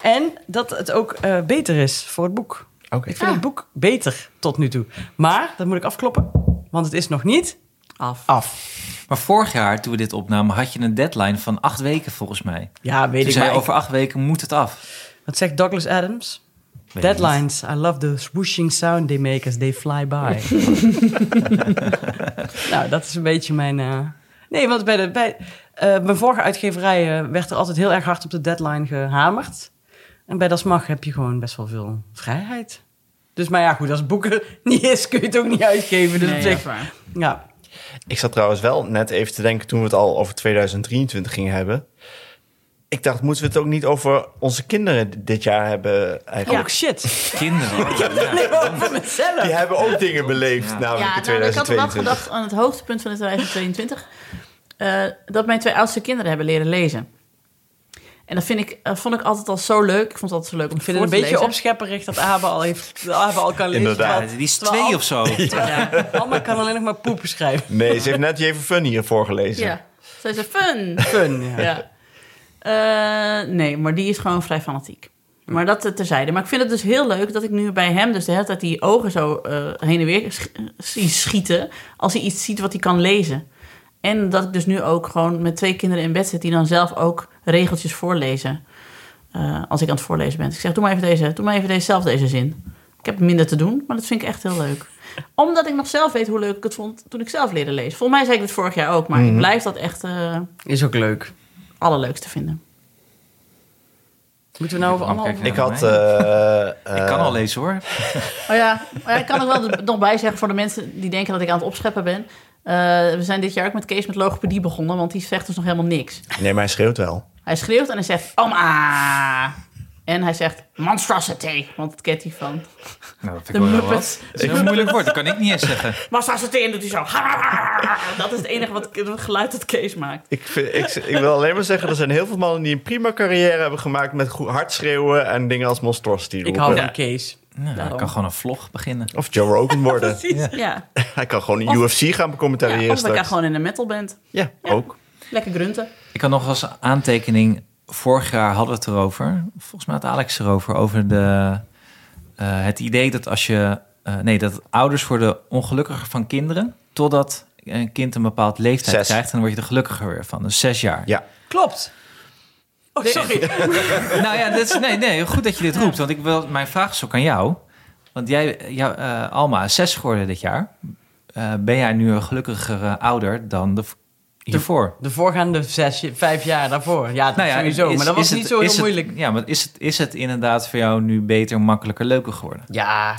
En dat het ook eh, beter is voor het boek. oké. Ik Ah. vind het boek beter tot nu toe. Maar, dat moet ik afkloppen, want het is nog niet Af. af. Maar vorig jaar, toen we dit opnamen, had je een deadline van acht weken volgens mij. Ja, weet Toen ik zei je, maar. over acht weken moet het af. Wat zegt Douglas Adams? Weet ik Deadlines. I love the swooshing sound they make as they fly by. nou, dat is een beetje mijn. eh, Nee, want bij, de, bij eh, mijn vorige uitgeverij eh, werd er altijd heel erg hard op de deadline gehamerd. En bij Das Mag heb je gewoon best wel veel vrijheid. Dus, maar ja, goed, als het boeken niet is, kun je het ook niet uitgeven. Dus Nee, op dat zich, is waar. ja. Ik zat trouwens wel net even te denken toen we het al over 2023 gingen hebben. Ik dacht, moeten we het ook niet over onze kinderen d- dit jaar hebben Oh, eigenlijk? shit. niet. Kinderen. Oh, ja. Nee, over mezelf. Die hebben ook dingen beleefd, namelijk Ja, in nou, ik had wel 2022. gedacht aan het hoogtepunt van 2022... eh, dat mijn twee oudste kinderen hebben leren lezen. En dat vind ik, eh, vond ik altijd al zo leuk. Ik vond het altijd zo leuk om Ik vind het een voor te beetje lezen. opschepperig dat Abe al, heeft, dat Abe al kan lezen. Inderdaad. Ja, die is terwijl twee of zo. Oh, Ja. Anne kan alleen nog maar poepen schrijven. Nee, ze heeft net Jeven Fun hier voorgelezen. Ja, zij zei fun. Fun, ja. ja. Eh, nee, maar die is gewoon vrij fanatiek. Maar dat eh, terzijde. Maar ik vind het dus heel leuk dat ik nu bij hem dus de hele tijd die ogen zo eh, heen en weer sch- zie schieten. Als hij iets ziet wat hij kan lezen. En dat ik dus nu ook gewoon met twee kinderen in bed zit die dan zelf ook regeltjes voorlezen. Eh, als ik aan het voorlezen ben. Ik zeg, doe maar even deze, doe maar even deze, zelf deze zin. Ik heb minder te doen, maar dat vind ik echt heel leuk. Omdat ik nog zelf weet hoe leuk ik het vond toen ik zelf leerde lezen. Volgens mij zei ik dit vorig jaar ook, maar ik blijf dat echt eh Is ook leuk. allerleukste vinden. Moeten we nou over Ik allemaal... kijk Ik naar had... mij. eh, eh, Ik kan al lezen hoor. Oh ja, maar ja, ik kan er wel de- nog bij zeggen voor de mensen die denken dat ik aan het opscheppen ben. Eh, we zijn dit jaar ook met Kees met logopedie begonnen, want die zegt dus nog helemaal niks. Nee, maar hij schreeuwt wel. Hij schreeuwt en hij zegt, oma! En hij zegt, monstrosity, want dat kent hij van. Nou, dat vind De ik wel heel wat. Muppets. Dat is een moeilijk woord, dat kan ik niet eens zeggen. Monstrosity, en doet hij zo. Dat is het enige wat, het geluid dat Kees maakt. Ik, vind- ik, ik wil alleen maar zeggen, er zijn heel veel mannen die een prima carrière hebben gemaakt met goed hard schreeuwen en dingen als monstrosity Ik roepen. hou van Kees. Nou, ik kan gewoon een vlog beginnen. Of Joe Rogan worden. Ja, Hij kan gewoon Of- UFC gaan ja becommentariëren of dat ik straks. gewoon in een metalband. Ja, Ja. ook. Lekker grunten. Ik had nog als aantekening, vorig jaar hadden we het erover. Volgens mij had Alex erover, over de, eh, het idee dat als je... eh, nee, dat ouders worden ongelukkiger van kinderen... totdat een kind een bepaald leeftijd Zes. krijgt... en dan word je er gelukkiger weer van. Dus zes jaar. Ja. Klopt. Oh, sorry. Nou ja, dat is, nee, nee, goed dat je dit roept. Want ik wil, mijn vraag is ook aan jou. Want jij, jou, eh, Alma, is zes geworden dit jaar. Eh, ben jij nu een gelukkigere ouder dan de, v- hiervoor? De voorgaande zes, vijf jaar daarvoor. Ja, dat Nou ja, sowieso. is- maar dat was is het- niet zo heel is het- moeilijk. ja, maar is het, is het inderdaad voor jou nu beter, makkelijker, leuker geworden? Ja,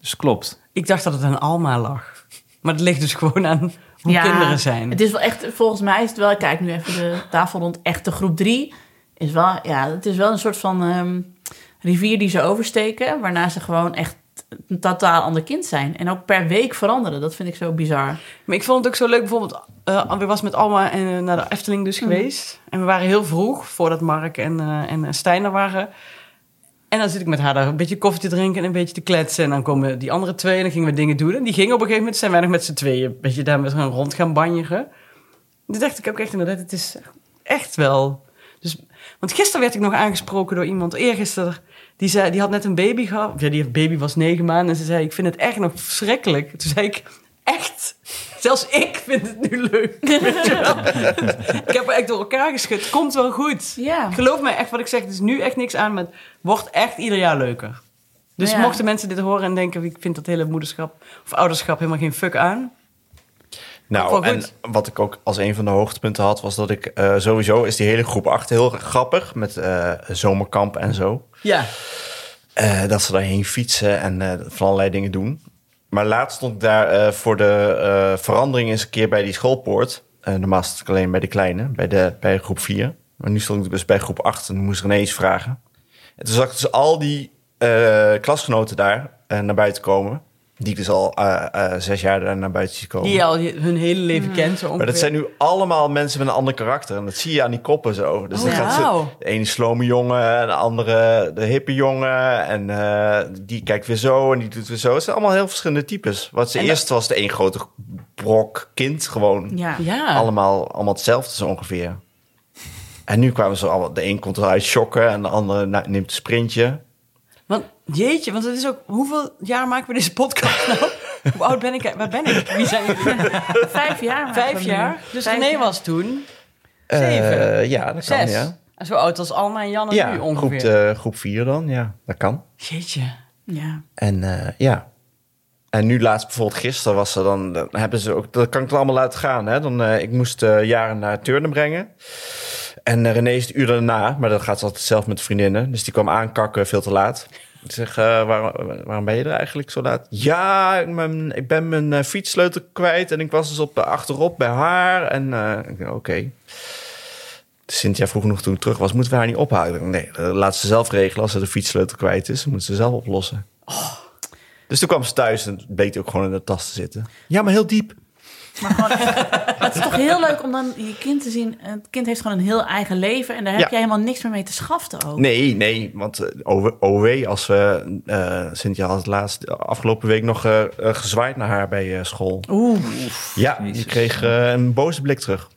Dus klopt. ik dacht dat het aan Alma lag. Maar het ligt dus gewoon aan hoe kinderen zijn. Het is wel echt, volgens mij is het wel, ik kijk nu even de tafel rond, echt de groep drie. Is wel, ja, het is wel een soort van ehm, rivier die ze oversteken, waarna ze gewoon echt een totaal ander kind zijn. En ook per week veranderen, dat vind ik zo bizar. Maar ik vond het ook zo leuk, bijvoorbeeld, eh we was met Alma en, eh, naar de Efteling dus geweest. En we waren heel vroeg, voordat Mark en, eh, en eh, Stijn er waren. En dan zit ik met haar daar een beetje koffie te drinken en een beetje te kletsen. En dan komen die andere twee en dan gingen we dingen doen. En die gingen op een gegeven moment, zijn wij nog met z'n tweeën, een beetje daar met gaan rond gaan banjeren. Toen dacht ik ook echt inderdaad, het is echt wel... Dus, want gisteren werd ik nog aangesproken door iemand, eergisteren, die, zei, die had net een baby gehad. Of Ja, die baby was negen maanden en ze zei, ik vind het echt nog verschrikkelijk. Toen zei ik, echt? Zelfs ik vind het nu leuk. Weet je wel? ik heb er echt door elkaar geschud. Het komt wel goed. Ja. Geloof mij echt wat ik zeg. Er is nu echt niks aan. Maar het wordt echt ieder jaar leuker. Dus Ja. mochten mensen dit horen en denken... ik vind dat hele moederschap of ouderschap helemaal geen fuck aan. Nou, Ook wel en goed. wat ik ook als een van de hoogtepunten had, was dat ik eh, sowieso is die hele groep 8 heel grappig met eh, zomerkamp en zo. Ja. Eh, dat ze daarheen fietsen en eh, van allerlei dingen doen. Maar laatst stond ik daar eh, voor de eh, verandering eens een keer bij die schoolpoort. Eh normaal stond ik alleen bij de kleine, bij, de, bij groep 4. Maar nu stond ik dus bij groep 8 en toen moest ik ineens vragen. En toen zag ik dus al die eh, klasgenoten daar eh, naar buiten komen. Die ik dus al eh, eh, zes jaar daar naar buiten zie komen. Die je al je- hun hele leven Mm. kent. Zo Maar dat zijn nu allemaal mensen met een ander karakter. En dat zie je aan die koppen zo. Dus Oh, dan ja. gaat ze, Wauw. de ene slome jongen, en de andere de hippe jongen. En eh, die kijkt weer zo en die doet weer zo. Het zijn allemaal heel verschillende types. Wat ze En eerst was de een grote brok kind gewoon. Ja. Ja. Allemaal, allemaal hetzelfde zo ongeveer. En nu kwamen ze allemaal... De een komt eruit shocken en de andere na- neemt een sprintje. Want, jeetje, want het is ook... Hoeveel jaar maken we deze podcast nou? Hoe oud ben ik? Waar ben ik? Wie zijn jullie? Vijf jaar. Vijf jaar. Dus Vijf René jaar. was toen Zeven. Eh, ja, dat kan, zes. ja. Zo oud als Alma en Jan en Ja, nu groep, ongeveer. eh, groep vier dan, ja. Dat kan. Jeetje. Ja. En eh, ja. En nu laatst bijvoorbeeld gisteren was er dan, dan hebben ze ook, dat kan ik er allemaal laten gaan. Hè? Dan, eh, ik moest eh, jaren naar Turnen brengen. En eh, René is het uur daarna, maar dat gaat ze altijd zelf met vriendinnen. Dus die kwam aankakken veel te laat. Ik zeg, eh, waarom, waarom ben je er eigenlijk zo laat? Ja, ik ben, ik ben mijn eh, fietssleutel kwijt en ik was dus op de achterop bij haar. En eh, ik dacht, oké. Cynthia vroeg nog toen ik terug was, moeten we haar niet ophalen? Ik dacht, Nee, dat laat ze zelf regelen. Als ze de fietssleutel kwijt is, dan moet ze zelf oplossen. Dus toen kwam ze thuis en bleek die ook gewoon in de tas te zitten. Ja, maar heel diep. Maar het is toch heel leuk om dan je kind te zien. Het kind heeft gewoon een heel eigen leven. En daar heb Ja. jij helemaal niks meer mee te schaften ook. Nee, nee, want eh, OW, OW, als we... eh Cynthia had laatst eh, afgelopen week nog eh, eh, gezwaaid naar haar bij eh, school. Oeh. ja, Jezus. je kreeg eh, een boze blik terug.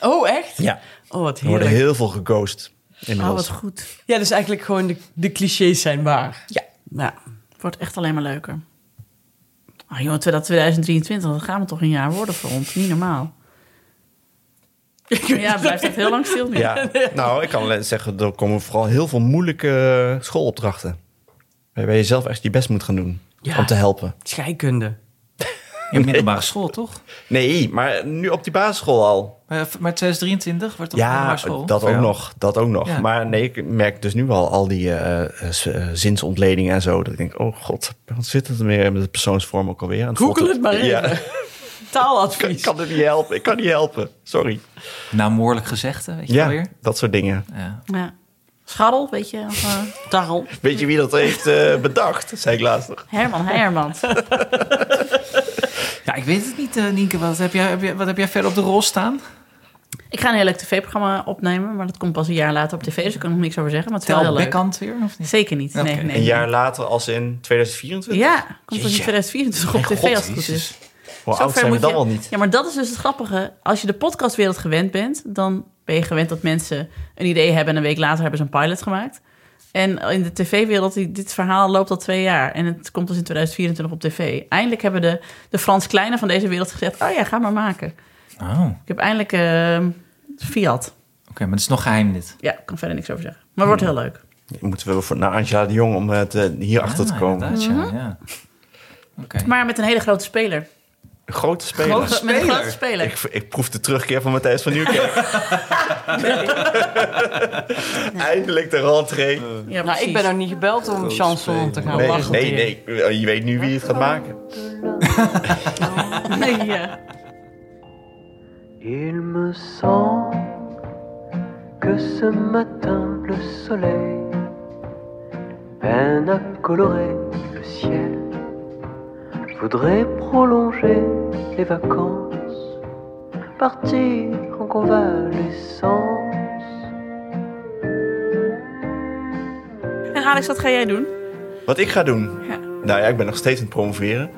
Oh, echt? Ja. Oh, wat Er worden heerlijk. heel veel geghost Oh, inmiddels. wat goed. Ja, dus eigenlijk gewoon de, de clichés zijn waar. Ja. Nou, Het wordt echt alleen maar leuker. Oh jongen, 2023, dat gaan we toch een jaar worden voor ons. Niet normaal. Ja, het blijft echt heel lang stil nu. ja. Nou, ik kan alleen zeggen, er komen vooral heel veel moeilijke eh, schoolopdrachten. Waarbij je zelf echt je best moet gaan doen Ja. om te helpen. scheikunde. In middelbare school, toch? Nee, maar nu op die basisschool al. Maar, maar 2023 wordt toch Ja, middelbare school? dat Voor ook jou? nog. Dat ook nog. Ja. Maar nee, ik merk dus nu al al die eh, eh, z- eh, zinsontledingen en zo. Dat ik denk, oh god, wat zit het meer met de persoonsvorm ook alweer? En Google voelt het maar Ja, even. ik kan, ik Taaladvies. kan het niet helpen. Ik kan niet helpen. Sorry. Naamwoordelijk gezegde, weet je wel Ja, weer? dat soort dingen. Ja. Ja. Scharrel, weet je. Of, eh, Tarrel. Weet je wie dat heeft eh, bedacht? Zei ik laatst nog. Herman Heijermans. ja, ik weet het niet, eh, Nienke. Wat heb, jij, heb jij, wat heb jij verder op de rol staan? Ik ga een heel leuk tv-programma opnemen, maar dat komt pas een jaar later op tv, dus daar kan ik nog niks over zeggen. Maar het is wel Tel heel leuk. Bekkant weer, of niet? Zeker niet. Nee, Oké. nee, Een Een nee. jaar later als in 2024? Ja, komt pas in Jeetje. 2024 op tv als het goed is. Hoe Zo oud ver zijn we moet dan je- wel niet? Ja, maar dat is dus het grappige. Als je de podcastwereld gewend bent, dan ben je gewend dat mensen een idee hebben en een week later hebben ze een pilot gemaakt. En in de tv-wereld, die- dit verhaal loopt al twee jaar. En het komt dus in 2024 op tv. Eindelijk hebben de, de Frans Kleine van deze wereld gezegd... oh ja, ga maar maken. Oh, oké. Ik heb eindelijk eh, Fiat. maar het is nog geheim dit. Ja, ik kan verder niks over zeggen. Maar het wordt heel leuk. Moeten we voor, naar Angela de Jong om het, eh, hierachter Ja, te komen? Ah, inderdaad, ja, ja. Oké. Maar met een hele grote speler. Grote speler. Grote- met een grote speler. Ik, ik proef de terugkeer van Matthijs van Nieuwkerk. Eindelijk de rentree. Ja, Nou, ik ben nog niet gebeld om chanson te gaan Nee, lachen. nee, nee. Je weet nu wie het gaat maken. nee. ja. Il me semble que ce matin le soleil peine à colorer le ciel. Je voudrais prolonger les vacances, partir en convalescence. En Alex, wat ga jij doen? Wat ik ga doen. Ja. Nou ja, ik ben nog steeds aan het promoveren.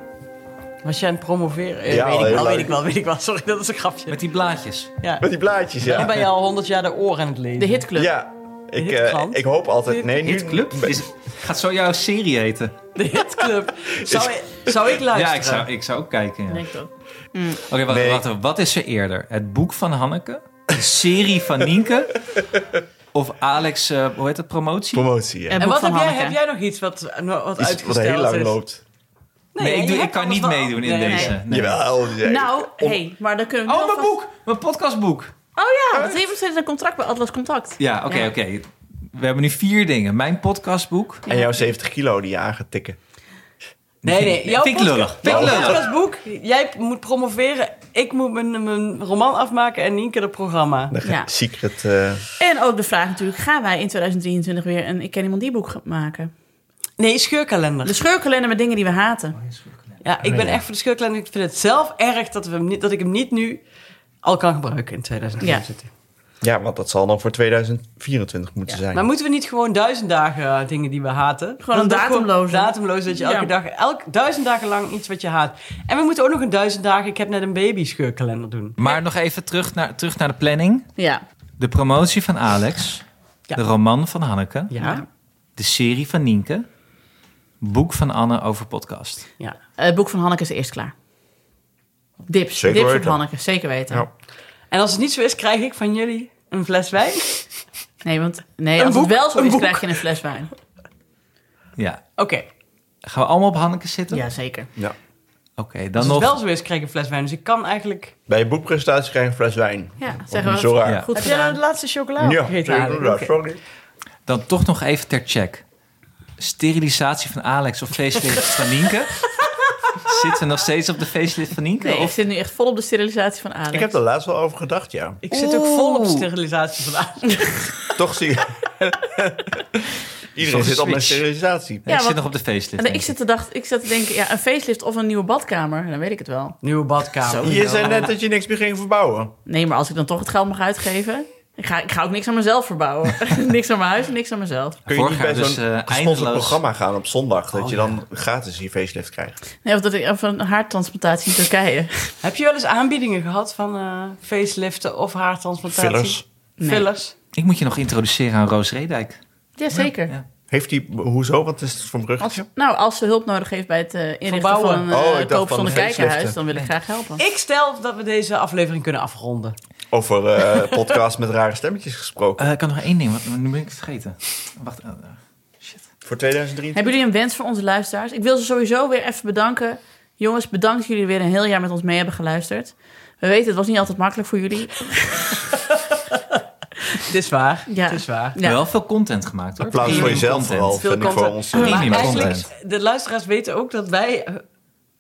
Was jij aan het promoveren? Eh, Ja, weet, al ik heel wel, weet lang. ik wel, weet ik wel. Sorry, dat is een grapje. Met die blaadjes. Ja. Met die blaadjes, Dan ja. ben je al honderd jaar de oren aan het lezen. Oh, De hitclub. Ja, ik, eh, Hitkrant. ik hoop altijd... Nee, nu... Hitclub? Is, gaat zo jouw serie heten? De hitclub. Zou, ik- zou ik luisteren? Ja, ik zou, ik zou ook kijken. ja. Denk ik ook. Mm. Oké, wacht, Nee. wacht, wacht. Wat is er eerder? Het boek van Hanneke? De serie van Nienke? Of Alex, eh, hoe heet dat, promotie? Promotie, ja. En En boek wat van heb jij, Hanneke. heb jij nog iets wat, wat Iets wat uitgesteld heel lang is? loopt. nee, ik, doe, je ik kan hebt niet alles wel- meedoen in Nee. deze. Nee. Jawel. ja. Nou, Om- hey, maar dan kunnen we... nu Oh, mijn alvast- boek! Mijn podcastboek! Oh ja, dat heeft nog steeds een contract bij Atlas Contact. Ja, oké, Ja. oké. We hebben nu vier dingen. Mijn podcastboek. En jouw 70 kilo die je aan gaat tikken. Nee, nee. Jouw Vind ik podcast- lullig. Vind Jouw ik lullig. podcastboek. Jij moet promoveren. Ik moet mijn, mijn roman afmaken en Nienke het programma. Dan ga Ja. Secret... eh, En ook de vraag natuurlijk, gaan wij in 2023 weer een Ik ken iemand die boek maken? Nee, scheurkalender. Dus- Oh De scheurkalender met dingen die we haten. Ja, ik ben ja. echt voor de scheurkalender. Ik vind het zelf erg dat, we hem niet, dat ik hem niet nu al kan gebruiken in 2024. Ja, want dat zal dan voor 2024 moeten zijn. Maar moeten we niet gewoon duizend dagen eh, dingen die we haten? Gewoon een Dat is toch datumloze. Datumloos, dat je elke Ja. dag, elk, duizend dagen lang iets wat je haat. En we moeten ook nog een duizend dagen, ik heb net een baby scheurkalender doen. Maar nog even terug naar, terug naar de planning. Ja. De promotie van Alex. Ja. De roman van Hanneke. Ja, De serie van Nienke. Boek van Anne over podcast. ja. Eh, Het boek van Hanneke is eerst klaar. Dips. Zeker Dips op weten. Hanneke, zeker weten. Ja. En als het niet zo is, krijg ik van jullie een fles wijn. Nee, want nee, Een als boek, het wel zo een is, boek. krijg je een fles wijn. Ja. Oké, Gaan we allemaal op Hanneke zitten? Ja, zeker. Ja. Oké, als dan het nog. dus wel zo is, krijg ik een fles wijn. Dus ik kan eigenlijk... Bij je boekpresentatie krijg je een fles wijn. Ja, Of zeggen niet we zo dat. raar. Ja. Goed heb jij nou gedaan. de laatste Oh, chocola Ja, opgegeten, zeker, Alex? ja, Oké. sorry. Dan toch nog even ter check. Sterilisatie van Alex of facelift van Nienke. Zitten we nog steeds op de facelift van Nienke? Nee, ik of zit nu echt vol op de sterilisatie van Alex. Ik heb er laatst wel over gedacht, ja. Ik zit ook vol op Oeh. sterilisatie vandaag. Toch zie je... Iedereen Zo'n zit op mijn switch. sterilisatie. Nee, ik Ja, zit want- nog op de facelift. en denk ik ik. zit te, dacht, ik zat te denken, ja, een facelift of een nieuwe badkamer. Dan weet ik het wel. Nieuwe badkamer. Je zei net dat je niks meer ging verbouwen. Nee, maar als ik dan toch het geld mag uitgeven... Ik ga, ik ga ook niks aan mezelf verbouwen. niks aan mijn huis en niks aan mezelf. Kun je Vorig niet bij jaar dus, zo'n eh, gesponsord eindeloos- programma gaan op zondag... dat Oh, je dan gratis je facelift krijgt? Nee, of dat ik of een haartransplantatie in Turkije. Heb je wel eens aanbiedingen gehad van eh faceliften of haartransplantatie? Fillers. Nee. Fillers. Ik moet je nog introduceren aan Roos Redijk. Jazeker. Ja. Heeft hij... Hoezo? Wat is het voor een bruggetje? Nou, als ze hulp nodig heeft bij het eh, inrichten Verbouwen. van een Oh, ik uh, dacht van koopzonder faceliften. kijkerhuis, dan wil ik graag helpen. Ik stel dat we deze aflevering kunnen afronden. Over eh, podcast met rare stemmetjes gesproken. Eh, ik kan nog één ding, want nu ben ik het vergeten. Wacht. eh, eh. Voor 2003. Hebben jullie een wens voor onze luisteraars? Ik wil ze sowieso weer even bedanken. Jongens, bedankt dat jullie weer een heel jaar met ons mee hebben geluisterd. We weten, het was niet altijd makkelijk voor jullie. Het is waar. Ja. Het is waar. Ja. Wel veel content gemaakt hoor. Applaus voor Premium jezelf content. vooral, vind ik content. voor ons. Premium Maar eigenlijk, content. de luisteraars weten ook dat wij eh,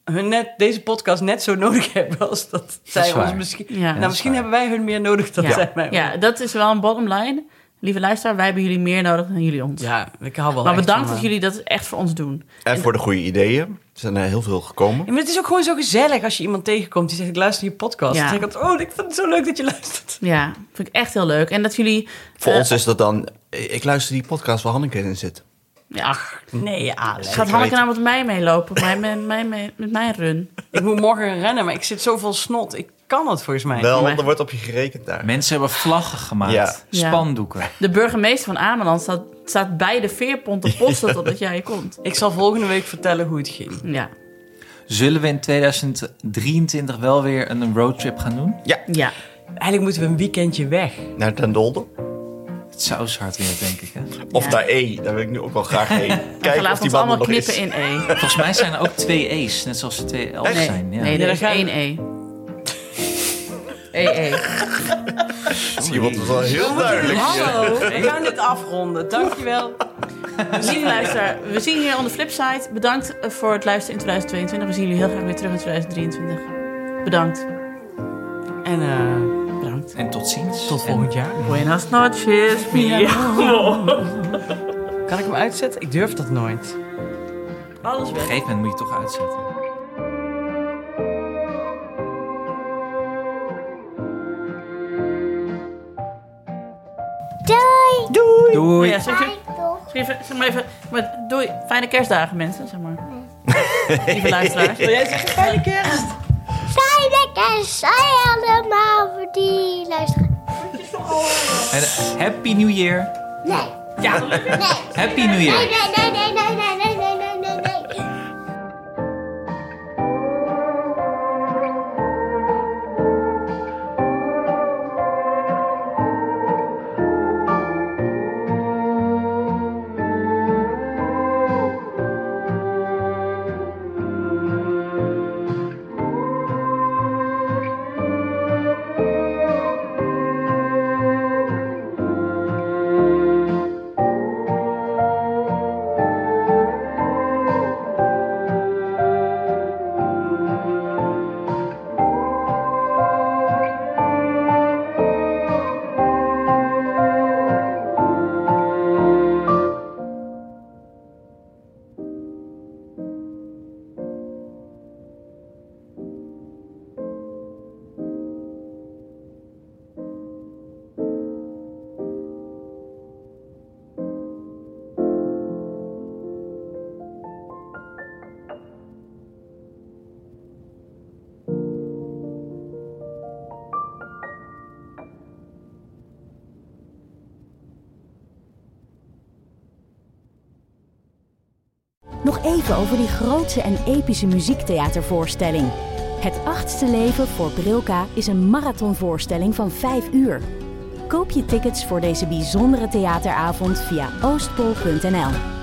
hun net, deze podcast net zo nodig hebben als dat zij is waar. ons misschien... Ja. Dat nou, is misschien waar. hebben wij hun meer nodig dan Ja. zij mij. Ja, dat is wel een bottom line. Lieve luisteraar, wij hebben jullie meer nodig dan jullie ons. Ja, ik hou wel maar echt bedankt van, dat eh, jullie dat echt voor ons doen. En voor de goede ideeën. Er zijn er heel veel gekomen. Ja, maar het is ook gewoon zo gezellig als je iemand tegenkomt die zegt: Ik luister je podcast. Ja. Dan zeg ik altijd, Oh, ik vind het zo leuk dat je luistert. Ja, vind ik echt heel leuk. En dat jullie... Voor eh, ons is dat dan... Ik luister die podcast waar Hanneke in zit. Ja, Nee, Alex. gaat Hanneke nou weten. met mij meelopen? Met Mijn, mijn, mijn, mijn- met mijn run. Ik moet morgen rennen, maar ik zit zoveel snot. Ik kan dat volgens mij. Wel, maar- er wordt op je gerekend daar. Mensen hebben vlaggen gemaakt, Ja. Ja. spandoeken. De burgemeester van Ameland staat, staat bij de veerpont te posten totdat jij hier komt. Ik zal volgende week vertellen hoe het ging. Ja, Zullen we in 2023 wel weer een roadtrip gaan doen? ja. Eigenlijk moeten we een weekendje weg. Naar Den Dolde. Het zou zo hard weer, denk ik. Hè? Of Ja. naar E. Daar wil ik nu ook wel graag heen. En Kijken of laat ons die man er allemaal nog knippen is. in E. Volgens mij zijn er ook twee E's, net zoals er twee L's Echt? zijn. Ja. Nee, Ja, er dan is ga je- één E. E, E. Zie, want dat was wel heel duidelijk. Hallo, we gaan dit afronden. Dankjewel. Lieve luisteraar, we zien jullie on de flipside. Bedankt eh, voor het luisteren in 2022. We zien jullie heel graag weer terug in 2023. Bedankt. En eh, Bedankt. En tot ziens. tot En- volgend jaar. Buenas noches, Kan ik hem uitzetten? Ik durf dat nooit. Alles Op weg. een gegeven moment moet je het toch uitzetten. Doei! Oh Doei. ja, zeg, zeg, Kijk toch. zeg even- zeg maar even. Maar doei. Fijne kerstdagen, mensen. Zeg maar. Lieve luisteraars. Wil jij zeggen? Fijne kerst! Fijne kerst, zij allemaal voor die luisteren. En, eh, happy New Year. Nee. Ja. Nee. Happy New Nee, Year. nee, nee, nee, nee, nee, nee, nee, nee, nee. Nog even over die grootse en epische muziektheatervoorstelling. Het achtste leven voor Brilka is een marathonvoorstelling van 5 uur. Koop je tickets voor deze bijzondere theateravond via oostpol.nl.